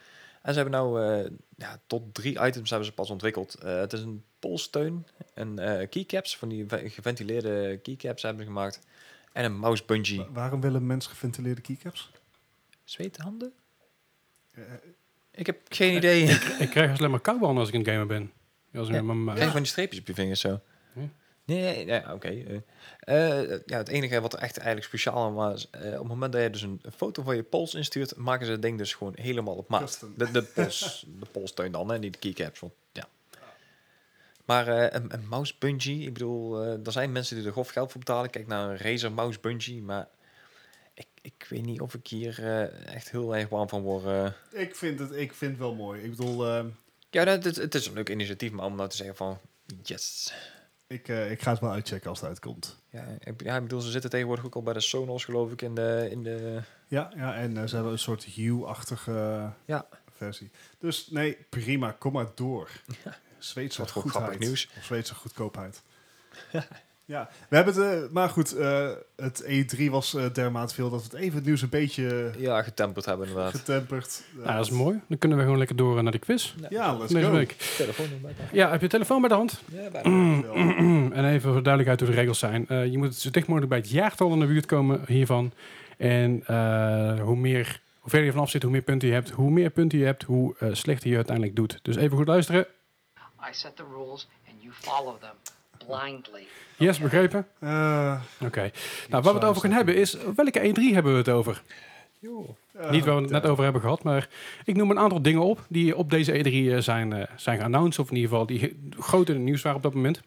S3: En ze hebben nou eh, ja, tot drie items hebben ze pas ontwikkeld. Eh, het is een polsteun, een eh, keycaps, van die ve- geventileerde keycaps hebben ze gemaakt. En een mouse bungee.
S2: Wa- waarom willen mensen geventileerde keycaps?
S3: Zweethanden?
S2: Eh,
S3: Ik heb geen idee. Ik
S1: Ik krijg alleen maar koude handen als ik een gamer ben. Als ik
S3: Ja.
S1: met mijn- eh,
S3: krijg van die streepjes op je vingers zo.
S1: Hm.
S3: Nee, nee oké. eh. Eh, ja, het enige wat er echt eigenlijk speciaal aan was, eh, op het moment dat je dus een foto van je pols instuurt, maken ze het ding dus gewoon helemaal op maat.
S2: Custom.
S3: De, de, pols, de polsteun dan, hè, niet de keycaps. Want, ja. Maar eh, een, een mouse bungee, ik bedoel, eh, er zijn mensen die er grof geld voor betalen. Kijk naar een Razer mouse bungee, maar ik, ik weet niet of ik hier eh, echt heel erg warm van word. eh.
S2: Ik vind het ik vind het wel mooi. Ik bedoel, eh,
S3: Ja, dat, het, het is een leuk initiatief, maar om nou te zeggen van, yes.
S2: ik, eh, ik ga het wel uitchecken als het uitkomt.
S3: Ja, ik, ja, ik bedoel, ze zitten tegenwoordig ook al bij de Sonos, geloof ik, in de... In de
S2: Ja, ja en eh, ze hebben een soort Hue-achtige eh,
S3: Ja.
S2: versie. Dus nee, prima, kom maar door. Zweedse
S3: Wat voor
S2: goedheid.
S3: grappig nieuws.
S2: Of Zweedse goedkoopheid. ja, we hebben het... eh, maar goed, eh, het E3 was eh, dermate veel dat we het even het nieuws een beetje eh,
S3: ja, getemperd hebben inderdaad.
S2: getemperd. eh,
S1: Nou, dat is mooi. Dan kunnen we gewoon lekker door eh, naar de quiz.
S2: Ja, let's
S1: Deze
S2: go.
S1: week.
S3: Telefoon erbij.
S1: Ja, heb je telefoon bij de hand?
S3: Ja, bijna.
S2: Wel,
S1: Mm, en even voor duidelijkheid hoe de regels zijn. Eh, je moet zo dicht mogelijk bij het jaartal in de buurt komen hiervan. En eh, hoe meer, hoe verder je vanaf zit, hoe meer punten je hebt. Hoe meer punten je hebt, hoe eh, slechter je uiteindelijk doet. Dus even goed luisteren.
S5: I set the rules and you follow them blindly.
S1: Yes, begrepen?
S2: eh,
S1: Oké. Nou, waar we het over gaan hebben is, welke E3 hebben we het over?
S2: eh,
S1: Niet waar we het net over hebben gehad, maar ik noem een aantal dingen op die op deze E3 eh, zijn, eh, zijn geannounced. Of in ieder geval die groot in het nieuws waren op dat moment.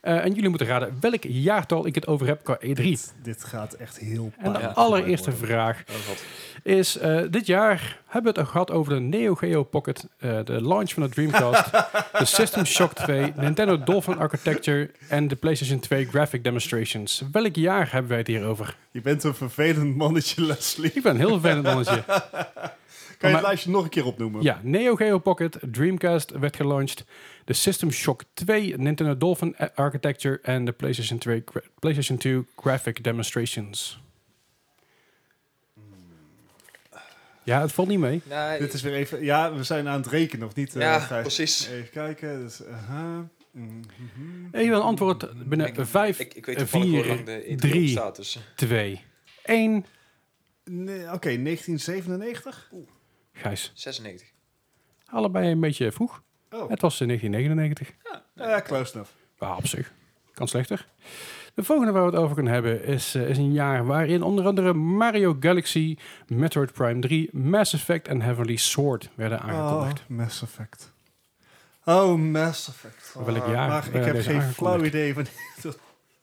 S1: Eh, en jullie moeten raden welk jaartal ik het over heb qua E E3.
S2: Dit gaat echt heel
S1: En de
S2: pijn.
S3: Ja.
S1: allereerste
S3: mooi.
S1: vraag
S3: Oh, god.
S1: is, eh, dit jaar hebben we het ook gehad over de Neo Geo Pocket, eh, de launch van de Dreamcast, de System Shock 2, Nintendo Dolphin Architecture en de PlayStation 2 Graphic Demonstrations. Welk jaar hebben wij het hier over?
S2: Je bent een vervelend mannetje, Leslie.
S1: Ik ben heel vervelend mannetje.
S2: Kan je
S1: Maar-
S2: het lijstje nog een keer opnoemen?
S1: Ja, Neo Geo Pocket, Dreamcast werd gelaunched. De System Shock 2, Nintendo Dolphin eh, Architecture en de PlayStation 2, gra- PlayStation 2 Graphic Demonstrations. Ja, het valt niet mee.
S3: Nee,
S2: Dit is weer even... Ja, we zijn aan het rekenen, of niet? eh,
S3: ja,
S2: Gijs?
S3: precies.
S2: Even kijken. Dus, aha. Mhm.
S1: Even een antwoord binnen 5,
S3: Ik, ik weet toevallig hoe lang de
S1: 4,
S3: E3 op
S1: 3,
S3: staat, dus...
S1: 2, 1.
S2: Nee, Oké, 1997?
S1: Gijs,
S3: 96.
S1: allebei een beetje vroeg.
S2: Oh,
S1: Het was in 1999.
S2: ja, close enough.
S1: Ja, Ah, op zich. Kan slechter. De volgende waar we het over kunnen hebben is, eh, is een jaar waarin onder andere Mario Galaxy, Metroid Prime 3, Mass Effect en Heavenly Sword werden
S2: Oh,
S1: aangekondigd.
S2: Mass Effect. Oh, Mass Effect.
S1: Welk
S2: Ah,
S1: jaar
S2: Maar ik
S1: werden
S2: heb
S1: deze
S2: geen flauw
S1: aangekondigd?
S2: idee van dat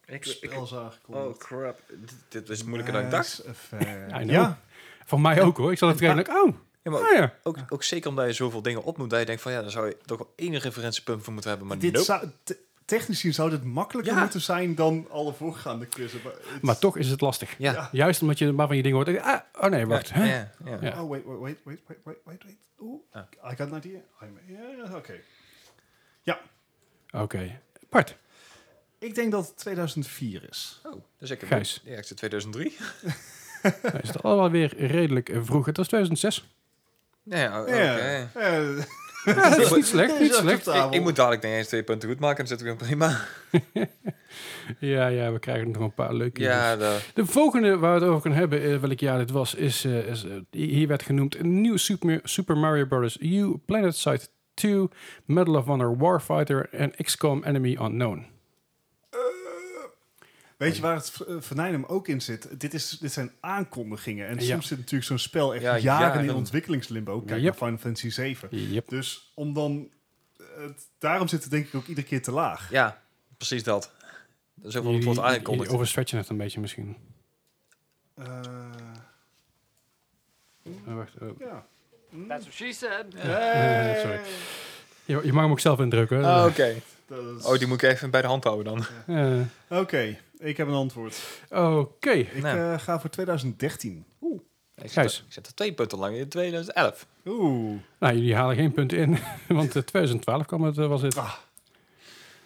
S3: Ik,
S2: spel is aangekondigd.
S3: oh, crap. Dit, dit is moeilijker dan ik dacht.
S2: Mass Effect.
S1: I know.
S2: Ja,
S1: Voor mij ook hoor. Ik zat het redelijk. Oh,
S3: Ja, maar
S1: ah ja.
S3: ook, ook zeker omdat je zoveel dingen op moet, dat je denkt van, ja, daar zou je toch wel één referentiepunt voor moeten hebben, maar
S2: dit
S3: nope.
S2: zou, te- technisch gezien zou dit makkelijker
S3: Ja.
S2: moeten zijn dan alle voorgaande quizzen. Maar het-
S1: Maar toch is het lastig.
S3: Ja.
S1: Juist omdat je maar van je dingen hoort. Ah, oh nee, wacht.
S3: Ja,
S1: hè?
S3: ja, ja. Ah.
S1: Ja.
S2: Oh, wait, wait, wait, wait, wait, wait, wait, wait. Oeh, I got an idea. I'm- Ja, oké. Ja,
S1: Oké. Bart,
S2: ik denk dat het 2004 is.
S3: Oh, dus ik heb...
S1: Gijs.
S3: Ja, ik zit 2003.
S1: nou, is het allemaal weer redelijk eh, vroeg. Het was 2006.
S3: Ja, oké.
S2: Ja. Eh,
S1: dat is niet slecht,
S2: is
S1: niet slecht.
S2: acceptabel.
S3: Ik, ik moet dadelijk niet eens twee punten goed maken, dan zit ik weer prima.
S1: Ja, ja, we krijgen nog een paar leuke
S3: Ja, dat...
S1: De volgende waar we het over kunnen hebben, eh, welk jaar dit was, is, eh, is, eh, hier werd genoemd een nieuw Super, Super Mario Bros. U, Planet Side 2, Medal of Honor Warfighter en XCOM Enemy Unknown.
S2: Weet je waar het v- eh, venijn hem ook in zit? Dit, is, dit zijn aankondigingen. En
S1: Ja.
S2: soms zit natuurlijk zo'n spel echt
S3: Ja,
S2: jaren in
S3: jaren.
S2: ontwikkelingslimbo. Kijk
S1: Yep.
S2: naar Final Fantasy 7.
S1: Yep.
S2: Dus om dan... eh, Het, daarom zit het denk ik ook iedere keer te laag.
S3: Ja, precies dat. Zo van het wordt
S1: Jullie- jullie
S3: aangekondigd.
S1: overstretchen het een beetje misschien.
S2: Eh,
S1: Oh, wacht, oh.
S2: ja.
S5: That's what she said.
S1: Eh, sorry. Je, je mag hem ook zelf indrukken.
S3: Ah,
S1: hoor.
S3: Oké.
S2: Dat is-
S3: Oh, die moet ik even bij de hand houden dan.
S1: Eh,
S2: Oké, ik heb een antwoord.
S1: Oké.
S2: Ik
S3: Nou.
S2: eh, ga voor 2013.
S3: Ik zet,
S1: Gijs.
S3: er, ik zet er twee punten lang in 2011.
S2: Oeh.
S1: Nou, jullie halen geen punt in, want eh, 2012 kwam het, eh, was het.
S2: Ah.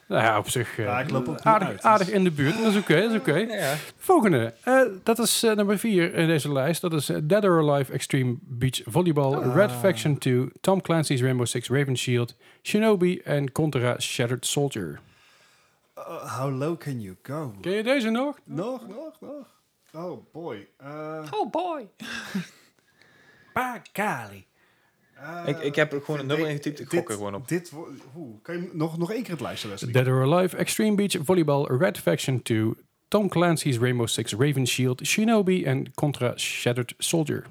S1: Nou ja, op zich eh,
S2: Ja, ik loop ook niet
S1: aardig,
S2: uit, dus-
S1: aardig in de buurt. Dat is oké, dat is oké.
S3: Ja.
S1: Volgende, eh, dat is eh, nummer 4 in deze lijst. Dat is eh, Dead or Alive Extreme Beach Volleyball,
S2: Ah.
S1: Red Faction 2, Tom Clancy's Rainbow Six Raven Shield, Shinobi en Contra Shattered Soldier.
S2: Uh, how low can you go?
S1: Ken je deze nog?
S2: Nog, nog, nog. Oh boy. Eh,
S3: Oh boy.
S2: eh,
S3: Ik, ik heb er gewoon een nummer ingetypt. Ik
S2: dit-
S3: gok er gewoon op.
S2: Dit, wo- oeh, kan je hem nog, nog één keer het lijstje lezen?
S1: Dead or Alive Extreme Beach Volleyball, Red Faction 2, Tom Clancy's Rainbow Six Raven Shield, Shinobi en Contra Shattered Soldier.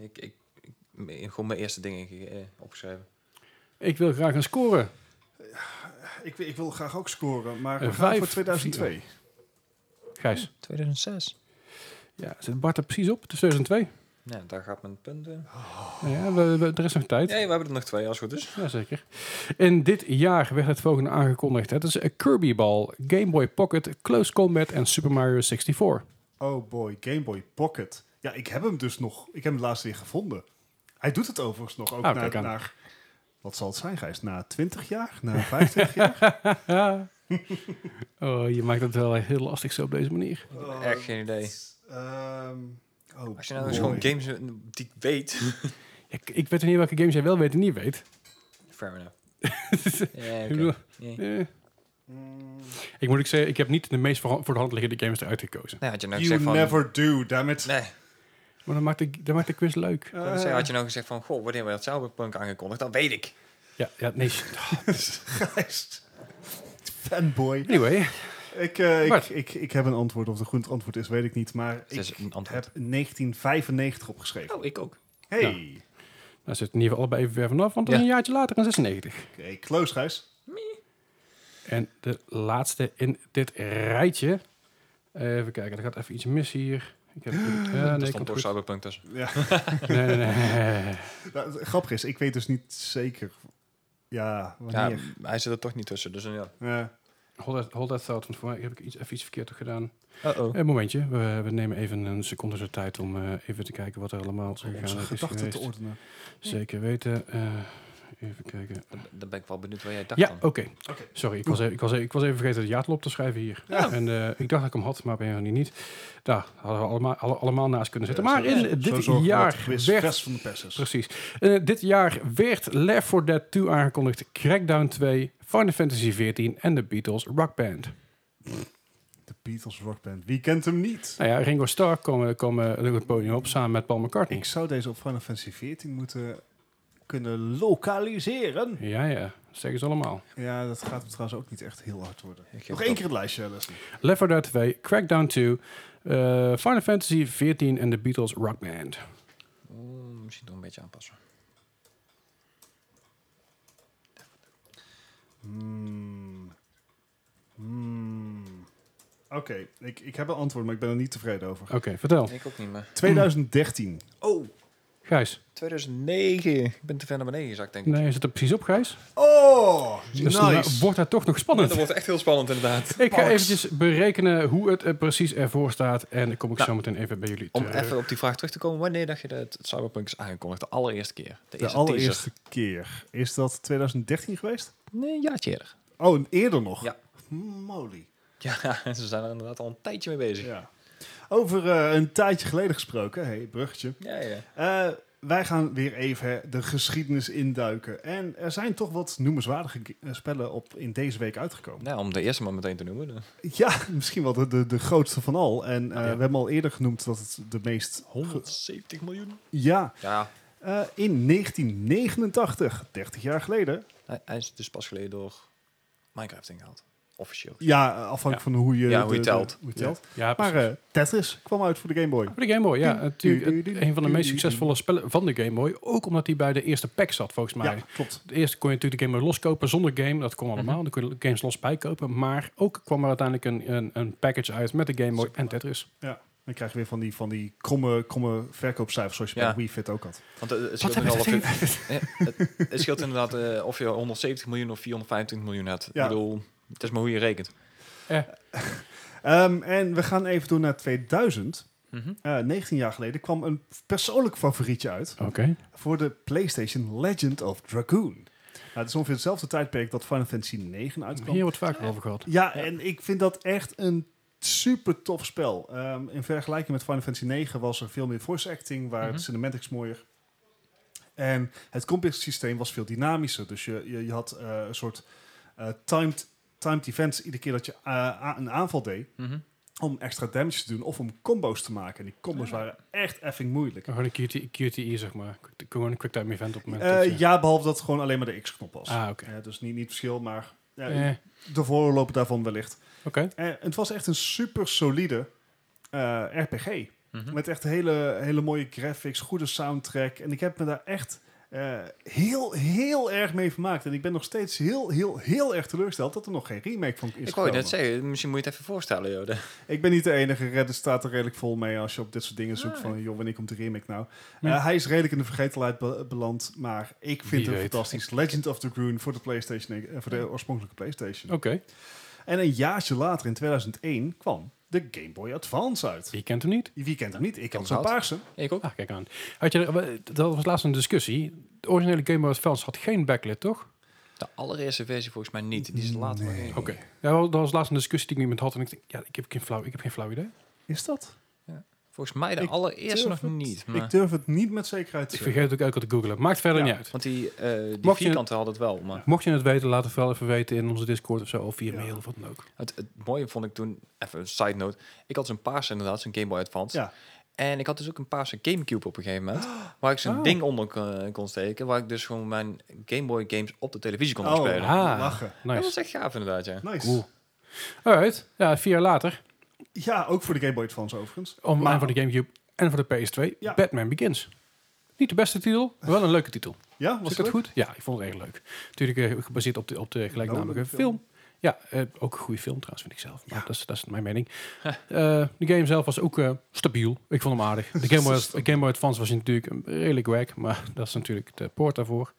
S3: Ik, ik, ik- me- gewoon mijn eerste ding inge- eh, opgeschreven.
S1: Ik wil graag een score.
S2: Ik, ik wil graag ook scoren, maar
S1: Eh,
S2: we gaan
S1: vijf,
S2: voor 2002.
S1: Gijs.
S3: 2006.
S1: Ja, zit Bart er precies op? Het is 2002.
S3: Nou, daar gaat mijn punten.
S1: Nou ja, we, we- er is nog tijd.
S3: Nee, we hebben er nog twee als het goed is.
S1: Jazeker. In dit jaar werd het volgende aangekondigd. Het is eh, Kirby Ball, Game Boy Pocket, Close Combat en Super Mario 64.
S2: Oh boy, Game Boy Pocket. Ja, ik heb hem dus nog. Ik heb hem laatst weer gevonden. Hij doet het overigens nog ook
S1: Ah,
S2: na,
S1: kijk aan.
S2: naar- Wat zal het zijn, Gijs? Na 20 jaar? Na 25 jaar?
S1: Oh, je maakt het wel heel lastig zo op deze manier.
S3: Echt geen idee.
S2: Ehm, oh,
S3: Als je nou eens
S2: boy.
S3: gewoon games eh, die ik weet.
S1: Ik, ik weet niet welke games jij wel weet en niet weet.
S3: Fair enough. ja,
S1: Ik bedoel,
S3: oké. Ja.
S1: eh.
S3: Mm.
S1: Ik moet ook zeggen, ik heb niet de meest voor, voor de hand liggende games eruit gekozen.
S3: Nou, had je nou
S2: You
S3: gezegd van...
S2: never do, dammit.
S3: Nee, ik
S1: Maar dat maakt de, dat maakt de quiz leuk.
S3: wou zeggen, had je nou gezegd van... Goh, wanneer werd Cyberpunk aangekondigd? Dat weet ik.
S1: Ja, ja nee. shit.
S2: Gijs. Fanboy.
S1: Anyway.
S2: Ik, eh, ik,
S1: Bart.
S2: ik, ik heb een antwoord. Of het een goed antwoord is, weet ik niet. Maar
S3: Dat is
S2: ik
S3: een antwoord.
S2: heb 1995 opgeschreven.
S3: Oh, ik ook.
S2: Hey.
S1: Daar zit in ieder geval allebei even ver vanaf, want dat is
S3: Ja.
S1: een jaartje later in 96.
S2: Oké, close, Gijs.
S1: En de laatste in dit rijtje. Even kijken, er gaat even iets mis hier. Ik heb, ja,
S3: Er
S1: nee,
S3: stond
S1: komt
S3: door
S1: goed.
S3: Cyberpunk tussen.
S2: Ja.
S1: nee, nee, nee.
S2: Nou, het grappig is, ik weet dus niet zeker... Ja,
S3: Ja,
S2: wanneer?
S3: m- hij zit er toch niet tussen, dus ja.
S2: Ja.
S1: Hold that, hold that thought, want voor mij heb ik iets, even iets verkeerd gedaan.
S2: Oh.
S3: Uh-oh.
S1: Een momentje, we, we nemen even een seconde de tijd om eh, even te kijken wat er allemaal te
S2: Oh, Onze
S1: gaan is
S2: gedachten
S1: geweest.
S2: te ordenen.
S1: Zeker weten. eh, even kijken.
S3: Dan ben ik wel benieuwd wat jij dacht
S1: Ja,
S3: dan.
S1: oké. Sorry, ik was, even, ik, was even, ik was even vergeten het jaartal op te schrijven hier. En eh, ik dacht dat ik hem had, maar op een of andere manier niet. Daar hadden we allemaal, alle- allemaal naast kunnen zitten. Maar in
S2: Zo
S1: dit
S2: zorgen we dat de
S1: jaar
S2: quiz
S1: werd
S2: vers van de pers is.
S1: Precies. Eh, dit jaar werd Left 4 Dead 2 aangekondigd, Crackdown 2, Final Fantasy 14 en de Beatles Rock Band.
S2: De Beatles Rockband. Wie kent hem niet?
S1: Nou ja, Ringo Starr kwam, kwam eh, op het podium op samen met Paul McCartney.
S2: Ik zou deze op Final Fantasy 14 moeten kunnen lokaliseren.
S1: Ja, ja, dat zeggen ze allemaal.
S2: Ja, dat gaat hem trouwens ook niet echt heel hard worden. Nog
S3: geef het
S2: één
S3: op.
S2: keer het lijstje, Leslie.
S1: Left 4 Dead 2, Crackdown 2, eh, Final Fantasy 14 en de Beatles Rock Band.
S3: Oeh, misschien toch een beetje aanpassen.
S2: Hmm. Hmm. Oké, ik, ik heb een antwoord, maar ik ben er niet tevreden over.
S1: Oké, vertel.
S3: Ik ook niet meer.
S2: 2013.
S3: Oh,
S1: Gijs.
S3: 2009. Ik ben te ver naar beneden gezakt, denk ik.
S1: Nee, je zit er precies op, Gijs.
S2: Oh,
S1: Dus dan eh, wordt dat toch nog spannend.
S3: Dat wordt echt heel spannend, inderdaad.
S1: Ik ga eventjes berekenen hoe het er precies ervoor staat. En dan kom ik
S3: Nou,
S1: zo meteen even bij jullie
S3: Om
S1: terug.
S3: even op die vraag terug te komen. Wanneer dacht je dat Cyberpunk is aangekondigd? De allereerste keer. De,
S2: De
S3: eerste
S2: allereerste keer. Is dat 2013 geweest?
S3: teaser. Nee, een jaartje eerder.
S2: Oh, eerder nog?
S3: Ja.
S2: Moly.
S3: Ja, ze zijn er inderdaad al een tijdje mee bezig. Ja,
S2: Ja. Over eh, een tijdje geleden gesproken, hey, bruggetje.
S3: ja.
S2: Eh, wij gaan weer even hè, de geschiedenis induiken. En er zijn toch wat noemenswaardige ge- eh, spellen op in deze week uitgekomen.
S3: Nou, om de eerste maar meteen te noemen.
S2: Ja, misschien wel de, de, de grootste van al. En eh,
S1: ja.
S2: we hebben al eerder genoemd dat het de meest...
S3: 170 miljoen.
S2: Ja,
S3: Ja,
S2: eh, in 1989, 30 jaar geleden.
S3: hij, hij is dus pas geleden door Minecraft ingehaald. Officieel.
S2: Ja, eh, afhankelijk van hoe je,
S3: Ja, hoe je
S2: de- de-
S3: telt.
S2: hoe je telt.
S1: Ja,
S2: Maar eh, Tetris kwam uit voor de Game Boy.
S1: Voor de Game Boy, ja.
S2: Ding,
S1: Natuurlijk
S2: ding,
S1: het-
S2: ding,
S1: een van de
S2: ding,
S1: meest
S2: ding,
S1: succesvolle spellen van de Game Boy. Ook omdat hij bij de eerste pack zat, volgens mij.
S2: Ja, klopt.
S1: De eerste kon je natuurlijk de Game Boy loskopen zonder game. Dat kon allemaal. Dan kon je games los bijkopen. Maar ook kwam er uiteindelijk een, een, een package uit met de Game Boy en Tetris.
S2: Dan krijg je weer van die, van die kromme, kromme verkoopcijfers zoals je
S3: Ja.
S2: bij Wii Fit ook had.
S3: Want eh, het scheelt, inderdaad, of je, Ja, het, het scheelt inderdaad eh, of je 170 miljoen of 425 miljoen hebt.
S2: Ja.
S3: Ik bedoel, het is maar hoe je rekent.
S2: Ehm, en we gaan even door naar 2000.
S3: Mhm,
S2: Eh, 19 jaar geleden kwam een persoonlijk favorietje uit
S1: Oké.
S2: voor de PlayStation Legend of Dragoon. Nou, het is ongeveer hetzelfde tijdperk dat Final Fantasy 9 uitkwam.
S1: Hier wordt vaker over gehad.
S2: Ja, en ik vind dat echt een super tof spel. Ehm, in vergelijking met Final Fantasy 9 was er veel meer voice acting, waar
S3: Mhm.
S2: het cinematics mooier. En het combat systeem was veel dynamischer. Dus je, je, je had eh, een soort eh, timed, timed events iedere keer dat je eh, a- een aanval deed.
S3: mhm.
S2: Om extra damage te doen of om combo's te maken. En die
S3: Ah.
S2: combo's waren echt effing moeilijk.
S1: Gewoon een QT, QTE, zeg maar. Gewoon een quicktime event op het moment. dat
S2: Eh,
S1: je-
S2: ja, behalve dat het gewoon alleen maar de X-knop was.
S1: Ah, oké.
S2: Ja, dus niet, niet verschil, maar ja,
S1: Eh, Oké.
S2: de voorloper daarvan wellicht. Eh, het was echt een super solide eh, RPG.
S3: Mhm.
S2: Met echt hele, hele mooie graphics, goede soundtrack. En ik heb me daar echt eh, heel, heel erg mee vermaakt. En ik ben nog steeds heel, heel, heel erg teleurgesteld dat er nog geen remake van is
S3: Ik wou je net
S2: gekomen.
S3: zeggen, misschien moet je het even voorstellen. Joh. De-
S2: Ik ben niet de enige. Reddit staat er redelijk vol mee als je op dit soort dingen zoekt. Van, joh, wanneer komt de remake nou? Eh,
S1: Ja.
S2: hij is redelijk in de vergetelheid be- beland. Maar ik vind
S1: Wie weet.
S2: het fantastisch. Legend of the Groen voor de, PlayStation, eh, voor de oorspronkelijke PlayStation.
S1: Oké.
S2: En een jaartje later, in 2001, kwam de Game Boy Advance uit.
S1: Wie kent hem niet?
S2: Wie kent hem niet? Ik had
S3: hem
S2: zo'n
S3: gehad.
S2: paarse.
S3: Ik ook.
S1: Ah, kijk aan. Had je, er- dat was laatst een discussie. De originele Game Boy Advance had geen backlit, toch?
S3: De allereerste versie volgens mij niet. Die is later maar
S2: Nee.
S3: in.
S1: Oké. Ja, wel, dat was laatst een discussie die ik met iemand had. En ik denk, ja, ik heb geen flauw, ik heb geen flauw idee.
S2: Is dat?
S3: Volgens mij de
S2: Ik
S3: allereerste nog niet.
S2: Ik
S3: Maar,
S2: durf het niet met zekerheid te
S1: Ik
S2: zeggen.
S1: vergeet het ook elke keer te googlen. Maakt verder
S2: Ja.
S1: niet uit.
S3: want die, eh die
S1: Mocht je-
S3: vierkante had het wel. Maar
S1: Mocht je het weten, laat het wel even weten in onze Discord of zo. Of via
S2: Ja.
S1: mail of wat dan ook.
S3: het, het mooie vond ik toen, even een side note. Ik had zo'n paarse inderdaad, zo'n Game Boy Advance.
S2: Ja.
S3: En ik had dus ook een paarse Gamecube op een gegeven moment. Waar ik zo'n
S1: Oh.
S3: ding onder kon, kon steken. Waar ik dus gewoon mijn Game Boy games op de televisie kon
S2: Oh,
S3: spelen.
S1: Ah.
S2: lachen.
S3: Dat
S1: Nice.
S3: was echt gaaf inderdaad, ja.
S2: Nice.
S1: Cool. Alright. Ja, vier jaar later.
S2: Ja, ook voor de Game Boy Advance overigens.
S1: Om
S2: Maar-
S1: en voor de Gamecube en voor de PS2.
S2: Ja.
S1: Batman Begins. Niet de beste titel, maar wel een leuke titel.
S2: Ja, was
S1: Was
S2: het
S1: dat
S2: goed? Oh,
S1: goed? Ja, ik vond het erg leuk. Natuurlijk eh, gebaseerd op de, op de gelijknamige
S2: Nolan-film.
S1: film. Ja, eh, ook een goede film trouwens, vind ik zelf. Maar dat, is, dat is mijn mening. Eh, de game zelf was ook eh, stabiel. Ik vond hem aardig. De Game Boy, de game Boy Advance was natuurlijk een- redelijk wack. Maar dat is natuurlijk de poort daarvoor.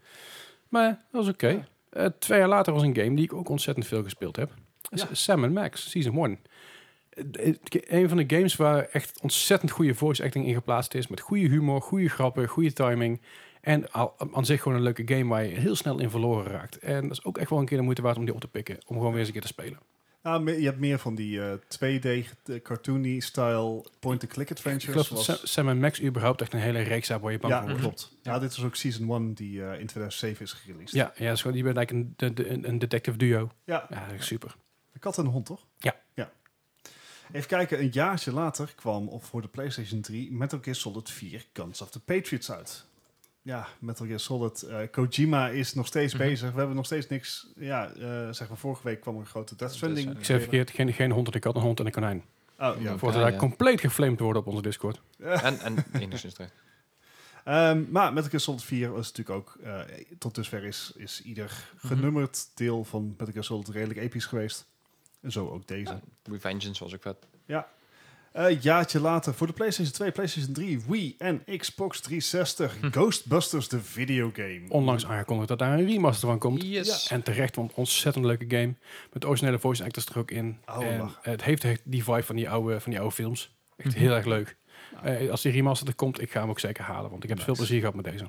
S1: Maar dat was oké. Eh, twee jaar later was een game die ik ook ontzettend veel gespeeld heb.
S2: Ja.
S1: Sam Max, Season 1. Eh, eh, Een van de games waar echt ontzettend goede voice acting in geplaatst is. Met goede humor, goede grappen, goede timing. En al- aan zich gewoon een leuke game waar je heel snel in verloren raakt. En dat is ook echt wel een keer de moeite waard om die op te pikken. Om gewoon weer eens een keer te spelen.
S2: Ja, Ah, me- je hebt meer van die eh, 2D eh, cartoony-style point-and-click
S1: Ik
S2: adventures.
S1: geloof dat
S2: zoals-
S1: Sam, Sam Max überhaupt echt een hele reeks hebben waar je bang
S2: ja,
S1: voor wordt.
S2: klopt. Mhm. Ja, dit was ook Season 1 die eh, in 2007 is gereleased.
S1: Ja, ja dat is gewoon, je bent eigenlijk een, de- de- een, een detective duo.
S2: ja.
S1: Ja, dat is super.
S2: De kat en de hond, toch?
S1: Ja.
S2: ja. Even kijken, een jaartje later kwam op voor de PlayStation 3 Metal Gear Solid 4 Guns of the Patriots uit. Ja, Metal Gear Solid. eh, Kojima is nog steeds
S3: Mhm.
S2: bezig. We hebben nog steeds niks. Ja, eh, zeg maar, vorige week kwam er een grote Death Stranding.
S1: Ik
S3: Death
S1: zei verkeerd, geen, geen hond en een kat, een hond en een konijn.
S2: trailer. Oh, ja.
S1: Voordat
S3: Ja,
S1: wij
S3: ja.
S1: compleet geflamed worden op onze Discord.
S3: En, en enigszins terug.
S2: Ehm, maar Metal Gear Solid 4 was natuurlijk ook... eh, tot dusver is, is ieder
S1: Mhm.
S2: genummerd deel van Metal Gear Solid redelijk episch geweest. En zo ook deze.
S3: Revengeance was ook vet.
S2: Een jaartje later voor de PlayStation 2, PlayStation 3, Wii en Xbox 360
S1: Hm.
S2: Ghostbusters de videogame.
S1: Onlangs aangekondigd dat daar een remaster van komt.
S3: Yes.
S1: En terecht, want ontzettend leuke game. Met originele voice actors er ook in.
S2: Oh,
S1: en
S2: lachen.
S1: het heeft echt die vibe van die oude, van die oude films. Echt
S3: Mhm.
S1: heel erg leuk. Eh, als die remaster er komt, ik ga hem ook zeker halen. Want ik heb veel plezier gehad met deze.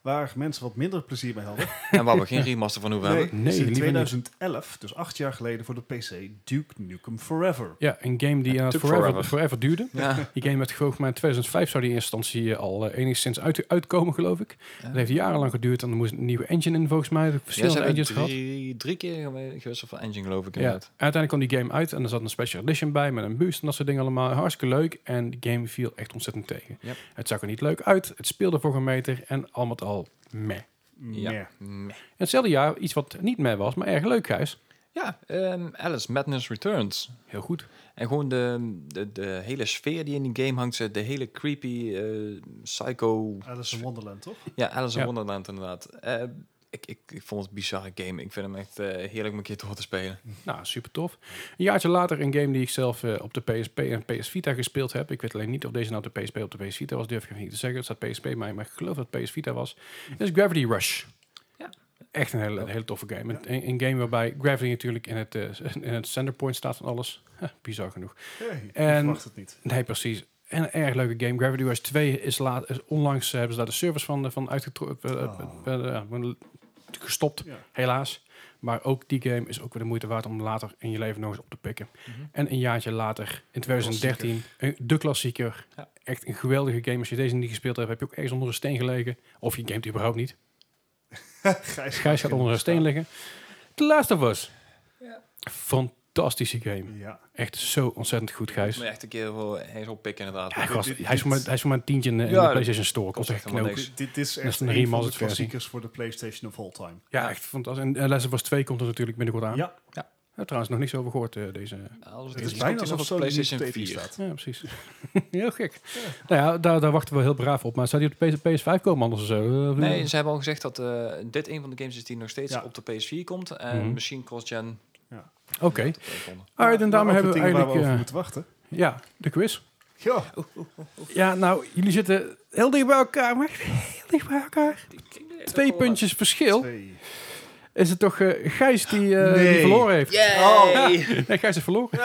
S2: Waar mensen wat minder plezier mee hadden.
S3: En waar we geen remaster van hoeven hebben.
S2: is in
S1: liever niet.
S2: 2011, dus acht jaar geleden voor de PC, Duke Nukem Forever.
S1: Ja, een game die inderdaad
S3: took
S1: forever, forever.
S3: forever.
S1: duurde.
S3: Ja.
S1: Die game werd gevolgd, maar in 2005 zou die in eerste instantie eh, al eh, enigszins uit, uitkomen, geloof ik. Dat heeft jarenlang geduurd en er moest een nieuwe engine in, volgens mij.
S3: Ja, ze
S1: Verschillende
S3: hebben
S1: engines gehad.
S3: drie, drie keer gewe- gewisseld van engine, geloof ik.
S1: Ja,
S3: inderdaad.
S1: uiteindelijk kwam die game uit en er zat een special edition bij met een boost en dat soort dingen allemaal. Hartstikke leuk en die game viel echt ontzettend tegen.
S3: Yep.
S1: Het zag er niet leuk uit, het speelde voor een meter en al met al meh.
S3: Ja.
S2: Meh.
S3: Meh.
S1: En hetzelfde jaar iets wat niet meh was, maar erg leuk, Gijs.
S3: Ja, ehm, Alice Madness Returns.
S1: Heel goed.
S3: En gewoon de, de, de hele sfeer die in die game hangt. De hele creepy, eh, psycho...
S2: Alice in Wonderland, toch?
S3: Ja, Alice in
S1: Ja.
S3: Wonderland inderdaad. Eh, ik, ik, ik vond het een bizarre game. Ik vind hem echt eh, heerlijk om een keer door te spelen.
S1: Nou, super tof. Een jaartje later een game die ik zelf eh, op de PSP en PS Vita gespeeld heb. Ik weet alleen niet of deze nou op de PSP of op de PS Vita was. Durf ik even niet te zeggen. Het staat PSP, maar, maar ik geloof dat het PS Vita was. Dat is Gravity Rush.
S3: Ja.
S1: Echt een hele, een hele toffe game. Een- Een, een game waarbij Gravity natuurlijk in het, eh, in het centerpoint staat van alles. Huh, bizar genoeg.
S2: Hey, ik
S1: En-
S2: verwacht het niet.
S1: Nee, precies. En een erg leuke game. Gravity Rush 2 is, laat, is onlangs eh, hebben ze daar de service van, eh, van uitgetrokken. gestopt,
S2: Ja.
S1: helaas. Maar ook die game is ook weer de moeite waard om later in je leven nog eens op te pikken.
S3: Mhm.
S1: En een jaartje later, in 2013, een- de klassieker.
S3: Ja.
S1: Echt een geweldige game. Als je deze niet gespeeld hebt, heb je ook ergens onder een steen gelegen. Of je gamet überhaupt niet.
S2: Gijs,
S1: Gijs gaat onder een steen liggen. The Last of Us.
S3: Ja.
S1: Fantastische game.
S2: Ja.
S1: Echt zo ontzettend goed, Gijs.
S3: Ik moet echt een keer wel eens oppikken inderdaad.
S1: Ja, gast,
S2: dit-
S1: hij, is voor mij, hij is voor mij een tientje in de, in de
S3: Ja, dat
S1: PlayStation Store. Kost
S3: kost
S1: echt
S3: echt helemaal
S1: knoop.
S3: niks.
S2: Dit, dit
S1: is
S2: is echt
S1: een
S2: een, van de
S1: remastered versie.
S2: klassiekers voor de PlayStation of all time.
S1: Ja, echt fantastisch. En eh, Last of Us 2 komt er natuurlijk binnenkort aan.
S2: Ja.
S1: ja. Daar trouwens nog niks over gehoord, eh, deze...
S3: Alles
S2: Het is bijna alsof Sony niet
S3: PlayStation
S2: op de
S3: 4
S2: E3 staat.
S1: Ja, precies. Heel gek. Nou ja, daar, daar wachten we heel braaf op. Maar zou die op de PS, 5 komen anders? of zo? Eh,
S3: Nee, ze hebben al gezegd dat eh, dit een van de games is die nog steeds
S2: Ja.
S3: op de PS4 komt. En
S1: Mhm.
S3: misschien cross-gen.
S1: Oké.
S3: op de telefoon.
S1: Alright, en daarmee
S2: Maar ook
S1: hebben
S2: de
S1: we
S2: dingen
S1: eigenlijk...
S2: waar we over
S1: eh,
S2: moeten wachten.
S1: ja, de quiz.
S2: Ja,
S1: Ja, nou, jullie zitten heel dicht bij elkaar. Maar echt heel dicht bij elkaar. Twee puntjes verschil.
S2: twee.
S1: Is het toch eh, Gijs die, eh, die
S2: Nee.
S1: verloren heeft?
S2: Oh.
S1: Nee, Gijs heeft verloren.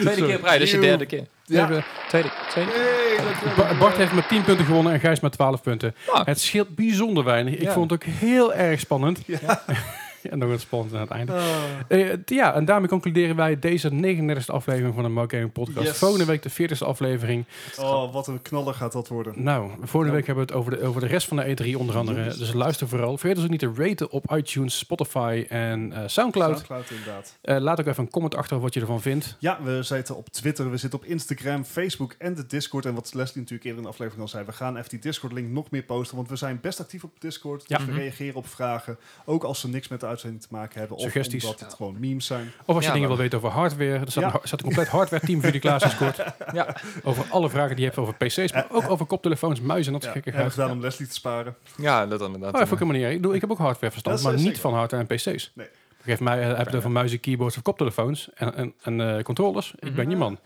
S3: Tweede keer op rij, dit is de derde keer.
S2: Ja.
S1: Even-
S3: Tweede, tweede.
S2: Hey, dankjewel.
S1: Ba- Bart heeft met 10 punten gewonnen en Gijs met 12 punten.
S3: Ah.
S1: Het scheelt bijzonder weinig. Ik
S3: Ja.
S1: vond het ook heel erg spannend.
S2: Ja.
S1: en nog wat spannend aan het einde.
S2: Ah.
S1: Eh, t- ja, en daarmee concluderen wij deze 39e aflevering van de Mark Gaming Podcast.
S2: Yes.
S1: Volgende week de 40e aflevering.
S2: Oh, wat een knaller gaat dat worden.
S1: Nou, volgende week hebben we het over de, over de rest van de E3 onder andere. Dus luister vooral. Vergeet ons ook niet te raten op iTunes, Spotify en eh, Soundcloud.
S2: Cloud inderdaad.
S1: Eh, laat ook even een comment achter wat je ervan vindt.
S2: Ja, we zitten op Twitter, we zitten op Instagram, Facebook en de Discord. En wat Leslie natuurlijk eerder in de aflevering al zei, we gaan even die Discord-link nog meer posten. Want we zijn best actief op Discord.
S1: Ja.
S2: Dus we
S1: Mhm.
S2: reageren op vragen. Ook als ze niks met de uitzending te maken hebben. Of
S1: Suggesties.
S2: omdat het gewoon memes zijn.
S1: Of als je
S3: Ja,
S1: dingen
S3: dan-
S1: wil weten over hardware. Er staat,
S2: Ja.
S1: een, har- staat een compleet hardware team voor jullie klaar Discord.
S3: Ja.
S1: Over alle vragen die je hebt over pc's, maar ook over koptelefoons, muizen en dat
S2: Eh, Ja,
S1: soort
S2: hebben
S1: gekkigheid.
S2: we gedaan om Leslie te sparen.
S3: ja, dat inderdaad. eh,
S1: Oh, dat vond ik helemaal niet erg. Ik, bedoel, ik heb ook hardware verstand,
S2: Dat
S1: maar
S2: is,
S1: niet
S2: eh,
S1: van hardware en PC's.
S2: Nee.
S1: Geef mij eh, heb je het over muizen, keyboards of koptelefoons en, en, en eh, controllers. Ik ben niemand.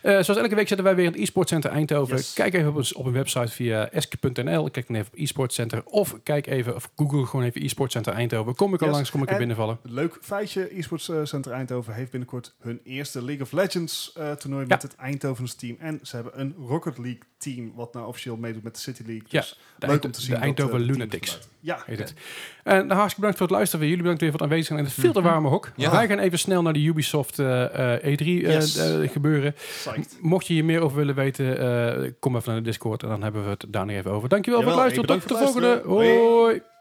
S1: Eh zoals elke week zetten wij weer in het e-sportcenter Eindhoven.
S2: Yes.
S1: Kijk even op, ons, op een website via esk.nl. Kijk dan even op e-sportcenter. Of kijk even, of google gewoon even e-sportcenter Eindhoven. Kom ik al
S2: Yes.
S1: langs, kom ik er
S2: En-
S1: binnenvallen.
S2: Leuk feitje, eSports eh, Center Eindhoven heeft binnenkort hun eerste League of Legends eh, toernooi met het Eindhovense team. En ze hebben een Rocket League team, wat nou officieel meedoet met de City League.
S1: Ja,
S2: Dus
S1: de
S2: leuk
S1: Eind-
S2: om te
S1: de
S2: zien. dat, eh,
S1: Eindhoven
S2: de teams
S1: Lunatics.
S2: erbij zijn. Ja, Mhm.
S1: Heet het. En nou, hartstikke bedankt voor het luisteren. Jullie bedankt weer voor het aanwezig zijn in het veel te warme hok.
S3: Ja.
S1: Wij gaan even snel naar de Ubisoft eh, eh, E3 eh,
S2: Yes.
S1: eh, gebeuren.
S2: psyched.
S1: Mocht je hier meer over willen weten, eh, kom even naar de Discord en dan hebben we het daar nog even over. Dankjewel
S2: Jawel,
S1: voor het luisteren.
S2: hey,
S1: Tot de
S2: bedankt voor
S1: volgende.
S2: het luisteren.
S1: Hoi.